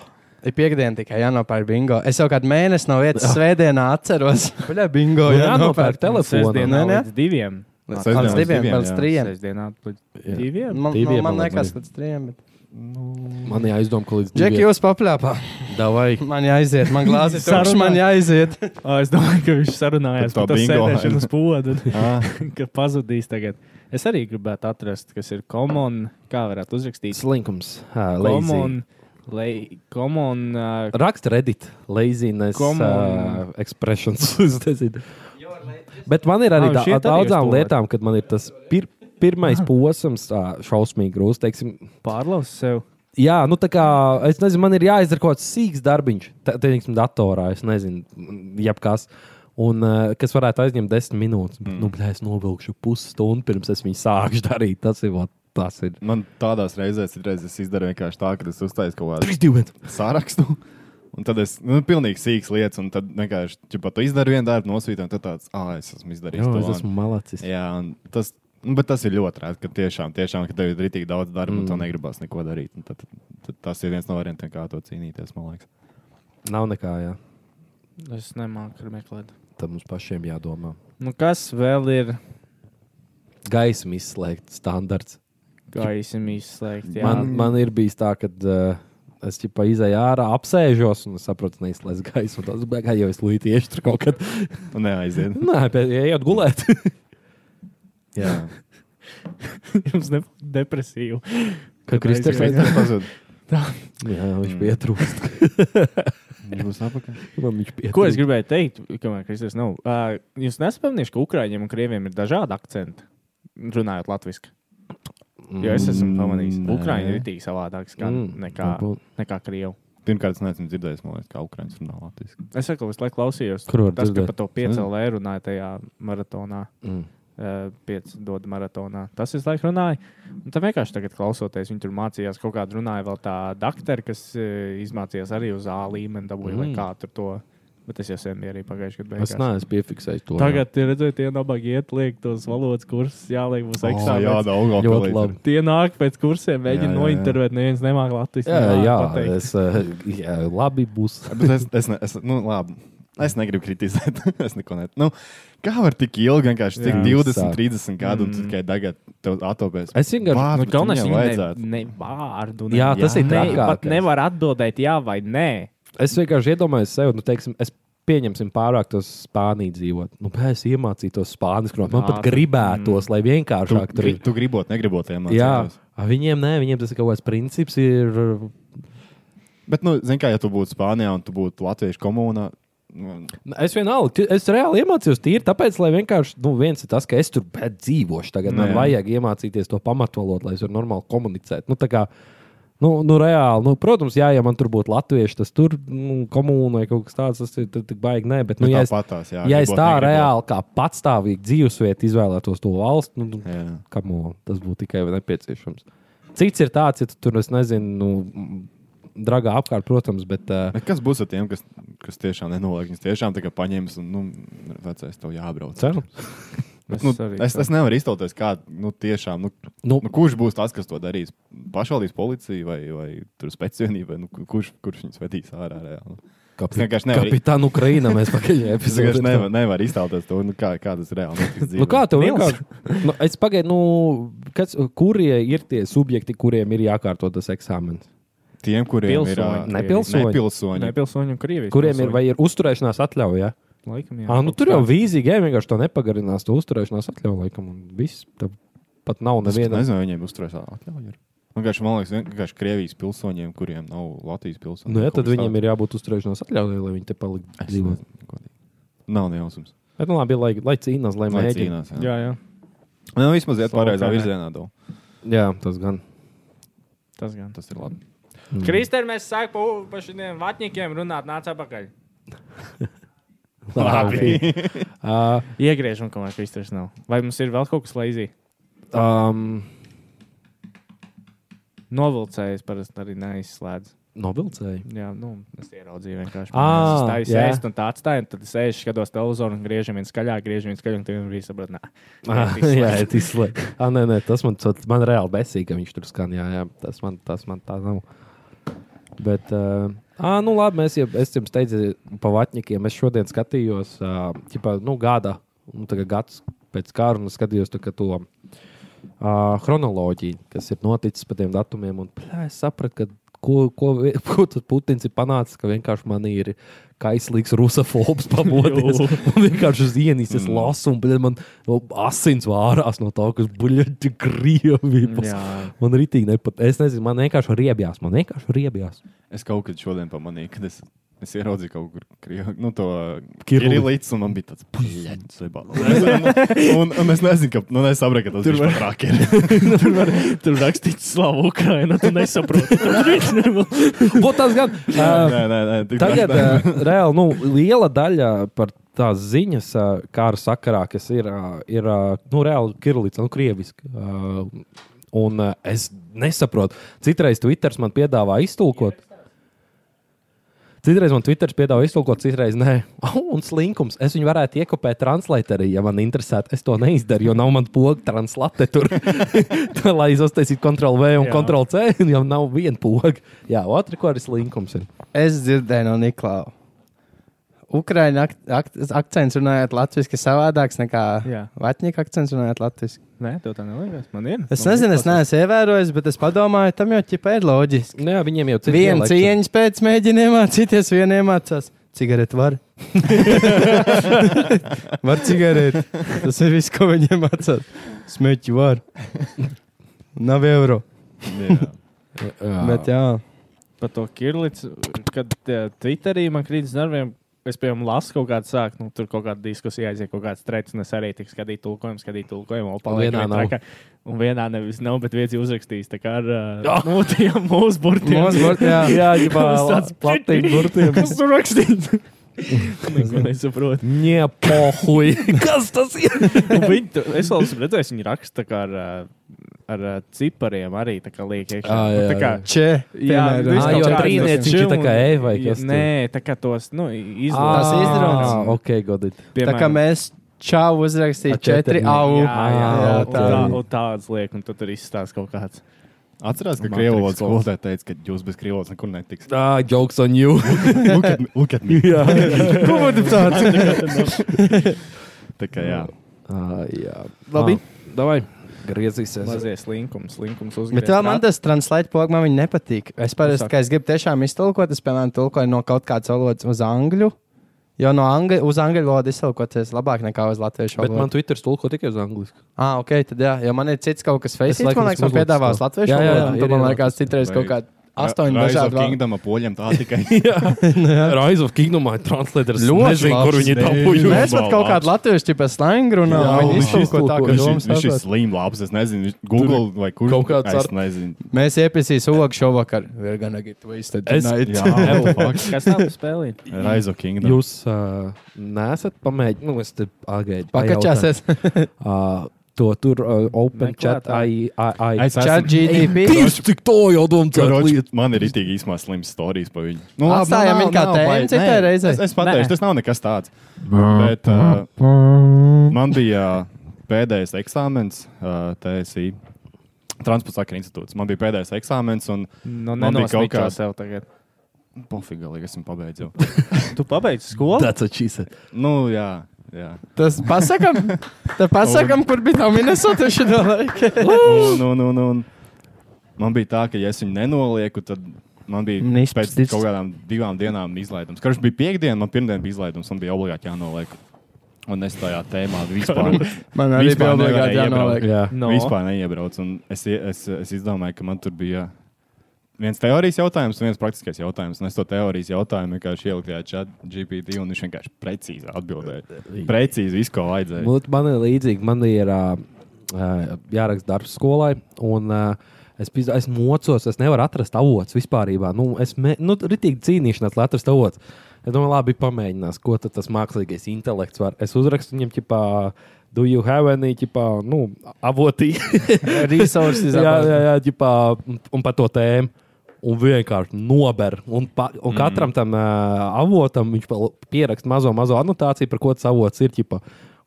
Speaker 1: ir piekdiena tikai jānopērk bingo. Es jau kādu mēnesi no vietas svētdienā atceros. Bļa, bingo
Speaker 7: Nu,
Speaker 1: jānopērk.
Speaker 7: jānopērk telefonu.
Speaker 1: Nē,
Speaker 8: sestdienā
Speaker 1: nē.
Speaker 8: līdz diviem.
Speaker 2: Sestdienā
Speaker 1: Līdz
Speaker 2: līdz
Speaker 1: diviem,
Speaker 2: diviem,
Speaker 1: līdz
Speaker 2: jā.
Speaker 1: trijiem.
Speaker 8: Sestdienā līdz
Speaker 7: Jā.
Speaker 8: diviem.
Speaker 1: Man,
Speaker 7: Diviem,
Speaker 1: nu, man
Speaker 7: man
Speaker 1: liekas,
Speaker 7: liekas.
Speaker 1: līdz trijiem. bet-
Speaker 2: Nu,
Speaker 7: Man jāizdomā, ka līdz
Speaker 1: Džeki, jūs papļāpā.
Speaker 7: davai.
Speaker 1: Man jāiziet, man glāzi
Speaker 8: Sarunā.
Speaker 1: tukšs, man jāiziet.
Speaker 8: Ā, Es domāju, ka viņš sarunājās
Speaker 2: Par to
Speaker 8: par to
Speaker 2: bingo.
Speaker 8: sēdēšanu uz podu,
Speaker 2: Ah,
Speaker 8: ka pazudīs tagad. Es arī gribētu atrast, kas ir common, kā varētu uzrakstīt.
Speaker 7: Slinkums. Ah, lazy.
Speaker 8: Common, lei, common, uh,
Speaker 7: Raksta Reddit, laziness,
Speaker 8: Come
Speaker 7: uh,
Speaker 8: on.
Speaker 7: expressions. es nezinu. Bet man ir arī
Speaker 8: Ah,
Speaker 7: da
Speaker 8: šie
Speaker 7: ar
Speaker 8: tad jūs
Speaker 7: daudzām
Speaker 8: domājat?
Speaker 7: lietām, kad man ir tas pir pirmais posms, tā, šausmīgi grūts. Teiksim,
Speaker 8: pārlaus sev.
Speaker 7: jā, nu tā kā es nezinu, man ir jāizdara kaut kāds sīks darbiņš, tā- teiksim, datorā, es nezinu, jebkas. Un, uh, kas varētu aizņemt desmit minūtes. Mm. Nu, blē, es novilkšu pusstundu pirms es viņu sāku darīt. Tas ir. vot, Tas ir.
Speaker 2: man tādās reizēs citreiz es izdaru vienkārši tā, ka es uztaisu kaut kādu
Speaker 7: 3, 2, 1.
Speaker 2: sārakstu. Un tad es nu, pilnīgi sīks lietas, un tad vienkārši, ja pat izdaru vienu darbu, nosūtīju, un tad tāds, ah, es esmu izdarījis.
Speaker 7: Jā,
Speaker 2: to,
Speaker 7: es
Speaker 2: un-
Speaker 7: esmu malacis.
Speaker 2: Jā, un tas Nu, bet tas ir ļoti rēti, ka tiešām, tiešām ka tev ir rītīgi daudz darba mm. un tev negribas neko darīt. Un Tad, tad, tad tas ir viens no variantiem, kā to cīnīties, man liekas.
Speaker 7: Nav nekā, jā.
Speaker 8: Es nemāku meklēt.
Speaker 7: Tad mums pašiem jādomā.
Speaker 8: Nu, kas vēl ir
Speaker 7: Gaisma izslēgt standarts.
Speaker 8: gaisa izslēgts? Jā,
Speaker 7: Man, man ir bijis tā, ka uh, es tikai izēju ārā, apsēžos un saprotu, neizslēdz gaisu. Tas beigās jau es līdzi tieši tur kaut kad.
Speaker 2: Un neaiziet.
Speaker 7: Nē, pēc ejot gulēt.
Speaker 2: Jā,
Speaker 8: jums ir depresija.
Speaker 7: Kā Kristers
Speaker 8: aiziet.
Speaker 7: teica,
Speaker 2: tas pazudīs.
Speaker 7: jā, viņš
Speaker 8: Mm.
Speaker 7: pietrūkst.
Speaker 2: Viņš būs apakšā.
Speaker 7: Man viņš pietrūkst.
Speaker 8: Ko es gribēju teikt? Kamēr Kristers nav. Uh, jūs nesaprotat, ka Ukrāņiem un Krieviem ir dažādi akcenti. Runājot latviešu, jo es esmu
Speaker 2: Mm,
Speaker 8: pamanījis,
Speaker 2: nē.
Speaker 8: ka Ukrāņi ir itī savādāk
Speaker 7: Mm.
Speaker 8: skan nekā, nekā Krievi.
Speaker 2: Pirmkārt, es neesmu dzirdējis, man liekas, kā Ukrāņš runā latviešu.
Speaker 8: Es saku, visu laiku klausījos.
Speaker 7: Kur var
Speaker 8: tas, ka
Speaker 7: dzirdēt?
Speaker 8: par to
Speaker 2: Zini?
Speaker 8: 5 L runāja tajā maratonā.
Speaker 7: Mm.
Speaker 8: eh, Pieci doda maratonā. Tas visu laiku runāja. Un tam vienkārši tagad klausoties, viņi tur mācījās kaut kādu runāju, vēl tā doktora, kas eh, izmācījās arī uz A līmeni, dabūja mm. vai
Speaker 7: Mm.
Speaker 8: kā tur to. Bet tas jau sen bija arī pagājušajā gadā.
Speaker 7: Es neesmu piefiksējis to.
Speaker 8: Tagad, redziet, tie nabagi iet, liek tos valodas kursus, jāliek mums eksāmenā.
Speaker 2: jā, daudz
Speaker 7: ļoti labi.
Speaker 8: Tie nāk pēc kursiem,
Speaker 2: Jā, jā,
Speaker 8: mēģina
Speaker 2: jā.
Speaker 8: nointervēt, neviens nemāk latviešu.
Speaker 7: Jā, jā,
Speaker 8: pateikt.
Speaker 7: es, uh, jā, labi būs.
Speaker 2: Bet es, es, ne, es, nu, labi. es negribu kritizēt. es neko nedaru. Nu, kā var tik ilgi, vienkārši tik 20,
Speaker 8: Jā.
Speaker 7: Sāk.
Speaker 2: 30 gadu, un tu
Speaker 8: Mm.
Speaker 2: tikai tagad tev atopēs?
Speaker 7: Es vienkārši.
Speaker 2: Bāz,
Speaker 8: Nu,
Speaker 2: bet
Speaker 8: Galvenais ir
Speaker 2: viņam
Speaker 8: vajadzētu.
Speaker 2: vajadzētu.
Speaker 8: Ne, ne vārdu. Ne,
Speaker 7: Jā, tas
Speaker 2: Jā,
Speaker 7: ir
Speaker 8: ne, pat
Speaker 7: trakākais.
Speaker 8: nevar atbildēt, jā vai nē.
Speaker 7: Es vienkārši iedomājos sevi, nu, teiksim, es pieņemsim pārāk to spāņu dzīvot. Nu, bet es iemācītos spāņu runāt. Man pat
Speaker 8: Ātri. Mm.
Speaker 7: gribētos, lai
Speaker 2: Tu,
Speaker 7: vienkāršāk tur
Speaker 2: gri,
Speaker 7: ir.
Speaker 2: tu gribot, negribot, ja
Speaker 7: Jā,
Speaker 2: mācīties.
Speaker 7: A, viņiem nē, viņiem tas ir kaut kāds princips. Ir,
Speaker 2: Bet, nu, zini, kā ja tu būtu Spānijā un tu būtu Latviešu komunā. Nu,
Speaker 7: es vienalga, ti- es reāli iemācījos tīri, tāpēc, lai vienkārši, nu, viens ir tas, ka es tur bet dzīvošu. Tagad
Speaker 2: Nu,
Speaker 7: man
Speaker 2: jā.
Speaker 7: vajag iemācīties to pamatvalodu, lai es varētu normāli komunicēt. Nu, tā kā, Nu, nu, reāli, nu, protams, jā, ja man tur būtu latvieši, tas tur nu, komūna vai kaut kas tāds, tas ir tad tik baigi. Nē, bet, nu,
Speaker 2: nu,
Speaker 7: ja es,
Speaker 2: tāpatās, jā,
Speaker 7: ja es
Speaker 2: gribot,
Speaker 7: tā
Speaker 2: negribot.
Speaker 7: reāli kā patstāvīgi dzīvesvietu izvēlētos to valstu, nu,
Speaker 2: Jā.
Speaker 7: kamo, tas būtu tikai nepieciešams. Cits ir tāds, ja tu tur es nezinu, nu, m, dragā apkārt, protams, bet uh,
Speaker 2: Bet Kas būs ar tiem, kas, kas tiešām nenoliek? Viņus tiešām tā kā paņems un, nu, vecais tev jābrauc.
Speaker 7: cerams.
Speaker 8: Es,
Speaker 2: Nu,
Speaker 8: arī
Speaker 2: es,
Speaker 8: tā.
Speaker 2: es nevaru iztauties, kā, nu, tiešām, nu,
Speaker 7: Nu,
Speaker 2: nu, kurš būs tas, kas to darīs? Pašvaldīs policija vai, vai tur speciālība, vai nu, ku- kurš, kurš viņus vedīs ārā reāli? Es
Speaker 7: kapi,
Speaker 2: vienkārši nevaru,
Speaker 7: kapitāna Ukraina mēs pagaidām
Speaker 2: es vienkārši
Speaker 7: epizodē.
Speaker 2: nevaru, nevaru iztauties to, nu, kā, kā tas reāli notiks.
Speaker 7: Nu, kā
Speaker 2: dzīvē.
Speaker 7: tev
Speaker 8: Nils.
Speaker 7: vienkārši? Nu, es pagaidu, nu, kas, kurie ir tie subjekti, kuriem ir jākārto tas eksāmenis?
Speaker 2: Tiem, kuriem ir
Speaker 8: Pilsoņi.
Speaker 2: ā,
Speaker 7: Nepilsoņi.
Speaker 2: nepilsoņi.
Speaker 8: Nē, pilsoņi un krievi.
Speaker 7: Kuriem ir vai ir uzturēšanās atļauja?
Speaker 8: Laikam, jā,
Speaker 7: Jā, nu,
Speaker 8: kaut
Speaker 7: tur
Speaker 8: kas
Speaker 7: jau
Speaker 8: tāds.
Speaker 7: vīzīgi, ja vienkārši to nepagarinās, to uzturēšanās atļauju laikam. un Viss, Tev pat nav
Speaker 2: Es pat
Speaker 7: neviena.
Speaker 2: nezinu, vai viņiem uzturēs atļauju. ir. Vienkārši, man liekas, vienkārši Krievijas pilsoņiem, kuriem nav Latvijas pilsoņi.
Speaker 7: Nu, jā, tad viņiem ir jābūt uzturēšanās atļaujai, lai viņi te paliktu dzīvot.
Speaker 2: Nav nejausmas.
Speaker 7: Bet, nu, labi, lai, lai cīnās, lai, lai
Speaker 2: Lai
Speaker 7: mēģinātu.
Speaker 2: cīnās.
Speaker 8: Jā, jā,
Speaker 2: Nu, vismaz iet
Speaker 8: Savu
Speaker 2: pareizā
Speaker 8: kā ne.
Speaker 2: virzienā. Dau.
Speaker 7: Jā, tas gan.
Speaker 8: tas gan.
Speaker 2: Tas ir labi.
Speaker 7: nu-
Speaker 8: Kristēn, mēs sākām pa, pa šiem vatņiem runāt, nāc apakaļ.
Speaker 7: Labi. uh,
Speaker 8: Iegriežam, kamēr Kristēns nav. Vai mums ir vēl kaut kas laizī?
Speaker 7: um,
Speaker 8: Novilcējis parasti arī neizslēdz.
Speaker 7: nobilcēji.
Speaker 8: Jā, nu, es ieraudzīju vienkārši.
Speaker 7: Ā,
Speaker 8: Ah, es
Speaker 7: jā.
Speaker 8: stāju, sēžu un tā atstāju, un tad es sēžu, skatos televizoru un griežam vienu skaļāk, griežam vienu skaļāk, un tad vienbrīd saprotu, nā.
Speaker 7: Ah,
Speaker 8: tas
Speaker 7: jā,
Speaker 8: izslēdz.
Speaker 7: tas ir. Ah, nē, nē, tas man, tas man reāli besīk, ka viņš tur skan. Jā, jā tas, man, tas man tā nav. Bet, uh, ah, nu labi, mēs jau, es jums teicu, pa vatņikiem. Es šodien skatījos, uh, ķipā, nu, gada, nu, tagad gads pēc kara, un es skatījos to, ka to uh, chronoloģiju, kas ir noticis pa tiem datumiem, un plē, es sapratu, ka. Ko, ko, vi- ko tas Putins ir panācis, ka vienkārši man ir kaislīgs rusofobs pamodies. Man vienkārši uz ienis es lasu, un bļa, man nu, asins vārās no tā, kas buļķi Krievijas.
Speaker 8: Mm, Jā.
Speaker 7: Man rītīgi nepat. Es nezinu, man vienkārši riebjās. Man vienkārši riebjās.
Speaker 2: Es kaut kad šodien pamanīju, kad es, es ieraudzīju kaut kur krievu, nu, to
Speaker 7: Kirillu.
Speaker 2: kirilītes, un man bija tāds puļķis. Un, un es nezinu, ka, nu, es sapratu, ka tas tur bija rākeri.
Speaker 8: Tur rakstīts slavu Ukraina, tu nesaproti.
Speaker 7: Vot tas gan. Uh,
Speaker 2: Nē, nē, nē. tik
Speaker 7: tagad
Speaker 2: tā-
Speaker 7: uh, reāli nu, liela daļa par tās ziņas uh, kara sakarā, kas ir, uh, ir uh, nu, reāli kirilīts, nu, krieviski. Uh, un uh, es nesaprotu. Citreiz Twitter man piedāvā iztulkot. Citreiz man Twitter piedāvā iztulkot, citreiz nē. Oh, un slinkums. Es viņu varētu iekopēt translatorī, ja man interesētu. Es to neizdaru, jo nav man poga translate tur. Tā, lai es uztaisītu Ctrl V un
Speaker 8: Jā.
Speaker 7: Ctrl C, un jau nav viena poga. Jā, otra, ko arī slinkums ir.
Speaker 1: Es dzirdēju no Niklaus. Ukraiņu ak ak akcents runājot latviešu savādāks nekā
Speaker 8: Jā.
Speaker 1: Vatņika akcents runājot latviešu.
Speaker 8: Nē, tev tā neliekas. Man ir.
Speaker 1: Es
Speaker 8: Man
Speaker 1: nezinu,
Speaker 8: ir
Speaker 1: es neesmu ievērojis, bet es padomāju, tam jau ķipa ir loģiski.
Speaker 7: Nu Jā, viņiem jau cits
Speaker 1: Vienu
Speaker 7: dialekts ir.
Speaker 1: cieņu pēc mēģina iemācīties, viena iemācās. Cigareti var. var cigareti. Tas ir viss, ko viņi iemācās. Smēķi var. Nav eiro.
Speaker 2: Jā.
Speaker 7: Jā.
Speaker 1: Bet jā.
Speaker 8: par to Kirillīdu, kad eh, Twitterī man krīt uz nerviem. Es, piemēram, lasu kaut kādu sākumu, nu, tur kaut kāda diskusija aiziet, kaut kāds trešs, un es arī tik skatīju tulkojumu, skatīju tulkojumu. opa,
Speaker 7: Un
Speaker 8: liek,
Speaker 7: vienā
Speaker 8: vien
Speaker 7: nav.
Speaker 8: trakā. Un vienā nevis nav, bet viens ir uzrakstījis tā kā ar uh, nu, tiem mūsu burtiem.
Speaker 1: Mūsu burtiem, jā.
Speaker 8: jā jau
Speaker 7: tāds platīgs burtiem.
Speaker 8: Kas tur rakstīts? Neko nesaprotu.
Speaker 7: Niepohuj. Kas tas ir?
Speaker 8: Un Viņi, tu, es vēl esmu redzējis, viņi raksta tā kā ar, uh, ar uh, cipariem arī tā kā liek iekšā.
Speaker 7: Ā, jā,
Speaker 8: Nu, tā kā,
Speaker 7: jā.
Speaker 1: Če.
Speaker 8: Jā,
Speaker 1: piemēram.
Speaker 7: Ā,
Speaker 8: nu, viss
Speaker 7: jo
Speaker 8: kaut kāds
Speaker 7: trīnieciņš
Speaker 8: tas
Speaker 7: ir tā kā
Speaker 8: čim,
Speaker 7: ej, vai
Speaker 8: ja-
Speaker 7: kas tur?
Speaker 8: Nē, tā kā tos nu,
Speaker 1: Tas
Speaker 8: izlaiž.
Speaker 1: izdrāns.
Speaker 7: Ah, Ok, godīgi.
Speaker 1: Tā kā mēs čau uzrakstījām
Speaker 7: Ar četri,
Speaker 1: četri
Speaker 7: jā.
Speaker 1: au.
Speaker 8: Jā, jā, jā,
Speaker 1: Jā,
Speaker 8: tā,
Speaker 1: tā
Speaker 8: tā,
Speaker 1: ir.
Speaker 8: un tādas liekas, un tu tur izstāsta kaut kāds.
Speaker 2: Atcerās, ka
Speaker 8: Matrix
Speaker 2: krievu valodas
Speaker 8: skolas.
Speaker 2: skolotāja teica, ka jūs bez krievu valodas nekur netiks.
Speaker 7: Ah, jokes on you.
Speaker 2: Look at me, Look at me.
Speaker 7: jā.
Speaker 2: Tā kā jā.
Speaker 7: Ah, jā.
Speaker 1: Labi.
Speaker 7: Ah, davai. Griezīsies.
Speaker 8: Mazies linkums, linkums uzmanības.
Speaker 1: Bet vēl man tas translate pogas, man viņa nepatīk. Es parasti,
Speaker 8: saka?
Speaker 1: ka es gribu tiešām iztulkot, es piemēram tulkoju no kaut kādas valodas uz angļu. Jo no angļu, uz angļu valodu iztulkoties labāk nekā uz latviešu
Speaker 7: Bet man
Speaker 1: valodu.
Speaker 7: Twitter tulko tikai uz angliski.
Speaker 1: Ah, ok, tad jā, jo man ir cits kaut kas face,
Speaker 7: laikam
Speaker 1: man liekas, man
Speaker 7: esmu uzlicis
Speaker 1: piedāvās
Speaker 7: to.
Speaker 1: latviešu
Speaker 7: Jā, jā, jā,
Speaker 1: valodu. un
Speaker 7: ir,
Speaker 1: Tad man
Speaker 7: ir,
Speaker 1: liekas, citreiz kaut kāda astoņu
Speaker 2: Rise
Speaker 1: dažādu
Speaker 2: of
Speaker 1: valodu.
Speaker 2: Kingdom poļiem tā tikai.
Speaker 7: Rise of Kingdom ir translators.
Speaker 1: Ļoti
Speaker 7: Nezinu,
Speaker 1: labs.
Speaker 7: kur viņi
Speaker 2: Nē,
Speaker 7: dabūju.
Speaker 2: nē.
Speaker 1: Mēs pat kaut kādu latviešu tipu slangu runājam,
Speaker 7: Jā,
Speaker 1: viņi
Speaker 7: viņš
Speaker 1: iztulko tā,
Speaker 7: iztulko,
Speaker 1: ka
Speaker 2: Viņš ir-
Speaker 1: jums
Speaker 2: Viņš ir
Speaker 1: saprot.
Speaker 2: slims, labs. Es nezinu, viņš- Google vai kur.
Speaker 7: kaut kāds
Speaker 2: Es
Speaker 7: ar-
Speaker 2: nezinu.
Speaker 1: Mēs iepazīsim Ulu šovakar. We're gonna get wasted
Speaker 7: Es-
Speaker 1: tonight.
Speaker 2: Jā, fuck.
Speaker 8: Kas nav spēlīt?
Speaker 2: Rise of Kingdom.
Speaker 7: Jūs uh, nesat pamēģinājis, nu, es te agaidu.
Speaker 1: Pakačāsies.
Speaker 7: Uh, to tur uh, Open
Speaker 8: Meklētāji.
Speaker 7: Chat AI.
Speaker 2: Es esmu-
Speaker 1: Chat GDP.
Speaker 7: Tieši tik to jau domāju.
Speaker 2: Karoči, man ir itī īsumā slims stāstījis par viņu. Nu,
Speaker 1: Atstājam
Speaker 2: nav-
Speaker 1: viņu kā
Speaker 2: nav
Speaker 1: tēmu
Speaker 2: baigi.
Speaker 1: citai
Speaker 2: Nē,
Speaker 1: reizei.
Speaker 2: Es, es pateikšu,
Speaker 8: Nē.
Speaker 2: tas nav nekas tāds. Bet, uh, man bija uh, pēdējais eksāmens uh, TSI. Transportsakra institūts. Man bija pēdējais eksāmens, un
Speaker 8: Nu,
Speaker 2: Man bija kaut
Speaker 8: nenosniķo
Speaker 2: kā-
Speaker 8: sev tagad.
Speaker 2: pofīgi, ka esmu pabeidzis. jau.
Speaker 8: Tu pabeidz skolu?
Speaker 7: That's what she said.
Speaker 2: nu, jā, jā.
Speaker 1: Tas pasakām, tad pasakām, kur bija tā Minnesota šajā laikā.
Speaker 2: Un, un, un, un. nu, Man bija tā, ka, ja es viņu nenolieku, tad man bija
Speaker 1: Mm, izpildīts.
Speaker 2: pēc kaut kādām divām dienām izlaidums. Karš bija piekdiena, man pirmdiena bija izlaidums, man bija obligāti jānoliek. Un es tajā tēmā vispār,
Speaker 1: Man arī bija
Speaker 2: Vispār nevarēja
Speaker 1: obligāti
Speaker 2: iebraukt.
Speaker 1: jānoliek.
Speaker 7: Jā.
Speaker 2: no. vispār neiebraucu. Un Es, ie- es, es izdomāju, ka man tur bija viens teorijas jautājums, un viens praktiskais jautājums. Un es to teorijas jautājumu vienkārši ieliku tajā chat GPT, un viņš vienkārši precīzi atbildēja. Precīzi visu, ko vajadzēja.
Speaker 7: Nu, Man ir līdzīgi, man ir ā, ā, jāraksta darbs skolai. Un, ā, Es, pizd- es mocos, es nevaru atrast avots vispār. Nu, es me- nu, ritīgi cīnīšanās, lai atrastu avotu. Es domāju, labi, pamēģinās, ko tad tas mākslīgais intelekts var. Es uzrakstu viņam, tipā, do you have any, tipā, nu, avotī.
Speaker 1: Resources.
Speaker 7: jā, jā, jā, ģipā, un, un par to tēmu. Un vienkārši nober. Un, pa, un mm. katram tam uh, avotam viņš vēl pieraksta mazo, mazo anotāciju, par ko tas avots ir. Ģipā.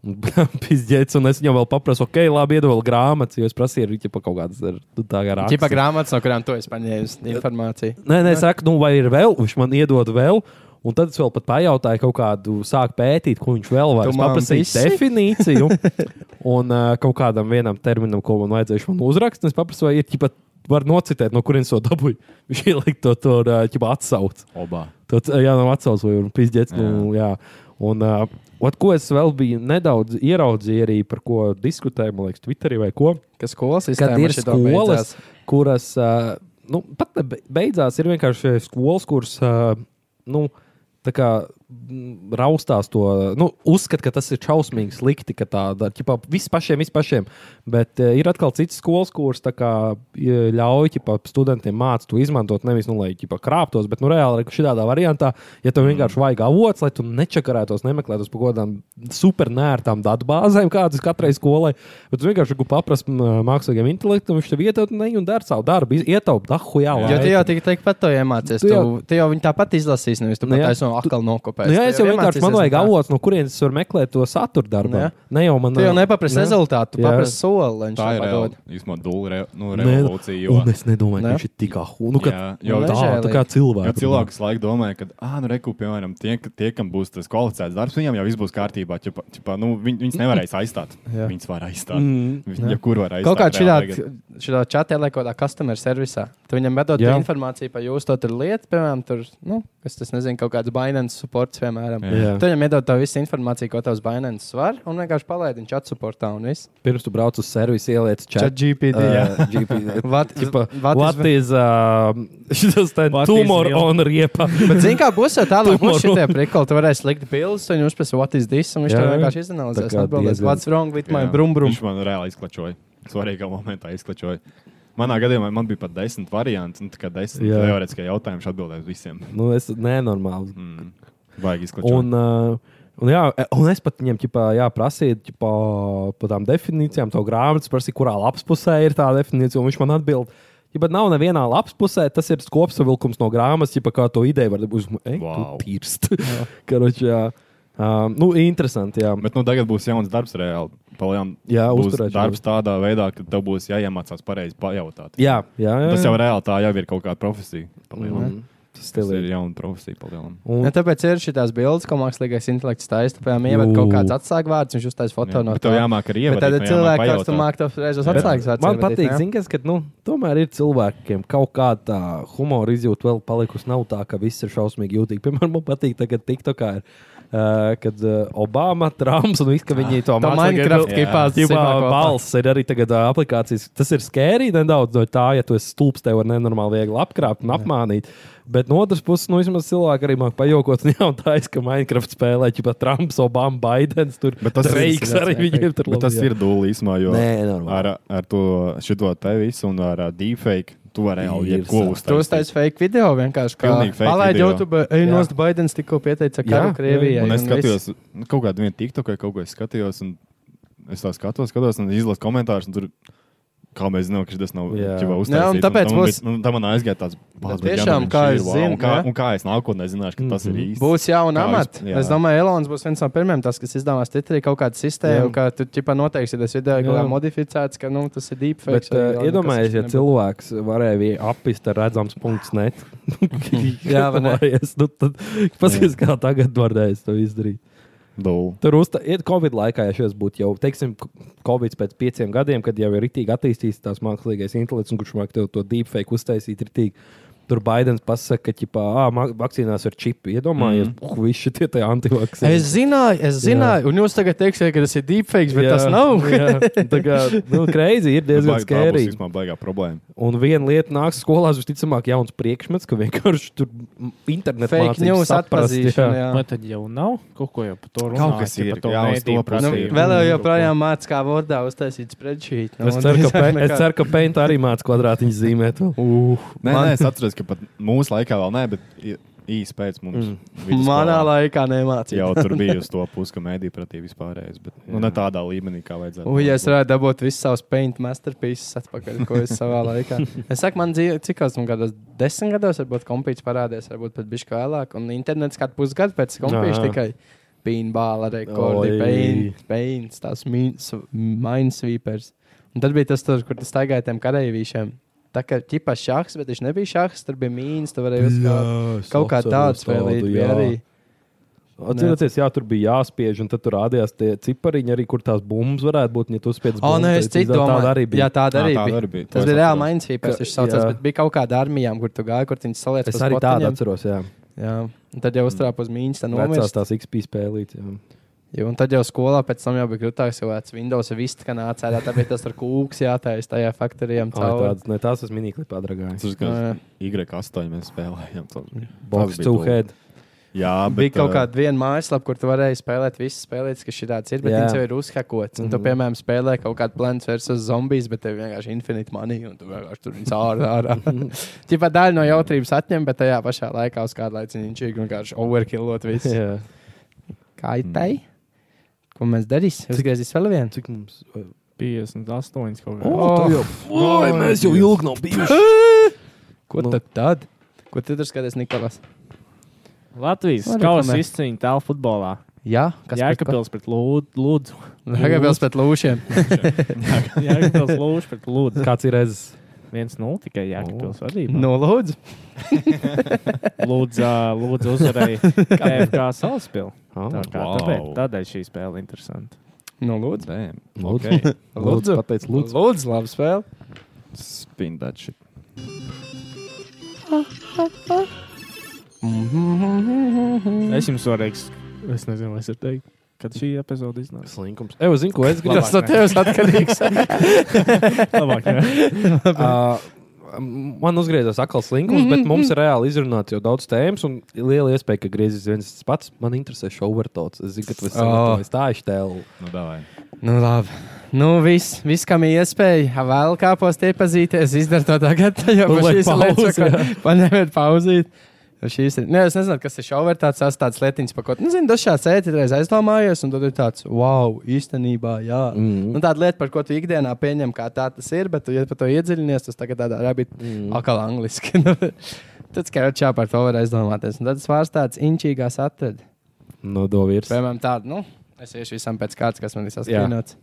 Speaker 7: Un pizdzēts, un es viņam vēl paprasu, ok, labi, iedod vēl grāmatas, jo es prasīju, ir ģipā, kaut kādas ar- nu, tā kā
Speaker 1: Čipa
Speaker 7: rāmas.
Speaker 1: grāmatas, no kurām tu esi paņēmis informāciju.
Speaker 7: Nē, nē, es saku, nu, vai ir vēl, viņš man iedod vēl. Un tad es vēl pat pajautāju, kaut kādu sāku pētīt, ko viņš vēl var.
Speaker 1: Tu
Speaker 7: Es
Speaker 1: man
Speaker 7: paprasīju
Speaker 1: visi?
Speaker 7: definīciju, un uh, kaut kādam vienam terminam, ko man vajadzēja, viņš man uzrakst. un Es paprasu, vai ir pat var nocitēt, no kurienes to dabūju. Viņš ielika to tur, uh, atsauc.
Speaker 2: Obā.
Speaker 7: Tad, uh, jā, nav atsauc, vai ir pizdzēts. Nu, jā. Un, uh, ot, ko es vēl biju nedaudz ieraudzījis, arī par ko diskutēju, man liekas, Twitterī vai ko
Speaker 1: Kas skolas
Speaker 7: kad
Speaker 1: sistēma
Speaker 7: ir
Speaker 1: šito
Speaker 7: skolas,
Speaker 1: beidzās?
Speaker 7: kuras ā, nu, pat ne be- beidzās, ir vienkārši skolas, kuras ā, nu, tā kā mm, raustās to, nu, uzskata, ka tas ir šausmīgi slikti, ka tāda ir viss pašiem, viss pašiem. Bet e, ir atkal cits skolas kurs, tā kā e, ļauj ķipa, studentiem mācīt to izmantot, nevis, nu, lai ķipa, krāptos, bet, nu, reāli šādā variantā, ja tev vienkārši vajag avots, lai tu nečakarētos, nemeklētos par kaut kādām supernērtām datubāzēm, kādas katrai skolai, bet tu vienkārši paprasti mākslīgiem intelektam, viņš tev ietaupa, ne, un dara savu darbu, ah, ietaupa dahu jā.
Speaker 1: Jo tu jau tik teikt, pat to iemācies.
Speaker 7: Tu
Speaker 1: Tu,
Speaker 7: jau-
Speaker 1: tu jau viņi tāpat izlasīs, nevis tu
Speaker 7: Nu
Speaker 1: pat
Speaker 7: jā.
Speaker 1: aizsno atkal nokopēs.
Speaker 7: Nu,
Speaker 1: Tu
Speaker 7: jā, es jau vienkārši man
Speaker 1: iemācīsies,
Speaker 7: vajag
Speaker 1: un tā.
Speaker 7: avots, no kurienes es varu meklēt to saturu darbu.
Speaker 1: Jā.
Speaker 7: Ne jau man
Speaker 1: Tu jau nepaprasti rezultātu, tu
Speaker 7: nu, Jā.
Speaker 1: paprasti soli, lai viņš
Speaker 2: Tā ir
Speaker 1: tev padod.
Speaker 2: reāli, īstenībā dūle re, nu,
Speaker 7: Nē,
Speaker 2: revolūcija. Jo,
Speaker 7: Un es nedomāju,
Speaker 1: Ne?
Speaker 7: ka viņš ir tik ahūns. Nu,
Speaker 2: Jā,
Speaker 7: ka
Speaker 2: jau
Speaker 7: tā,
Speaker 1: Ležēlīgi.
Speaker 7: tā kā
Speaker 2: jo
Speaker 7: cilvēks.
Speaker 2: cilvēks laikam domāja, ka, ah, nu, reku, piemēram, tie, ka- tie, kam būs tas kvalificēts darbs, viņiem jau viss būs kārtībā. Ķipa, ķipa, nu, viņ, viņus nevarēs aizstāt.
Speaker 1: Jā.
Speaker 2: Viņus var aizstāt. Mm, ja kur var aizstāt?
Speaker 1: Kaut kā šādā,
Speaker 2: reāli tagad.
Speaker 1: šādā čatā, lai kaut kādā customer servisā, tu viņam vedot
Speaker 7: Jā.
Speaker 1: informāciju par jūsu to tur lietu, piemēram, tur, nu, es tas nezinu, kaut kāds Binance supports, piemēram.
Speaker 2: Jā.
Speaker 7: Jā.
Speaker 1: Tu viņam iedod tā visu informāciju, ko tavs Binance var, un vienkārši palaidi viņu chat supportā un viss.
Speaker 7: Pirms tu brauc uz servisu, ieliec
Speaker 1: Chat
Speaker 7: čatā.
Speaker 1: GPT. What,
Speaker 7: Tipa,
Speaker 1: what
Speaker 7: what
Speaker 1: is,
Speaker 7: is uh, šis te
Speaker 8: What is
Speaker 7: tumor
Speaker 8: real?
Speaker 7: on riepa?
Speaker 1: bet zini, kā būs jau tālāk, būs
Speaker 7: Tomorrow.
Speaker 1: šitie prikoli, tu varēsi likt bildes, un jūs pēc what is this, un viņš
Speaker 7: Jā,
Speaker 1: tev
Speaker 7: jā.
Speaker 1: vienkārši
Speaker 7: Tā
Speaker 1: izanalizēs,
Speaker 7: kā
Speaker 1: un atbildēs,
Speaker 7: diezgan-
Speaker 1: what's wrong with my
Speaker 2: Jā.
Speaker 1: brum brum.
Speaker 2: Viņš man reāli izklačoja. Svarīgā momentā izklačoja. Manā gadījumā man bija pat desmit varianti. Nu, tā kā desmit
Speaker 7: Jā.
Speaker 2: teorētiskie jautājumi atbildēja uz visiem.
Speaker 7: nu, es nenormāli.
Speaker 2: Mm. Vajag izklačot.
Speaker 7: Un, uh, un, jā, e- un es pat viņam ķipā, jā, prasīju ķipā, par tām definīcijām, to grāmatu, prasīju, kurā lapas pusē ir tā definīcija, un viņš man atbild. Ja pat nav nevienā lapas pusē, tas ir kopsavilkums no grāmatas, ja kā to ideju var būt.
Speaker 2: Wow.
Speaker 7: Wow. Pirst. Karoči, jā. Um, nu, interesanti, jā. Bet,
Speaker 2: Bet nu, tagad būs jauns darbs reāli. Palējām,
Speaker 7: Jā,
Speaker 2: būs
Speaker 7: uzturēšana.
Speaker 2: darbs tādā veidā, ka tev būs jāiemācās pareizi pajautāt.
Speaker 7: jā, jā, jā.
Speaker 2: Tas jau reāli tā jau ir kaut kāda profesija. palielam.
Speaker 7: Mm,
Speaker 2: Tas
Speaker 7: tas
Speaker 2: ir
Speaker 7: stilīgi.
Speaker 2: jauna profesija. palielam.
Speaker 7: Un,
Speaker 1: Ja tāpēc ir šīs bildes, ko mākslīgais intelekts taisa. Tu, Piemēram, ievada
Speaker 7: Jū.
Speaker 1: kaut kāds atsāgvārds, viņš uztaisīja
Speaker 2: Jā,
Speaker 1: foto no
Speaker 2: bet tev jāmāk arī ievadīt,
Speaker 1: Tad
Speaker 2: nu, jāmāk
Speaker 1: cilvēki ar to
Speaker 2: pajautāt.
Speaker 1: māku tos reizes
Speaker 2: Jā.
Speaker 1: atsāgvārds.
Speaker 7: Man patīk, zinkas, ka nu, tomēr ir cilvēkiem kaut kāda tā humora izjūta vēl palikusi. Nav tā, ka viss ir šausmīgi jūtīgi. Piemēram, man patīk, tagad TikTokā ir. Uh, kad uh, Obama, Trumps un viss, ka viņi to
Speaker 1: Tā Minecraft kipās
Speaker 7: Jā,
Speaker 1: simā kopā.
Speaker 7: balss ir arī tagad uh, aplikācijas. Tas ir skērīgi nedaudz no tā, ja tu esi stulbs, tev var nenormāli viegli apkrāpt un apmānīt. Bet no otras puses, nu, vismaz cilvēki arī māk pajokot. un Jā, un tā ir, ka Minecraft spēlē, ja pat Trumps, Obama, Baidens, tur
Speaker 2: Bet tas ir-
Speaker 7: reiks arī viņiem tur
Speaker 2: Bet tas ir dūlis īsumā, jo
Speaker 7: Nē, normāli.
Speaker 2: ar, ar to šito te visu un ar ā, deepfake tu vari
Speaker 7: Ir
Speaker 2: reāli jebko
Speaker 7: sā-
Speaker 2: uztaisīt.
Speaker 1: Tu uztaisīji fake video vienkārši. kā
Speaker 2: Pilnīgi fake
Speaker 1: Palaid
Speaker 2: video.
Speaker 1: YouTube, ej,
Speaker 7: Jā.
Speaker 1: nost Baidens tikko pieteica karu
Speaker 7: Jā, jā.
Speaker 1: Krievijai.
Speaker 2: Un es
Speaker 1: un viss.
Speaker 2: skatījos, nu, kaut kādā vienā TikTokā kaut ko es skatījos, un es tā skatos, skatos, un izlasu komentārus. un Tur, kā mēs zinām, ka tas nav
Speaker 7: Jā.
Speaker 2: jau
Speaker 1: Jā, un
Speaker 2: uzstādīts.
Speaker 1: tāpēc būs-
Speaker 2: Tā man aizgāja tāds
Speaker 1: Bet tiešām, kā es zinu,
Speaker 2: un kā,
Speaker 1: jā.
Speaker 2: un kā es nākotnē zināšu, ka tas ir īsti.
Speaker 1: Būs jauna
Speaker 2: Kā
Speaker 1: amata.
Speaker 2: vis- jā.
Speaker 1: Es domāju, Elonas būs viens no pirmajiem, tas, kas izdomās titrī kaut kādu sistēmu,
Speaker 7: Jā.
Speaker 1: ka tu ķipa noteikti tas video ir kaut
Speaker 7: Jā.
Speaker 1: kā modificēts, ka nu, tas ir deepfake.
Speaker 7: Bet, uh, iedomājieties, ja cilvēks varēja vie- apist ar redzams punktu net.
Speaker 1: Jā, vai ne?
Speaker 7: Iedomājies, nu, tad paskatās, kā tagad varēs to izdarīt.
Speaker 2: Dūl.
Speaker 7: Tur uzta, iet Covid laikā, ja šis būtu jau, teiksim, Covid pēc pieciem gadiem, kad jau ir itīgi attīstīts tās mākslīgais intelekts, un kurš māk tev to deepfake uztaisīt, ir itīgi. Tur Baidens pasaka, ka, ķipā, ah, ma- vakcīnās ir čipi. Iedomājies, mm. uh, visi tie tie antivakcīni.
Speaker 1: Mhm. Es zināju, es zināju, un jūs tagad teiksiet, ka tas ir deepfake, bet tas nav.
Speaker 7: jā, tā kā, nu, kreizi ir
Speaker 2: Tas
Speaker 7: diezgan
Speaker 2: baig- tā būs
Speaker 7: skērīgi.
Speaker 2: vispār baigā problēma.
Speaker 7: Un viena lieta nāks skolās, visticamāk, jauns priekšmets, ka vienkārši tur internetā
Speaker 1: Fake news atpazīšana. jā.
Speaker 8: Vai tad jau nav? Kaut ko jau par to runā.
Speaker 2: kas
Speaker 8: ka
Speaker 2: ir,
Speaker 8: par to
Speaker 2: jā, uz to
Speaker 1: Nu,
Speaker 2: pusi
Speaker 8: mēdīju prasību.
Speaker 2: ir.
Speaker 1: vēl jau joprojām mācās, kā vārdā uztaisīt spreadsheet. Nu,
Speaker 7: Mm. Es ceru, ka, pe, es ceru, ka Paint arī mācīs kvadrātiņu zīmēt. vēl.
Speaker 8: Uh.
Speaker 2: Nē,
Speaker 1: Man-
Speaker 2: nē, es atceros, ka pat mūsu laikā vēl nē, bet i- īsi pēc mums.
Speaker 7: Mm.
Speaker 2: vidusskolā
Speaker 1: Manā laikā nemācīja.
Speaker 2: Jau tur bija uz to pusi, ka mēdī pratīja vispārējais, bet nu, ne tādā līmenī, kā vajadzētu.
Speaker 1: Ui, ja es varētu dabūt visus savus paint masterpieces atpakaļ, ko es savā laikā. Es saku, man dzīve, cik tas gados, desmit gados, varbūt kompīts parādījās, varbūt pat bišķi vēlāk, un internets kādu pusgadu pēc kompīša
Speaker 7: Jā.
Speaker 1: tikai pinbāla rekordi,
Speaker 7: Oi.
Speaker 1: paint, paints, tās mins- minesweepers. Un tad bija tas, tur, kur tas staigāja tiem kareivīšiem. Tā kā ķipa šahs, bet viņš nebija šahs, tur bija mīns, tu varēji uzkāpt. Kaut kā tāds vēl bija arī.
Speaker 7: Atcerieties, jā, tur bija jāspiež, un tad tur rādījās tie cipariņi, arī, kur tās bumbas varētu būt. un Ja tu uzspiedz
Speaker 1: O,
Speaker 7: bumbu,
Speaker 1: nē,
Speaker 7: tad
Speaker 1: es citu
Speaker 7: izdara-
Speaker 1: domāju.
Speaker 7: tāda arī bija.
Speaker 1: Jā, tāda arī
Speaker 2: Ā, tāda
Speaker 1: bija.
Speaker 2: arī bija.
Speaker 1: Tas
Speaker 2: To
Speaker 1: bija
Speaker 2: es
Speaker 1: reāli
Speaker 2: atceros.
Speaker 1: mainsīgs,
Speaker 7: Ka-
Speaker 1: viņš saucās,
Speaker 7: jā.
Speaker 1: bet bija kaut kāda armijām, kur tu gāji, kur viņi saliec
Speaker 7: Es
Speaker 1: pa
Speaker 7: arī tādu
Speaker 1: spotiņiem.
Speaker 7: atceros, jā.
Speaker 1: Jā, un tad jau uztrāpa uz mīnus, tad
Speaker 7: Vecās
Speaker 1: nomirst.
Speaker 7: tās XP spēlīt. Jā.
Speaker 1: Jā, un tad jau skolā pēc tam jau bija grūtāk, jo vecais Windows viss, ka nāca ārā, tā bija tas ar kūks jātaisa tajā faktorijām
Speaker 7: Ai,
Speaker 1: caur.
Speaker 7: tādas, ne, tās es minīgi padragāju.
Speaker 2: Tur
Speaker 1: Jā, jā.
Speaker 2: bija Y8, mēs spēlējām. tas- tas
Speaker 7: Box
Speaker 2: bija
Speaker 7: to
Speaker 2: dūli.
Speaker 7: head.
Speaker 2: Jā,
Speaker 1: Bet, bija
Speaker 2: bet
Speaker 1: kaut
Speaker 2: ā,
Speaker 1: kāda viena mājaslapa, kur tu varēji spēlēt visas spēlētas, kas šādas ir. Bet
Speaker 7: Jā.
Speaker 1: viņš jau ir uzhakots. Un tu, piemēram, spēlē kaut kādu Plants vs. Zombies, bet tev vienkārši infinite money, un tu vienkārši tur viņus ārā. ārā. Tipā daļa no jautrības atņem, bet tajā pašā laikā uz kādu laiku viņš ir vienkārši overkillot visu.
Speaker 7: Jā.
Speaker 1: Kaitai? Ko mēs darīsim? Uzgriezīs vēl vienu.
Speaker 7: Cik mums?
Speaker 8: 58 kaut kā.
Speaker 1: O,
Speaker 7: Oh, oh, mēs jau ilgi nav bijuši.
Speaker 1: Ko
Speaker 7: Nu.
Speaker 1: tad? tad? Ko tu tur skaties, Nikolas?
Speaker 8: Latvijas
Speaker 1: Var
Speaker 8: kausa
Speaker 1: reklamēt.
Speaker 8: izcīņa tālu futbolā.
Speaker 1: Jā, kas
Speaker 8: Jēkabils pret Lūd- Lūdzu.
Speaker 1: Jēkabils pret lūšiem.
Speaker 8: Jēkabils Lūdzu pret Lūdzu.
Speaker 7: Kāds ir reizes?
Speaker 8: 1-0 tikai Jēkabils vadībā.
Speaker 1: Nu, lūdzu.
Speaker 8: Lūdzu, ā, Lūdzu uzvarēja KFK Salaspils.
Speaker 7: Oh,
Speaker 8: Tā kā
Speaker 2: Wow.
Speaker 8: tāpēc, tādēļ šī spēle ir interesanta.
Speaker 1: Nu, lūdzu.
Speaker 2: Damn.
Speaker 7: Lūdzu.
Speaker 2: Okay.
Speaker 1: Lūdzu.
Speaker 7: Pateic,
Speaker 1: Lūdzu,
Speaker 7: lūdzu.
Speaker 1: lūdzu labi spēlē.
Speaker 2: Spin that shit.
Speaker 8: Es jums varu teikt, es nezinu, vai es varu teikt, kad šī epizode iznāks.
Speaker 7: Slinkums. Evo, zinu, ko es gribu.
Speaker 8: Labāk.
Speaker 1: Tas no tevis atkarīgs.
Speaker 8: Labāk, jā.
Speaker 7: Uh, Man uzgriezās atkal slinkums, bet mums ir reāli izrunāts jau daudz tēmas, un liela iespēja, ka griezīs viens tas pats. Man interesē šis overtots. Es zinu, ka tas
Speaker 1: Oh.
Speaker 7: ir tāds tēls.
Speaker 2: Nu, davai.
Speaker 1: Nu, labi. Nu, viss, vis, kam ir iespēja vēl kāpos iepazīties, izdara to tagad. Jo
Speaker 7: Nu,
Speaker 1: par
Speaker 7: lai
Speaker 1: šīs ir
Speaker 7: pauze,
Speaker 1: lietas, ko- paņemiet pauzīt. Jo šīs Ir, ne, es nezinu, kas ir šovers, tāds tās tādas lietiņas, par ko nu, zinu, dažs šāds ētiķis aizdomājies, un tad ir tāds, wow, īstenībā, jā. Mm. Un tāda lieta, par ko tu ikdienā pieņem, kā tā tas ir, bet tu ja par to iedziļinies, tas tagad tādā rabi mm. akal angliski. Nu, tad skarčā par to var aizdomāties. Un tad svārs tāds inčīgās atrad.
Speaker 7: No Dovīras.
Speaker 1: Piemēram, tādu, nu, es iešu visam pēc kārtas, kas man ir sasprāstīts.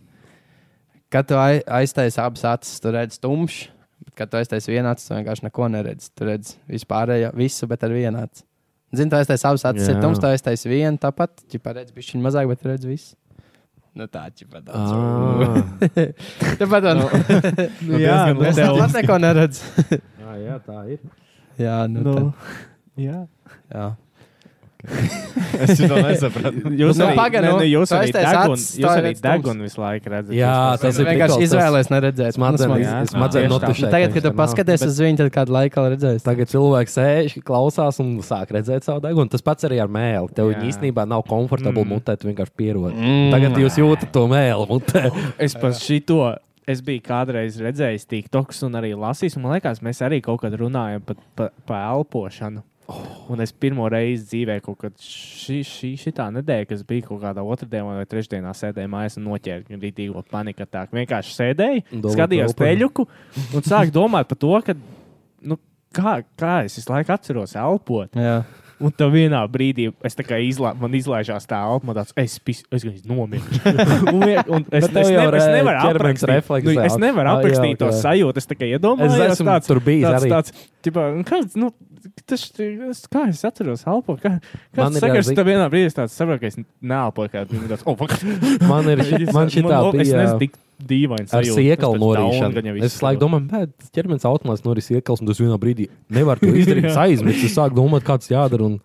Speaker 1: Kad tu ai- aiztaisi abas acis, tu redz tumšu, bet kad tu aiztaisi vienu acis, tu vienkārši neko neredzi. Tu redz vispārējo, visu, bet ar vienu aci. Zini, tu aiztaisi abas acis, ir
Speaker 7: Jā.
Speaker 1: tumšs, tu aiztaisi vienu, tāpat, ķipā redz bišķiņu mazāk, bet tu redz visu. Nu tā, ķipā daudz.
Speaker 7: Ah.
Speaker 1: Tāpat, nu,
Speaker 8: jā,
Speaker 1: nu,
Speaker 8: nu,
Speaker 1: es
Speaker 8: tev-
Speaker 1: pat neko neredzu.
Speaker 7: Jā, tā ir.
Speaker 1: Jā, nu,
Speaker 8: Nu,
Speaker 1: tā,
Speaker 8: jā.
Speaker 1: jā.
Speaker 2: Es to nesapratu.
Speaker 8: Jūs
Speaker 1: Nu,
Speaker 8: arī,
Speaker 1: pagaid,
Speaker 8: ne,
Speaker 1: nu,
Speaker 8: ne, jūs
Speaker 1: tu
Speaker 8: arī
Speaker 1: aiztais
Speaker 8: degunu,
Speaker 1: acis,
Speaker 8: jūs
Speaker 1: tā
Speaker 8: arī
Speaker 1: redz tums.
Speaker 8: degunu visu laiku redzat.
Speaker 7: Jā,
Speaker 8: Jūs
Speaker 7: tas
Speaker 1: Es
Speaker 7: ir
Speaker 1: vienkārši
Speaker 7: prikals, tas
Speaker 1: izvēlējos neredzēt. Nu,
Speaker 7: Smadzenē,
Speaker 1: Smadzenes.
Speaker 8: Jā.
Speaker 7: smadzenē
Speaker 8: Tieši tā.
Speaker 7: notušē.
Speaker 1: Nu, Tagad, kad tu paskaties
Speaker 8: Bet-
Speaker 1: uz viņu, tad kādu laiku vēl redzēsi.
Speaker 7: Tagad cilvēks sēž, klausās un sāk redzēt savu degunu. Tas pats arī ar mēli. Tev
Speaker 8: Jā.
Speaker 7: viņa īstenībā nav komfortabli
Speaker 8: Mm.
Speaker 7: mm. mutē, tu vienkārši pierod. Mm. Tagad jūs jūtat to mēli mutē.
Speaker 8: Es par šito. Es biju kādreiz redzējis TikToks un arī lasījis, un man liekas, mēs arī kaut kad runājam par pa, pa elpošanu.
Speaker 7: Oh.
Speaker 8: Un es pirmo reizi dzīvē, kaut kad šī, šī šitā nedēļa, kas bija kaut kādā otrdienā vai trešdienā, sēdēju mājās un noķēru rītīgo paniku. Tā vienkārši sēdēju,
Speaker 7: Un domāju
Speaker 8: skatījos
Speaker 7: par
Speaker 8: peļuku un sāku domāt par to, ka, nu, kā, kā es visu laiku atceros elpot.
Speaker 1: Jā.
Speaker 8: Un tad vienā brīdī es tā kā izlā, man izlaižās tā elpa, man tāds - es, pis- es gan nomiru. un, vie- un es, es,
Speaker 7: Bet tev jau
Speaker 8: ne, es
Speaker 7: re-
Speaker 8: nevaru
Speaker 7: ķermenis
Speaker 8: aprakstīt,
Speaker 7: refleksē
Speaker 8: nu, es
Speaker 7: aug-
Speaker 8: nevaru
Speaker 7: Ah, jā,
Speaker 8: aprakstīt to
Speaker 7: ok.
Speaker 8: sajūtu. Es tā kā iedomājos,
Speaker 7: Es esmu
Speaker 8: tāds,
Speaker 7: tur bijis
Speaker 8: tāds,
Speaker 7: arī.
Speaker 8: tāds, ķipā, nu, kāds, nu, tas, tas, kā es atceros elpo? Kā,
Speaker 7: Man
Speaker 8: kāds
Speaker 7: ir
Speaker 8: sakars,
Speaker 7: arī-
Speaker 8: tad vienā brīdī es tāds saprotu, ka es neelpoju, kā viņi tāds - oh, fuck."
Speaker 7: Man ir šī, man šī tā
Speaker 8: Es
Speaker 7: bija.
Speaker 8: nezinu, tik dīvains.
Speaker 7: Ar sēklu norīšanu. Es visu laiku domāju, bet ķermenis automātiski norīs sēklas, un tas vienā brīdī nevar to izdarīt.
Speaker 8: Jā.
Speaker 7: Es aizmirsu, es sāku domāt, kāds jādara. Un,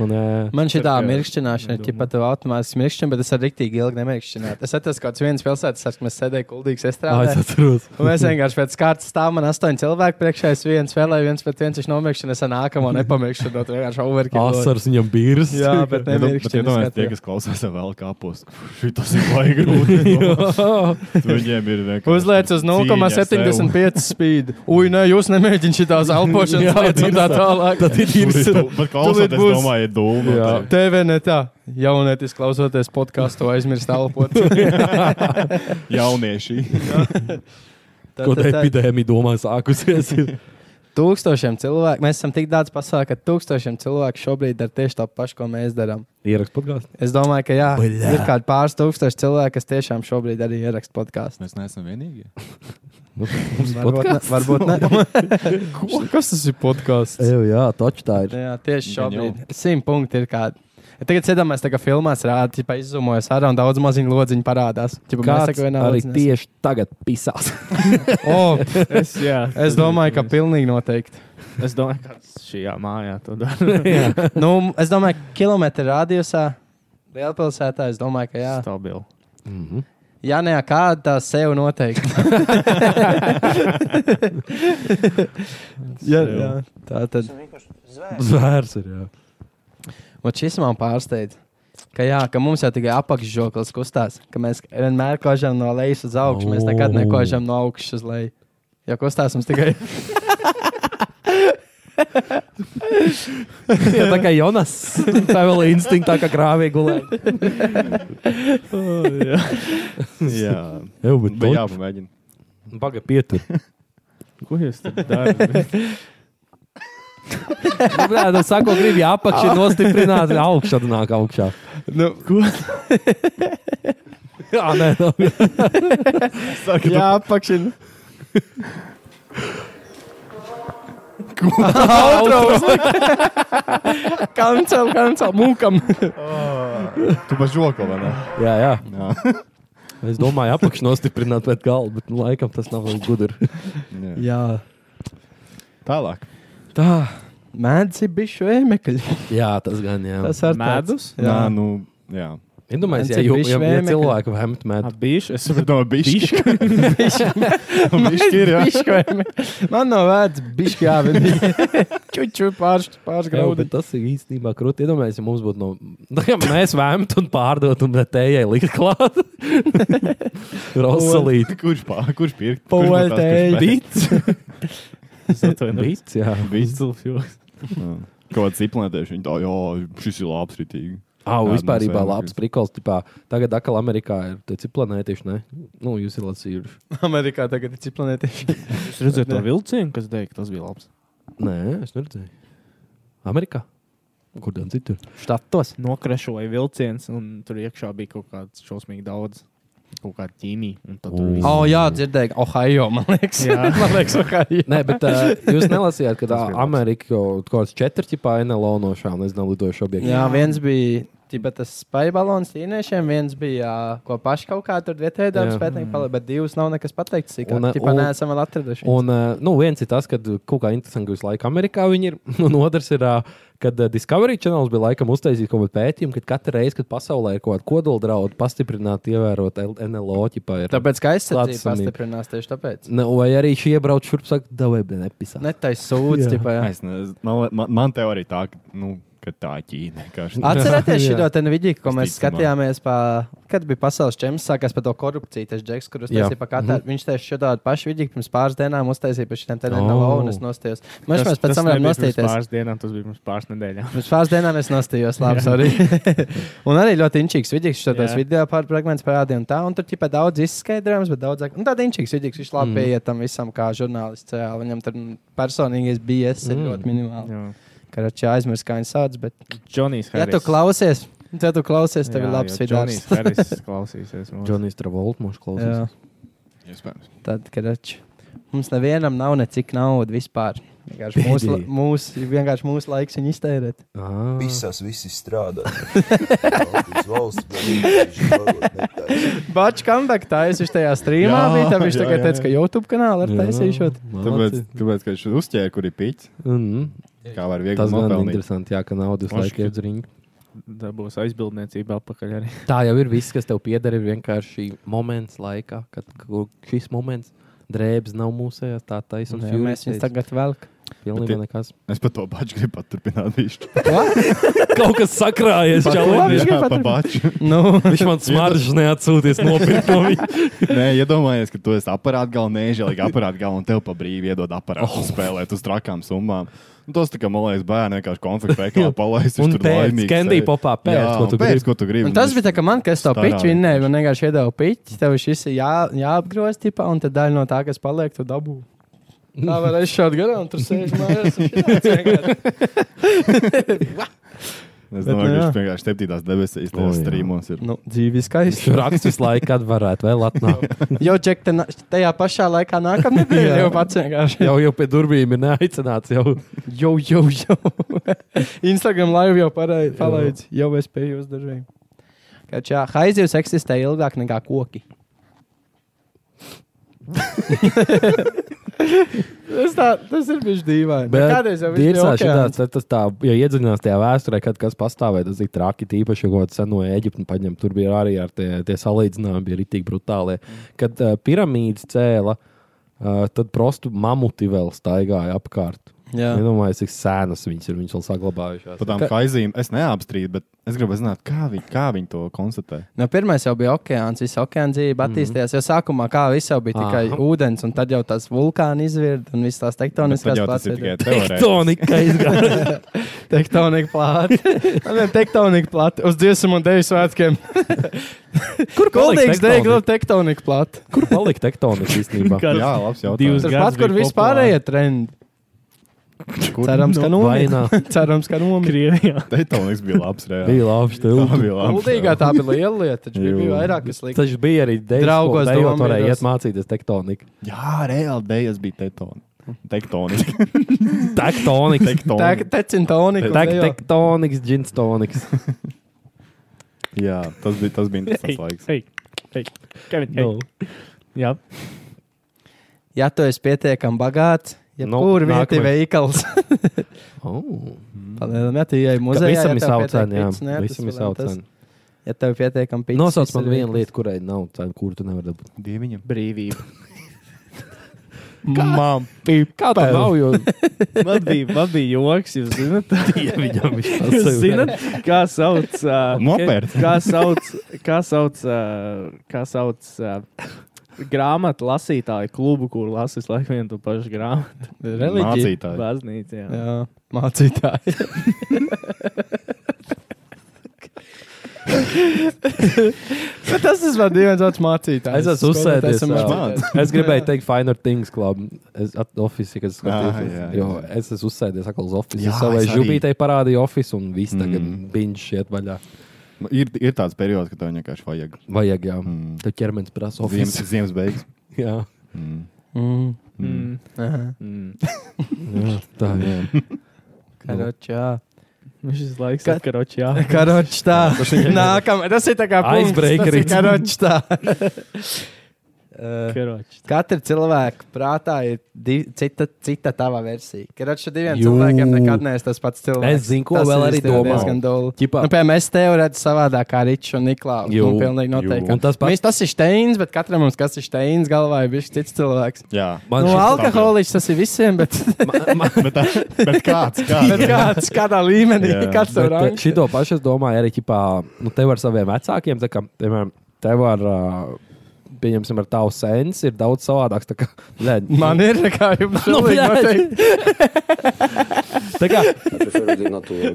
Speaker 7: un, jā.
Speaker 1: Man šī tā
Speaker 8: Tad, jā,
Speaker 1: mirkšķināšana ir pat automātiski mirkšķina, bet es arī rīktīgi ilgi nemirkšķināju. Es atceros, kāds viens pilsētas, kas man sēdēja kuldīgs
Speaker 7: Ah, es
Speaker 1: estrādē.
Speaker 7: atceros.
Speaker 1: Un mēs vienkārši pēc kārtas stāvam, man astoņi cilvēki priekšā, es viens spēlēju, viens pēc viens, viņš nomirkšķina, es ar nākamo nepamirkšķinu, tad vienkārši overkill.
Speaker 7: Asaras viņam bīras.
Speaker 1: Jā, bet
Speaker 2: Ne, bet, bet, ja
Speaker 1: nemirkšķina.
Speaker 2: domājat, tie,
Speaker 1: skatījos.
Speaker 2: kas klausās vēl kāpos, tas ir baigi grūti. Viņiem ir vienkārši.
Speaker 1: Uzliec uz 0,75 spīdu. Ui, nē, jūs nemēģiniet šīs elpošanas lietas un tā tālāk. Tad ir
Speaker 2: Bet klausoties,
Speaker 1: Tūlīt būs.
Speaker 2: domāju, ir dūma.
Speaker 7: Jā.
Speaker 1: TV ne tā. Jaunietis klausoties podkāstu, aizmirst elpot.
Speaker 2: Jaunieši.
Speaker 1: Tā,
Speaker 7: Kaut
Speaker 1: tā,
Speaker 7: kā
Speaker 1: tā.
Speaker 7: epidēmija domā sākusies. ir.
Speaker 1: Tūkstošiem cilvēku, mēs esam tik daudz pasākumu, ka tūkstošiem cilvēku šobrīd dara tieši to pašu, ko mēs darām.
Speaker 7: Ieraksts podkāstā.
Speaker 1: Es domāju, ka jā,
Speaker 7: Bļā.
Speaker 1: ir kaut kādi pāris tūkstoši cilvēku, kas tiešām šobrīd arī ieraksta podkāstu.
Speaker 2: Mēs neesam vienīgie.
Speaker 7: Nu,
Speaker 1: Varbūt, ne,
Speaker 7: podcasts?
Speaker 1: varbūt ne. Kas tas ir podkāsts?
Speaker 7: Jā, taču tā ir.
Speaker 1: Jā, tieši
Speaker 2: Gan
Speaker 1: šobrīd. Simt punkti ir kādi. Ja Tagad iedomājieties, kā filmās rāda, ja izzumojas ārā un daudz maziņu lodziņu parādās. Ķipa, mēs
Speaker 7: Kāds
Speaker 1: tā kā vienā
Speaker 7: arī
Speaker 1: lodziņā
Speaker 7: tieši tagad pisās.
Speaker 1: esam. O,
Speaker 8: Es, jā,
Speaker 1: es domāju, ka pilnīgi noteikti.
Speaker 8: es domāju, ka šajā mājā to dara.
Speaker 1: Nu, es domāju, ka kilometra radiusā lielpilsētā es domāju, ka jā.
Speaker 8: Stabilu.
Speaker 1: Jā, nē, kāda tā sev noteikti. jā, jā, tā tad.
Speaker 7: Zvērs ir. Jā.
Speaker 1: Un šis man pārsteidz. Ka, jā, ka mums jau tikai apakšžoklis kustās, ka mēs vienmēr kožam no lejas uz augšu. Mēs nekad nekožam no augšas uz leju. Jo kustās mums tikai
Speaker 7: Jā, tā kā Jonas. Tā vēl ir instinktā, kā krāvīgi gulēt.
Speaker 2: Jā,
Speaker 7: Jā,
Speaker 2: bet jā, pamēģini.
Speaker 7: Baga pietur.
Speaker 8: Ko jūs tur darāt?
Speaker 7: Nu, jā, nu, sako, gribi apakšā nostiprināt, augšā nāk augšā.
Speaker 2: Nu, ko?
Speaker 7: Jā, nē, no,
Speaker 2: Saka, jā, apakšina.
Speaker 1: kancel, kancel, mūkam.
Speaker 2: Tu pa žoko, vai ne?
Speaker 7: jā, jā.
Speaker 2: Jā.
Speaker 7: Es domāju, apakšā nostiprināt pret galvu, bet nu, laikam tas nav vēl gudri.
Speaker 2: jā.
Speaker 1: Jā,
Speaker 2: Tālāk.
Speaker 1: tā. Mēdzi bišu ēmekļi.
Speaker 7: Jā, tas gan jā.
Speaker 1: Tas ar
Speaker 8: Medus?
Speaker 2: Jā,
Speaker 1: Jā.
Speaker 2: nu, jā.
Speaker 7: Iedomājieties, ja,
Speaker 1: Viens ir
Speaker 7: jū-
Speaker 1: bišķi
Speaker 7: ja, ja
Speaker 1: vēmekļi.
Speaker 7: cilvēku vēmt mēt.
Speaker 8: Abīši.
Speaker 2: Bet
Speaker 8: Es saprotu,
Speaker 2: no bišķi. Bišķi ir, jā.
Speaker 1: Bišu ēmekļi. Man nav vērts bišu jāvedīt. Čuču pārš,
Speaker 7: Jā, bet
Speaker 1: pāršgraudīt.
Speaker 7: tas ir īstenībā krūti. Iedomājieties, ja mums būtu no. Tā kā mēs vēmt un pārdot un tējai likt klāt. Rosalīte.
Speaker 2: Kurš, pā, kurš pirkt?
Speaker 1: Poetei.
Speaker 2: Bits.
Speaker 8: es atvainojos.
Speaker 7: Bits, jā.
Speaker 2: Bits.
Speaker 8: Izdilf joks.
Speaker 2: Kaut kāds implantēšana. Viņi tā, jā, šis ir labs ritīgi.
Speaker 7: Ah,
Speaker 2: Jā,
Speaker 7: vispār
Speaker 2: mēs
Speaker 7: bija
Speaker 2: varam
Speaker 7: labs
Speaker 2: pirkt.
Speaker 7: prikals. Tipā, tagad atkal Amerikā ir tie ciklonētieši, ne? Nu, jūs esat lasījuši.
Speaker 1: Amerikā tagad ir ciplanētieši.
Speaker 8: Jūs redzat to vilcienu, kas deig, tas bija labs.
Speaker 7: Nē, es neredzēju. Amerikā? Kur gan citur?
Speaker 1: Štatos.
Speaker 8: Nokrešoja vilciens, un tur iekšā bija kaut kāds šausmīgi daudz. Kaut kā ķīmija. Un tad
Speaker 7: Ū.
Speaker 8: tur viss.
Speaker 1: O, oh, jā, dzirdēju, Ohio, man liekas.
Speaker 8: Jā.
Speaker 1: man liekas, Ohio.
Speaker 7: Nē, bet uh, jūs nelasījāt, ka tā
Speaker 8: Tas bija labs.
Speaker 7: Amerika kaut kāds četrķipā NLO no šām nezinu lidojušu objektu.
Speaker 1: Jā, viens bija tipa, tas spaibalons tīniešiem, viens bija, ā, ko paši kaut kā tur vietējā dabas
Speaker 7: Jā.
Speaker 1: pētnieki palika, bet divus nav nekas pateikts. Kā,
Speaker 7: Un,
Speaker 1: un,
Speaker 7: ā,
Speaker 1: tipa,
Speaker 7: un-
Speaker 1: un, neesam vēl atraduši. Un,
Speaker 7: Un uh, nu, viens ir tas, ka kaut kā interesanti, ka visu laiku Amerikā viņi ir. Un otrs ir, uh, kad uh, Discovery Channel bija laikam uztaisījis kaut kādu pētījumu, ka katra reize, kad pasaulē ir kaut kāda kodola draudu, pastiprināt, ievērot L- NLO ķipā. Ir.
Speaker 1: tāpēc, ka aizsardzība
Speaker 7: klātesamība.
Speaker 1: pastiprinās tieši tāpēc.
Speaker 7: Ne, vai arī šī iebrauc šurp, saka, dabūj, bet nepisā. Ne.
Speaker 1: Netais sūds,
Speaker 7: Jā.
Speaker 1: tipā. jā.
Speaker 2: Es nezinu, man, li- man, man teorija tā, ka, nu, ka tā Ķīna. vienkārši.
Speaker 1: Atcerieties šo
Speaker 7: Jā.
Speaker 1: te video, ko mēs
Speaker 2: Uzticamāk.
Speaker 1: skatījāmies, pa, kad bija pasaules čempions, sākās par to korupciju. Tas Džeks, kurš
Speaker 7: Jā. Mhm.
Speaker 1: taisīja pa katru, mm -hmm. viņš teica šo tādu pašu video, pirms pāris dienām uztaisīja par šiem tādiem
Speaker 7: Oh.
Speaker 1: oh. un es nostājos. Mēs mēs pēc tam varam
Speaker 8: nebija pirms
Speaker 1: nostīties.
Speaker 8: Pāris dienām, tas bija pirms pāris nedēļām.
Speaker 1: Pirms pāris dienām es nostājos, labi. sorry. un arī ļoti inčīgs vidīgs, šo tās
Speaker 8: Jā.
Speaker 1: video pār fragments parādīja. Un, tā, un tur tika daudz izskaidrojums, bet daudz. Un tāda inčīgs vidīgs, viņš labi
Speaker 7: Mm.
Speaker 1: pieiet tam visam, kā žurnālists. Jā, viņam tur mm, personīgais bijis mm.
Speaker 7: Mm.
Speaker 1: ļoti minimāli.
Speaker 8: Jā.
Speaker 1: Karačs aizmirst, kā viņš sauc. Bet,
Speaker 8: Džonijs
Speaker 1: ja
Speaker 8: Harijs.
Speaker 1: tu klausies, tad tu klausies, tev ir labs vidīgs.
Speaker 8: Džonijs Harijs klausīsies. mūs.
Speaker 7: Džonijs Travolta mums klausās.
Speaker 1: Jā,
Speaker 2: Iespējams.
Speaker 1: tad karačs. Mums nevienam nav necik naudas vispār. Vienkārši mūsu, la-
Speaker 7: Pēdējie.
Speaker 1: mūsu, vienkārši mūsu laiks viņu iztērēt.
Speaker 7: Ah.
Speaker 4: Visās visi strādā. Uz valsts monētas
Speaker 1: Bačs comeback taisīs tajā streamā.
Speaker 2: Jā,
Speaker 1: bija, tad viņš
Speaker 2: jā,
Speaker 1: tagad
Speaker 2: jā,
Speaker 1: teica, ka YouTube kanālā ir taisīšot.
Speaker 2: Tāpēc,
Speaker 7: Tāpēc...
Speaker 2: tāpēc, ka viņš uzķēra, kur ir pīķis,
Speaker 7: Mm,
Speaker 2: kā var viegli
Speaker 7: tas gan
Speaker 2: nopelnīt.
Speaker 7: interesanti, jā, ka naudas
Speaker 2: Moški.
Speaker 7: laika iedzriņa.
Speaker 8: Tā būs aizbildniecība apakaļ arī.
Speaker 7: Tā jau ir viss, kas tev pieder, ir vienkārši moments laikā, kad kaut- šis moments drēbes nav mūsējās, tā taisa un
Speaker 1: Nu, Jā, Mēs viņus
Speaker 7: tagad
Speaker 1: tagad velkam.
Speaker 7: pilnīgi nekas.
Speaker 2: Es pat to pašu gribu paturpināt. Viņš
Speaker 7: Kaut kas sakrājies,
Speaker 1: čalim. viņš grib
Speaker 2: to
Speaker 1: paturpināt.
Speaker 2: pašu.
Speaker 1: Nu,
Speaker 7: Viņš man smaržas neatsūties nopirkt no viņa.
Speaker 2: Nē, iedomājies, ka tu esi aparāta galā, nežēlīgi aparāta galā, un tev pa brīvi iedod aparātu oh. spēlēt uz trakām summām. Un tos tā kā malējas bērni vienkārši konflikta veikalā palaist.
Speaker 7: Un
Speaker 2: viņš tur
Speaker 7: pērc,
Speaker 2: laimīgs
Speaker 7: candy
Speaker 2: sēž.
Speaker 7: popā pērc,
Speaker 2: Jā,
Speaker 7: ko tu
Speaker 2: un pērc,
Speaker 7: gribi.
Speaker 2: ko tu gribi.
Speaker 1: un tas bija tā, ka man, kas to
Speaker 2: Starā.
Speaker 1: piču vinnēja, man vienkārši iedeva piču. Tev šis ir jā, jāapgroz, tipā, un tad daļa no tā, kas paliek, tu dabū. Tā var aizšaut garām, tur sēž mājās. un šitāds vienkārši.
Speaker 2: Es
Speaker 1: Bet, nu,
Speaker 2: domāju, ka
Speaker 1: jā.
Speaker 2: viņš vienkārši septītās debesīs,
Speaker 7: O,
Speaker 2: tajos
Speaker 7: Oh, jā.
Speaker 2: strīmos ir.
Speaker 1: Nu, dzīvi
Speaker 7: Viņš
Speaker 1: skaisti.
Speaker 7: raksta visu laiku, kad varētu vēl atnākt.
Speaker 1: Jo, Džek, te na- tajā pašā laikā nākamā
Speaker 7: Jā.
Speaker 1: nedēļa jau pats vienkārši.
Speaker 7: Jau, jau pie durvīm ir neaicināts. Jau.
Speaker 1: Jo, jo, jo. Instagram live jau parai- palaidz, jau es pēju uz dažiem. Kā čā, haizivs eksistē ilgāk nekā koki. tas, tā, tas ir bijis dīvaini. Bet kādreiz jau bija
Speaker 7: Dīrsā šitās, tad tas tā, ja iedziļinās tajā vēsturē, kad kas pastāvēja, tas ir traki, tīpaši, ja kaut kādu seno Eģiptu paņem, tur bija arī ar tie, tie salīdzinājumi, bija ritīgi eh, brutāli. eh, Kad uh, piramīdas cēla, uh, tad prostu mamuti vēl staigāja apkārt.
Speaker 1: Jā,
Speaker 7: Iedomājieties, cik sēnas viņas ir. Viņas vēl saglabājušās.
Speaker 2: Par tām haizīm es neapstrīdu, bet es gribu zināt, kā viņi, kā viņi to konstatē.
Speaker 1: no Nu, pirmais jau bija okeāns, visa okeāna dzīve attīstījās. Jo sākumā kā viss jau bija tikai
Speaker 7: Aha.
Speaker 1: ūdens, un tad jau tās vulkāni izvirda un visas tās
Speaker 2: Tad
Speaker 1: tektoniskās
Speaker 2: jau tas ir tikai teorētiski.
Speaker 7: Tektonika izgāja.
Speaker 1: Tektonika plāta. Viņam ir tektonika plāta uz dziesmu un dēļu svētkiem.
Speaker 7: Kur
Speaker 1: Kuldīgs dēļ
Speaker 7: tektonika?
Speaker 1: grib tektonika plāta.
Speaker 7: Kur palika tektonika īstenībā?
Speaker 8: Kā-
Speaker 2: Jā, labs
Speaker 8: Divas
Speaker 2: jautājums.
Speaker 1: Tas
Speaker 8: gads
Speaker 1: pats, kur
Speaker 8: bija
Speaker 1: vispārējie trendi.
Speaker 2: Kur?
Speaker 1: Cerams, ka
Speaker 7: Vainā.
Speaker 1: nomira. Cerams, ka nomira.
Speaker 8: Krievijā.
Speaker 2: Tektoniks bija labs. reāli.
Speaker 7: Bija labi.
Speaker 2: Tā
Speaker 7: stilti.
Speaker 2: bija labs,
Speaker 1: Kuldīgā tā bija liela lieta, taču bija bija
Speaker 2: Jū.
Speaker 1: vairāk, kas likās.
Speaker 7: Tas bija arī dēļ.
Speaker 1: Draugos
Speaker 7: jau
Speaker 1: domāju,
Speaker 7: varēja
Speaker 1: dos.
Speaker 7: iet mācīties tektoniku.
Speaker 2: Jā, reāli dēļas bija tektoni.
Speaker 1: Mm.
Speaker 2: Tektoniski.
Speaker 7: Tektoniks.
Speaker 2: Tektoni.
Speaker 1: Tecintonika.
Speaker 7: Tek tektoniks, džinstoniks.
Speaker 2: Jā, tas bija, tas bija interesants laiks.
Speaker 8: Hei, hei, Kevin, hei.
Speaker 7: No.
Speaker 8: Jā,
Speaker 1: Ja tu esi pietiekami bagāts, ja
Speaker 7: Nu,
Speaker 1: nu, kur vieti
Speaker 7: nākamais.
Speaker 1: veikals.
Speaker 7: Oh.
Speaker 1: Palielam, ja tu ej muzejā.
Speaker 7: Visam
Speaker 1: ja
Speaker 7: ir
Speaker 1: tev
Speaker 7: savu
Speaker 1: pietiek
Speaker 7: cenu. jā.
Speaker 1: picis, nē,
Speaker 7: Visam
Speaker 1: tas
Speaker 7: ir
Speaker 1: vēl
Speaker 7: savu
Speaker 1: tas.
Speaker 7: cenu.
Speaker 1: Ja tev pietiekami pīcis.
Speaker 7: Nosauc man vienu lietu, kurai nav, tā, kuru tu nevari dabūt.
Speaker 2: Dieviņam.
Speaker 8: brīvība.
Speaker 2: Mam.
Speaker 7: Kā tā nav? Jo
Speaker 8: Man bija, man bija joks, jūs zināt,
Speaker 7: viņam viņš tas
Speaker 8: jūs zināt kā sauc. Uh,
Speaker 2: Mopeds.
Speaker 8: Kā sauc, kā sauc, uh, kā sauc uh, grāmatu lasītāju klubu, kur lasīs laiku vienu to pašu grāmatu.
Speaker 1: Reliģija.
Speaker 2: Mācītāji.
Speaker 8: Baznīca, jā.
Speaker 1: Jā, mācītāji. Bet tas ir vēl viens otrs mācītājs.
Speaker 7: Es esmu uzsēdies, jā.
Speaker 1: mācītājs.
Speaker 7: Es gribēju teikt, Finer Things Club. Es atofisi, kad
Speaker 2: Ah,
Speaker 7: skatījos.
Speaker 2: jā, jā.
Speaker 7: Jo es esmu uzsēdies atkal uz office.
Speaker 2: Jā,
Speaker 7: Es savai
Speaker 2: es arī.
Speaker 7: žubītei parādīju office un viss tagad
Speaker 2: Mm.
Speaker 7: biņš iet vaļā.
Speaker 2: Nu, Ir, ir tāds periods, kad tev vienkārši vajag.
Speaker 7: Vajag, jā.
Speaker 2: Mm.
Speaker 7: Tev ķermenis prasa
Speaker 2: Ziemas,
Speaker 7: office.
Speaker 2: ziemas beigas.
Speaker 7: Jā.
Speaker 2: Mm.
Speaker 1: Mm.
Speaker 8: Mm.
Speaker 1: Aha.
Speaker 8: Mm.
Speaker 7: jā, tā ir.
Speaker 1: Karoč, jā.
Speaker 8: mm. Šis laiks,
Speaker 1: Kad-
Speaker 8: kad karoči, jā.
Speaker 7: Ah.
Speaker 1: Karoč, tā. Nākamais. Ah, Tas ir tā kā punkts,
Speaker 7: Icebreakeris.
Speaker 1: tas ir Karoč, tā. Eh,
Speaker 8: Karoči.
Speaker 1: Katra cilvēka prātā ir div, cita, cita tava versija. Kad ar šiem diviem Jū.
Speaker 7: Jū.
Speaker 1: cilvēkiem nekad neesmu tas pats cilvēks.
Speaker 7: Es zinu, ko
Speaker 1: Tas
Speaker 7: vēl
Speaker 1: ir
Speaker 7: arī
Speaker 1: īstenībā
Speaker 7: domāju.
Speaker 1: diezgan doli.
Speaker 7: Ķipā.
Speaker 1: Nu, piemēram, es tevi redzu savādāk kā Ričs un Niklaus.
Speaker 7: Jū.
Speaker 1: Nu, pilnīgi
Speaker 2: Jū.
Speaker 1: noteikti.
Speaker 7: Un tas pats-
Speaker 1: Mēs, tas ir Steins, bet katram mums kas ir Steins galvā, ir bijis cits cilvēks.
Speaker 2: Jā.
Speaker 7: Man
Speaker 1: Nu,
Speaker 7: šis-
Speaker 1: alkoholiķis tas ir visiem, bet,
Speaker 2: Bet, tā, bet kāds? kāds?
Speaker 1: bet kāds, kādā līmenī,
Speaker 2: Jā.
Speaker 1: kāds tev
Speaker 7: Bet, eh,
Speaker 1: rāda?
Speaker 7: Šito pašu es domāju, arī ķipā, nu, tev ar saviem vecākiem, tā kā, piemēram, tev ar, ā, pieņemsim, ar tavu sensi ir daudz savādāks. tā Kā, Nē,
Speaker 1: Man ir kā jums
Speaker 7: eh, Nu,
Speaker 1: pilnīgi
Speaker 7: bļaļ.
Speaker 1: noteikti.
Speaker 7: tā kā,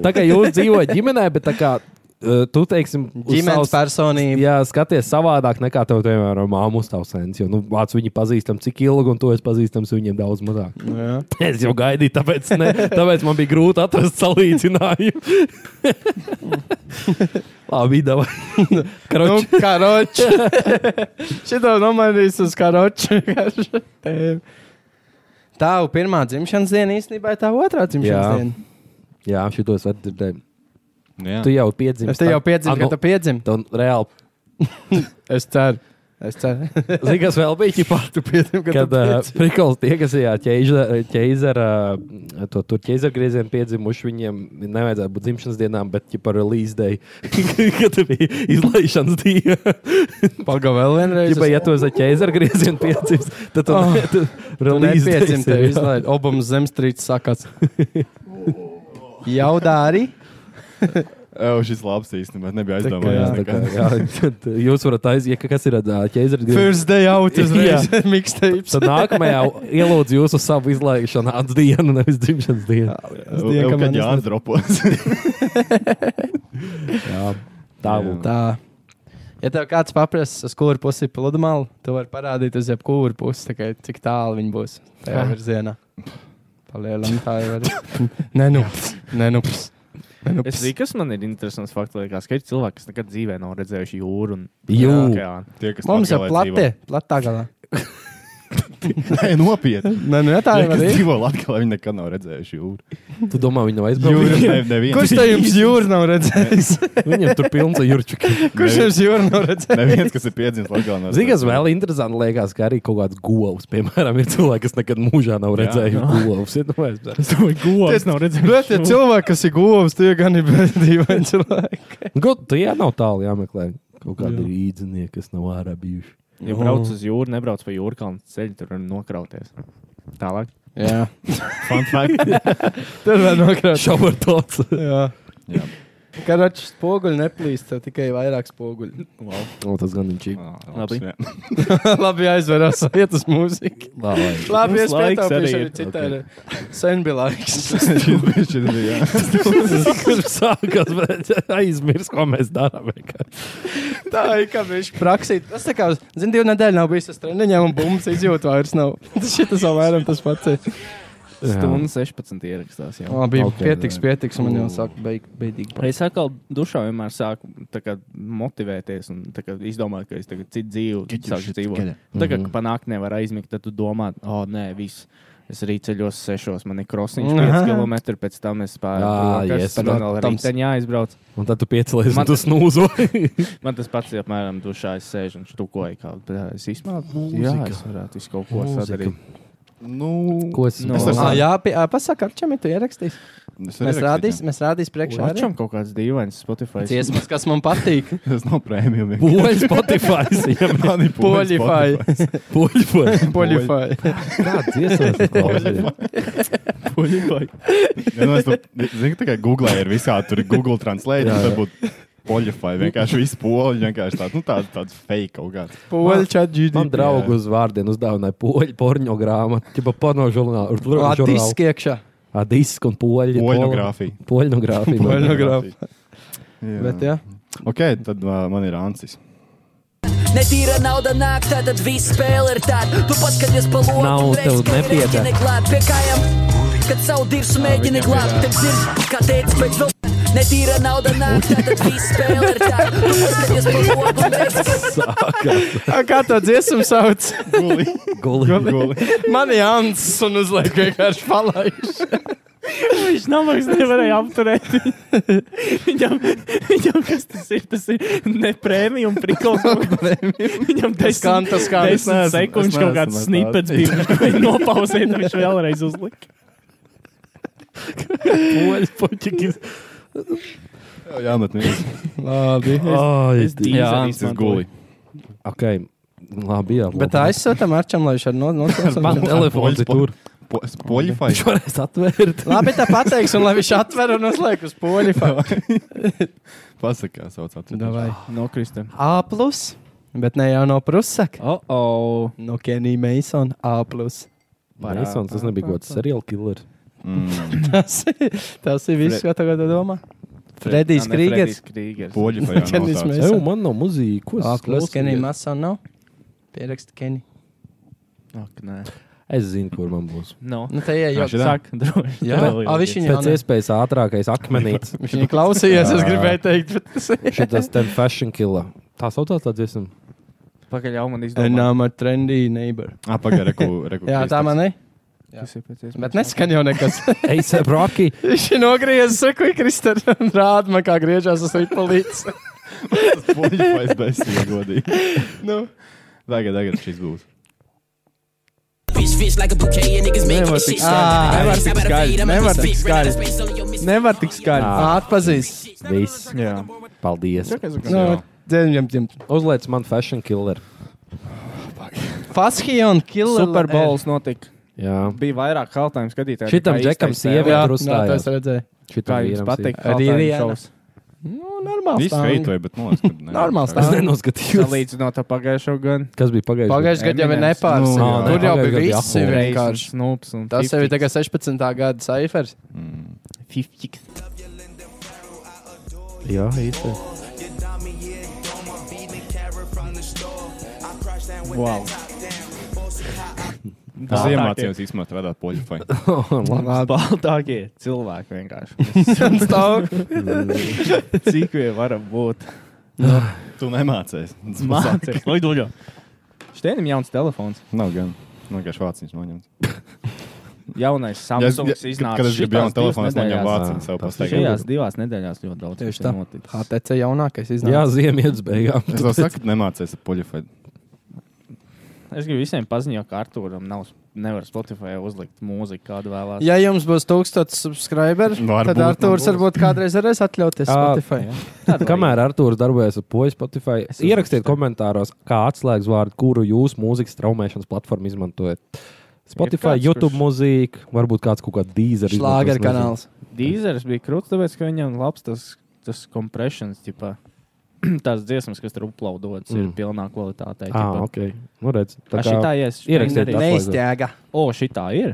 Speaker 7: tā kā jūs dzīvojat ģimenē, bet tā kā eh, tu teiksim, uz
Speaker 1: Ģimenes
Speaker 7: savas-
Speaker 1: personība.
Speaker 7: Jā, skaties savādāk nekā tev, piemēram, māmu uz tavu sensi. Jo, nu, vāc viņu pazīstam cik ilgi, un to es pazīstams viņiem daudz mazāk.
Speaker 1: Nu, Jā.
Speaker 7: Es jau gaidīju, tāpēc, ne, tāpēc man bija grūti atrast salīdzinājumu. Labi, dāvā.
Speaker 1: Nu,
Speaker 7: Karoči,
Speaker 1: karoč. Šito nomainīs uz karoču. Tā jau pirmā dzimšanas diena īstenībā ir tā otrā dzimšanas
Speaker 7: Jā.
Speaker 1: jā. diena.
Speaker 7: jā, šito es varu dzirdēt.
Speaker 2: Jā.
Speaker 7: Tu jau piedzīvi.
Speaker 1: Es te jau piedzimu, ka tu piedzim.
Speaker 7: Tu reāli.
Speaker 1: Es ceru. Es ceru.
Speaker 7: Zini, kas vēl bija ķipā?
Speaker 1: tu piedzim, ka
Speaker 7: Kad
Speaker 1: tu
Speaker 7: uh,
Speaker 1: piedzim.
Speaker 7: Prikls tie, kas ir ķēzara, to tur ķēzara griezienā piedzimuši, viņiem nevajadzētu būt dzimšanas dienām, bet jau par release day, kad bija izlaišanas diena.
Speaker 1: Pagaidām vēl vienreiz.
Speaker 7: Ķipā, ja tu esi ķēzara griezienā piedzimis, tad tu,
Speaker 1: Oh.
Speaker 7: oh, tu release day.
Speaker 1: Nepiedzim tev izlaid. Obams zemstrīts sakats. Jaudā arī.
Speaker 2: Ew, šis labs īstenībā nebija
Speaker 1: Tā kā,
Speaker 2: aizdomājies.
Speaker 1: jā,
Speaker 2: nekad.
Speaker 7: Jā, tad jūs varat aiziet, ka kas ir ā, ķēzara griezienā.
Speaker 1: First day out uzreiz. Mixtapes.
Speaker 7: Tad nākamajā ielūdzu jūsu savu izlaišanas dienu, nevis dzimšanas dienu.
Speaker 1: Es
Speaker 2: Ew,
Speaker 1: dienu, ka man
Speaker 2: Kad Jānis dropos.
Speaker 7: Jā, tā
Speaker 2: Jā.
Speaker 7: būtu.
Speaker 1: Tā. Ja tev kāds paprasa, uz kuru pusi ir pludmale, tu vari parādīt uz jebkuru pusi, tikai cik tālu viņi būs tajā
Speaker 7: Ah.
Speaker 1: virzienā. Palielam, tā jau ir. Nenups, nenups.
Speaker 8: Es zinu, kas man ir interesants fakts, liekas, ka ir cilvēki, kas nekad dzīvē nav redzējuši jūru. Un...
Speaker 7: Jū.
Speaker 8: Okeānu.
Speaker 2: Tie, kas
Speaker 1: Mums ir
Speaker 2: Latgalē
Speaker 1: plate, platā galā.
Speaker 2: dzīvo- Nē, nopietni.
Speaker 1: Nē, nu, ja tā
Speaker 2: Tie,
Speaker 1: jau
Speaker 2: kas
Speaker 1: ir.
Speaker 2: dzīvo Latvijā, viņi nekad nav redzējuši jūru.
Speaker 7: Tu domā, viņi nav
Speaker 2: Jūra
Speaker 7: aizbraukuši?
Speaker 2: ne, neviens.
Speaker 1: Kurš te jums jūras nav redzējis?
Speaker 7: Viņam tur pilns ar jurčukiem.
Speaker 1: Kurš jums jūras nav redzējis?
Speaker 2: Neviens, kas ir piedzimis Latvijā.
Speaker 7: Zini, kas vēl interesanti, liekas, ka arī kaut kāds govs, piemēram, ir cilvēki, kas nekad mūžā nav
Speaker 2: Jā.
Speaker 7: redzējuši govs. Ir, nu, es-
Speaker 8: Govs nav redzējis.
Speaker 1: Bet tie cilvēki, kas ir govs, tie gan ir dīvaini cilvēki.
Speaker 7: Go- Tu jā, nav tālu jāmeklē. Kaut kādi īdzinieki, kas nav ārā bijuši.
Speaker 8: Ja brauc uz jūru, nebrauc pa jūrkalnu ceļu, tur var nokrauties. Tālāk.
Speaker 1: Jā,
Speaker 2: Fun fact.
Speaker 1: tur var nokrāpt.
Speaker 7: Šāver tāds.
Speaker 1: Jā,
Speaker 2: Jā.
Speaker 1: Karačs spoguļi neplīst, tev tikai vairāk spoguļi.
Speaker 7: O, tas gan viņš ir.
Speaker 2: Labi.
Speaker 1: Labi, aizveras vietas mūzika. Labi,
Speaker 2: Mums
Speaker 1: es
Speaker 2: laiks arī
Speaker 1: pietaupīšu
Speaker 2: ir.
Speaker 1: arī citādi. Sen bija laiks.
Speaker 2: Šis bija- šis bija. jā.
Speaker 7: Kur sākas, bet aizmirst, ko mēs darām. vienkārši.
Speaker 1: Tā ir kā viņš praksīt. Tas tā kā, zini, divu nedēļu nav bijis uz treniņiem un bumbiņas izjūta vairs nav. Tas šitas vēl vairāk tas pats. ir.
Speaker 7: Jā.
Speaker 8: Stundu 16 ierakstās. Jau.
Speaker 1: Labi,
Speaker 7: Ok,
Speaker 1: okay, pietiks,
Speaker 7: jā.
Speaker 1: pietiks, un man jau sāk beig, beidīgi.
Speaker 8: Es atkal dušā vienmēr sāku tā kā, motivēties un tā kā izdomāju, ka es tagad citu dzīvu sāku dzīvot. Tagad, kad panākt nevar aizmigt, tad tu domā, o, oh, nē, viss. Es arī ceļos sešos, man ir krosiņš 5 km, pēc tam es
Speaker 7: Jā,
Speaker 8: pārēju.
Speaker 7: yes.
Speaker 8: tad man vēl
Speaker 1: Protams.
Speaker 8: rītaņā aizbrauc.
Speaker 7: Un tad tu piecelies,
Speaker 8: Man-
Speaker 7: un tu snūzo.
Speaker 8: Man tas pats ir apmēram dušā, es sēžu un štukoju. Kā, jā, es izmantoju, jā, es varētu visu kaut ko
Speaker 7: Mūzika.
Speaker 8: sadarīt.
Speaker 2: Nu,
Speaker 7: Ko es
Speaker 8: No.
Speaker 7: no.
Speaker 1: Ah, jā, pie- ā, pasaka, ar čem tu ierakstīsi?
Speaker 2: es
Speaker 1: Mēs
Speaker 2: ierakstīju.
Speaker 1: rādīsim, mēs rādīsim priekšā. arī.
Speaker 8: Šāčam kaut kāds dīvains Spotify.
Speaker 1: Dziesmas, kas man patīk.
Speaker 2: Tas nav prēmijums.
Speaker 7: Poļi Spotify.
Speaker 2: Mani poļi
Speaker 1: Poļifai.
Speaker 7: Poļi Spotify.
Speaker 1: Poļifai.
Speaker 7: Kāda dziesma?
Speaker 2: Poļifai. Ja, nu, es to- Zini, ka tikai Google ir visā, tur ir Google Translate,
Speaker 7: Jā,
Speaker 2: un
Speaker 7: jā.
Speaker 2: tad būtu poļifai. Vienkārši viss poļi, vienkārši tāds, nu, tāds, tāds fake kaut kāds.
Speaker 1: Poļčā ģidī.
Speaker 7: Man draugu uz vārdiem uzdāvināja poļu porno grāmatu. Tipa porno žurnālu.
Speaker 1: Latvijas iekšā.
Speaker 7: Adisk un poļu.
Speaker 2: Poļnogrāfija.
Speaker 7: Poļnogrāfija.
Speaker 1: Poļnogrāfija.
Speaker 2: Jā.
Speaker 1: Bet, jā.
Speaker 2: Ok, tad uh, man ir Ansis.
Speaker 9: Netīra nauda nāk, tātad viss spēle ir tāda. Tu paskaties pa logu,
Speaker 7: Nav
Speaker 9: un redz,
Speaker 7: tev
Speaker 9: ka
Speaker 7: nepieder.
Speaker 9: rēķini glāb. Pie kājām, kad savu dirsu mēģini glābt, tad dzird, kā teica pēc vēl. Netīra nauda nāk, tātad viss spēle ir tāda. Tu paskaties pa logu, un redz, ka
Speaker 1: Ā, Kā to dziesmu sauc?
Speaker 2: Guli.
Speaker 7: Gulīgi.
Speaker 2: Guli.
Speaker 1: Man ir Ants un uzliek vienkārši palaiž.
Speaker 8: Viņš namags nevarēja apturēt. viņam, viņam kas tas ir? Tas ir ne prēmija un prikals. viņam
Speaker 1: Tas
Speaker 8: desmit,
Speaker 1: skan, tas skan.
Speaker 2: Es neesmu-
Speaker 8: desmit
Speaker 2: es
Speaker 8: sekundes kaut
Speaker 2: neesmu
Speaker 8: kāds
Speaker 2: ar tādu.
Speaker 8: snippets bija. Viņš bija nopauzēt, un viņš vēlreiz uzlika.
Speaker 7: Poļu poļu.
Speaker 2: Jā, bet nē,
Speaker 1: Labi.
Speaker 7: Ai,
Speaker 8: Es dīvaini
Speaker 2: Ansis
Speaker 8: izmantoju.
Speaker 2: Guli.
Speaker 7: ok. Labi, jā.
Speaker 1: Bet aizsūtām Arčam, lai viņš ar no-
Speaker 7: Man
Speaker 1: nosaucam.
Speaker 7: telefons ir tur.
Speaker 2: Po- Poļifai.
Speaker 7: Viņš varēs atvērt.
Speaker 1: Labi, tā pateiks, un lai viņš atver un uzliek uz poļu.
Speaker 2: Pasakā, sauc atcīm.
Speaker 1: Davai.
Speaker 8: Nokrista.
Speaker 1: A, plus, bet ne jau no Prusaka.
Speaker 8: O, o.
Speaker 1: No Kenija Masona A. Plus.
Speaker 7: Marisons, tas nebija gods. Serial killer.
Speaker 2: Mm.
Speaker 1: Tas, ir- tas ir viss, ko tagad domā. Fredijs Krīgers.
Speaker 8: Krīgers.
Speaker 2: Poļifai. jā, nav
Speaker 1: Kenijs
Speaker 2: tāds.
Speaker 1: Mēs-
Speaker 7: Eju, man nav muzīka. Ko
Speaker 1: A.
Speaker 7: es
Speaker 1: Plus, Kenija
Speaker 7: klausos?
Speaker 1: Masona nav. Pieraksti Kenija.
Speaker 8: Ak, nē.
Speaker 7: Es zinu, kur man būs.
Speaker 8: No.
Speaker 1: Nu, tā ir
Speaker 2: Jā,
Speaker 1: jau.
Speaker 2: šitā?
Speaker 8: Saka, droši.
Speaker 1: Jā, A, viņš viņu
Speaker 7: Pēc
Speaker 1: jau.
Speaker 7: iespējas ātrākais akmenītis.
Speaker 1: Viņš viņu klausījās, es
Speaker 7: Jā.
Speaker 1: gribēju teikt, bet tas ir.
Speaker 7: Šitas ten fashion killer. Tā saucās tā dziesma.
Speaker 8: Pagaļ jau man
Speaker 1: And
Speaker 8: izdomā.
Speaker 1: I'm a trendy neighbor.
Speaker 2: Ah, pagaidi, reku, reku.
Speaker 1: Jā, tā man ir.
Speaker 8: Kas ir pēc iespējas
Speaker 1: Bet neskan jau nekas.
Speaker 7: Eisa Rocky.
Speaker 1: Viņš ir nogriezis, saka, Kristēns, un rāda man, kā griežās uz ripolītes.
Speaker 2: Poļifai bezsīga godīgi.
Speaker 1: Nu.
Speaker 2: Tagad, tagad šis būs.
Speaker 9: bitch fish like a bouquet, and niggas making this shit.
Speaker 1: Ah, nevar tik skaļi. Nevar tik skaļi.
Speaker 8: Nevar tik skaļi.
Speaker 1: Atpazīst.
Speaker 7: Viss.
Speaker 8: Jā.
Speaker 7: Paldies.
Speaker 1: Nu, dzēņam, dzēņam.
Speaker 7: Uzliec man fashion killer.
Speaker 1: Faskija un Killer.
Speaker 8: Super Bowls notika.
Speaker 7: Jā.
Speaker 8: Bija vairāk kaltājumu skatītāju.
Speaker 7: Šitam
Speaker 8: nekā
Speaker 7: džekam
Speaker 8: īstais
Speaker 7: sieviete
Speaker 8: TV.
Speaker 1: Jā, nā,
Speaker 7: Tur uzstājās.
Speaker 1: to es redzēju.
Speaker 8: Kā
Speaker 7: Šitam
Speaker 8: jums
Speaker 7: vīram
Speaker 8: patīk?
Speaker 7: sīk.
Speaker 1: Arī Rihanna. Nu, normāls.
Speaker 2: Viss veitoja, bet man liekas, ka ne.
Speaker 1: Normāls
Speaker 7: Es
Speaker 1: tā.
Speaker 7: nenoskatījos.
Speaker 8: Salīdzinot ar pagājušo gadu.
Speaker 7: Kas bija pagājušajā?
Speaker 1: Pagājušajā gadā jau bija
Speaker 8: Eminems.
Speaker 1: nepārsvarā.
Speaker 7: Nu, nē,
Speaker 1: Tur jau
Speaker 7: pagājušajā
Speaker 1: bija
Speaker 7: gadā
Speaker 1: visi
Speaker 7: bija apmults.
Speaker 1: vienkārši.
Speaker 8: Snoops un
Speaker 1: Tas jau ir tagad 16. gada cifers.
Speaker 2: Mm.
Speaker 8: Fiftiks.
Speaker 7: Jā, īsti.
Speaker 8: Wow.
Speaker 2: Tas iemācījās īstenībā strādāt poļifai.
Speaker 8: Baltākie cilvēki vienkārši.
Speaker 1: Stāv.
Speaker 8: Cik vien varam būt?
Speaker 2: Tu nemācies. Tas
Speaker 8: Mācies. Liduļo. Štēnim jauns telefons.
Speaker 2: Nav gan. Nu, vienkārši vāciņš noņemts.
Speaker 8: Jaunais Samsungs
Speaker 2: ja-
Speaker 8: iznāca.
Speaker 2: kad es biju jaunu
Speaker 8: šitās divas
Speaker 2: telefonu, es noņēmu
Speaker 8: nedēļās.
Speaker 2: vāciņu
Speaker 7: ā,
Speaker 2: sev
Speaker 7: tas
Speaker 2: pastaigā.
Speaker 8: Šajās divās nedēļās ļoti daudz.
Speaker 1: Tieši
Speaker 8: kas
Speaker 1: tā.
Speaker 8: ir noticis.
Speaker 1: HTC jaunākais
Speaker 7: Jā,
Speaker 1: iznāca.
Speaker 7: ziemietis beigām.
Speaker 2: Es jau saku, ka nemācies ar poļifai.
Speaker 8: Es gribu visiem paziņot, ka Arthūram nav. Nevar Spotify uzlikt mūziku, kādu vēlās.
Speaker 1: Ja jums būs 1000 subscriberi,
Speaker 2: Varbūt
Speaker 1: tad Arthurs
Speaker 2: nebūs.
Speaker 1: varbūt kādreiz varēs atļauties
Speaker 7: Ā,
Speaker 1: Spotify.
Speaker 8: Tāda
Speaker 7: Kamēr Arthurs darbojas ar poļu Spotify,
Speaker 8: Es
Speaker 7: ierakstiet komentāros, kā atslēgas vārdu, kuru jūs mūzikas traumēšanas platformu izmantojat. Spotify,
Speaker 8: kāds,
Speaker 7: YouTube
Speaker 8: kurš-
Speaker 7: mūzika, varbūt kāds kaut kāds dīzeļš.
Speaker 1: Šlāgeru kanāls.
Speaker 8: Dīzers bija krūts, tāpēc, ka viņam labs tas, tas kompresions, tipā. Tās dziesmas, kas tur uploadotas, mm. ir
Speaker 7: Mm.
Speaker 8: pilnā kvalitātē.
Speaker 7: Ah,
Speaker 8: ķipa.
Speaker 7: ok. Nu, redz,
Speaker 8: Ā,
Speaker 7: tā kā
Speaker 8: šitā ies,
Speaker 7: ierakstiet
Speaker 8: arī-
Speaker 7: tā.
Speaker 1: Neizķēga.
Speaker 8: O, šitā ir.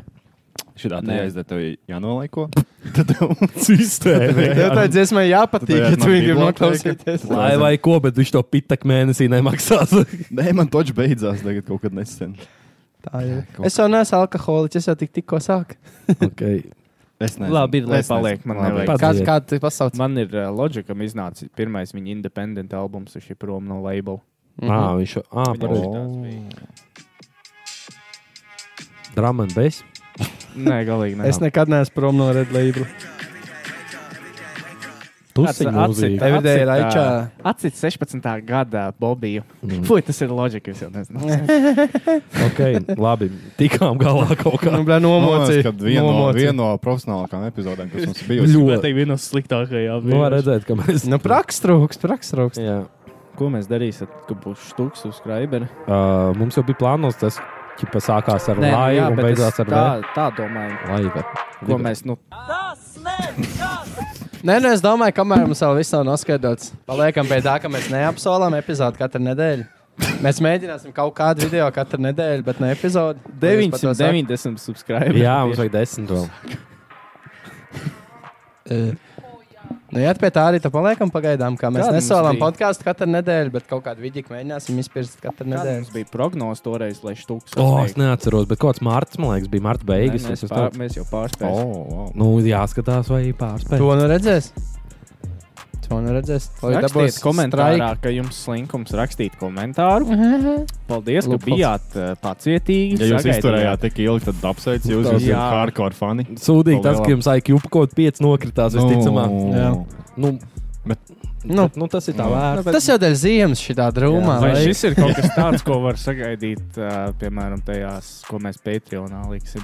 Speaker 2: Šitā tā
Speaker 8: Nē.
Speaker 2: jāizdara, tev jānolaiko. Tad tev sistēma.
Speaker 1: Tev tā dziesmai jāpatīk,
Speaker 2: Tad
Speaker 1: ja tu
Speaker 2: man
Speaker 1: viņu
Speaker 2: bija
Speaker 1: noklausīties.
Speaker 7: Lai vai ko, bet viņš to pitak mēnesī nemaksās.
Speaker 2: Nē, man toķis beidzās tagad kaut kad nesen.
Speaker 1: Tā ir. Es jau neesmu alkoholiķis, es jau tik, tikko sāku.
Speaker 7: okay.
Speaker 2: Es nezinu.
Speaker 8: Labi, ir, lai
Speaker 2: Es nezinu.
Speaker 8: paliek, man
Speaker 2: Labi.
Speaker 8: nevajag.
Speaker 1: Kāds
Speaker 7: Padzied.
Speaker 1: kāds tu pasauc?
Speaker 8: Man ir uh, loģika, ka iznāca pirmais viņa independent albums, viņš ir prom no labela.
Speaker 7: ah, viņš jau ah,
Speaker 8: Viņam
Speaker 7: par
Speaker 8: šitās bija.
Speaker 7: drāmanu bez.
Speaker 8: Nē, galīgi ne.
Speaker 1: Es nekad neesmu prom no Red Label.
Speaker 7: Tu
Speaker 8: Tāds
Speaker 7: esi
Speaker 8: atcita-
Speaker 7: mūzika.
Speaker 1: Everyday
Speaker 8: atcita-
Speaker 1: Raičā.
Speaker 8: Atcīt 16. gada Bobiju. Mm. Fui, tas ir loģika, es jau nezinu.
Speaker 7: Okay, labi, tikām galā kaut kā.
Speaker 1: Nu, blē, nomocīja.
Speaker 2: Kad viena no,
Speaker 1: Nomocīja.
Speaker 2: viena no profesionālākām epizodēm, kas mums bija,
Speaker 7: Ļoti.
Speaker 8: Tā ir viena no sliktākajām.
Speaker 7: Nu, var redzēt, ka mēs.
Speaker 1: Nu, praks trūks, praks trūks.
Speaker 7: Jā.
Speaker 8: Ko mēs darīsim, kad būs stūks subscriberi?
Speaker 7: Uh, mums jau bija plānots, tas ķipa sākās ar
Speaker 8: Nē, nu jā,
Speaker 7: laivu un
Speaker 8: bet es
Speaker 7: beidzās ar
Speaker 8: tā,
Speaker 7: vēl-
Speaker 8: tā domāju.
Speaker 7: laivu.
Speaker 8: Ko mēs, nu,
Speaker 1: Nē, nē, es domāju, kamēr mums vēl viss nav noskaidrots, paliekam pie tā, ka mēs neapsolām epizodu katru nedēļu. Mēs mēģināsim kaut kādu video katru nedēļu, bet ne epizodi. Paldies par to saku.
Speaker 8: 990 subscriberi.
Speaker 7: Jā, mums vajag desmit vēl.
Speaker 1: Nu, jā, pie tā arī tā paliekam pagaidām, kā mēs
Speaker 8: Kāda mums
Speaker 1: nesolām
Speaker 8: bija?
Speaker 1: podkāstu katru nedēļu, bet kaut kādu vidiku mēģināsim izpirst katru
Speaker 8: Kāda mums
Speaker 1: nedēļu.
Speaker 8: bija prognoze toreiz, lai stūks.
Speaker 7: O, es neatceros, bet kāds mārts, man liekas, bija marta beigas.
Speaker 8: Mēs,
Speaker 7: es
Speaker 8: pār,
Speaker 7: uztrauc-
Speaker 8: mēs jau
Speaker 2: O,
Speaker 8: pārspējām.
Speaker 2: vau.
Speaker 7: Nu, jāskatās, vai pārspēj.
Speaker 1: To nu redzēs. To nu redzēs. Lai
Speaker 8: Rakstiet
Speaker 1: dabūs
Speaker 8: komentārā,
Speaker 1: straiku.
Speaker 8: ka jums slinkums rakstīt komentāru. Paldies, ka
Speaker 1: Lūk,
Speaker 8: bijāt eh, pacietīgi.
Speaker 2: Ja jūs
Speaker 8: sagaidījāt.
Speaker 2: izturējāt tik ilgi, tad apsveic jūs,
Speaker 7: Tā-
Speaker 2: jūs esat
Speaker 8: Jā.
Speaker 2: hardcore fani.
Speaker 7: Sūdīgi tas,
Speaker 2: Vēl-
Speaker 7: ka jums IQ kaut 5 nokritās, visticamāk.
Speaker 1: Jā.
Speaker 7: Nu,
Speaker 2: Bet-
Speaker 7: nu, nu, tas ir tā vērts.
Speaker 1: Tas jau dēļ ziemas šitā drūmā.
Speaker 8: Vai
Speaker 1: lai-
Speaker 8: šis ir kaut kas tāds, ko var sagaidīt, eh, piemēram, tajās, ko mēs Patreonā liksim?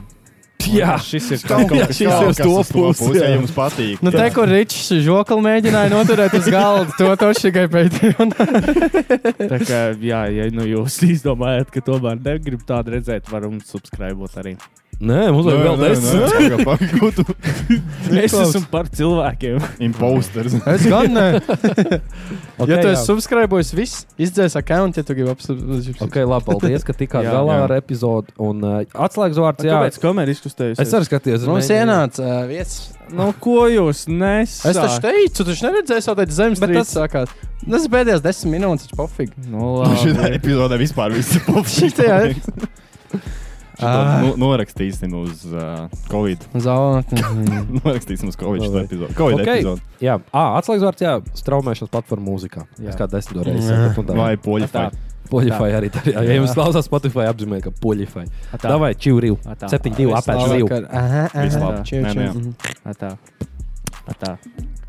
Speaker 7: Jā,
Speaker 8: šis ir
Speaker 7: kaut
Speaker 8: kaut
Speaker 7: Jā,
Speaker 8: kas.
Speaker 7: šis ir uz to pusi,
Speaker 2: ja
Speaker 7: jā.
Speaker 2: jums patīk.
Speaker 1: Nu, te, kur Ričs žokli mēģināja noturēt uz galda, to toši tikai pētījumā.
Speaker 8: Tā kā, jā, ja nu jūs izdomājat, ka tomēr negribat tādu redzēt, varam subscribēt arī.
Speaker 7: Nē, mums vajag vēl desmit.
Speaker 2: Pagaidu,
Speaker 8: Es esmu par cilvēkiem.
Speaker 2: imposters.
Speaker 1: Es gan ne.
Speaker 7: Ok,
Speaker 1: Ja tu
Speaker 7: jā.
Speaker 1: esi subscribējis, viss izdzēs akkontu, ja tu gribi apsūdzēt.
Speaker 7: Ok, labi, paldies, ka tikāt
Speaker 8: Jā,
Speaker 7: galā
Speaker 2: jā.
Speaker 7: ar epizodu. Un uh, atslēgas vārds, jā.
Speaker 8: Kāpēc kamēr izkustējos?
Speaker 7: Es arī skatījos. es
Speaker 1: Mums
Speaker 7: mēģināju.
Speaker 1: ienāca uh, viesis.
Speaker 8: Nu, ko jūs nesat?
Speaker 1: Es taču teicu, tu taču neredzēji, jau tādā
Speaker 7: Bet
Speaker 1: zemestrīcē
Speaker 7: tas-
Speaker 1: sākās. Tas ir pēdējais desmit minūtes, taču pofīgi.
Speaker 8: Nu,
Speaker 2: Šitā
Speaker 8: labi.
Speaker 2: epizodē vispār viss ir
Speaker 1: Šitajā-
Speaker 2: pofīgi.
Speaker 1: Ah.
Speaker 2: Nu, norakstīsim uz uh, Covid.
Speaker 1: Zaudēt.
Speaker 2: Norakstīsim uz Covid
Speaker 7: Vai.
Speaker 2: šo epizodu. Covid
Speaker 7: Ok.
Speaker 2: epizodu.
Speaker 7: Jā, ah, atslēgas vārds, jā, straumēšanas platforma mūzikā.
Speaker 8: Jā.
Speaker 7: Jā. Es kā desmit reizes
Speaker 2: Vai poļi.
Speaker 8: Tā.
Speaker 7: Poļifai arī tā. Jā, ja jums klausās Spotify apzīmē, ka poļifai.
Speaker 8: Tā,
Speaker 7: Davai, čivriu.
Speaker 8: Atā.
Speaker 7: 7-2 apēšu rivu.
Speaker 1: Aha,
Speaker 2: Viss
Speaker 1: aha.
Speaker 2: labi.
Speaker 1: Čau, Mhm.
Speaker 2: Nē,
Speaker 1: čau.
Speaker 2: nu jā.
Speaker 1: Mhm.
Speaker 8: tā, tā.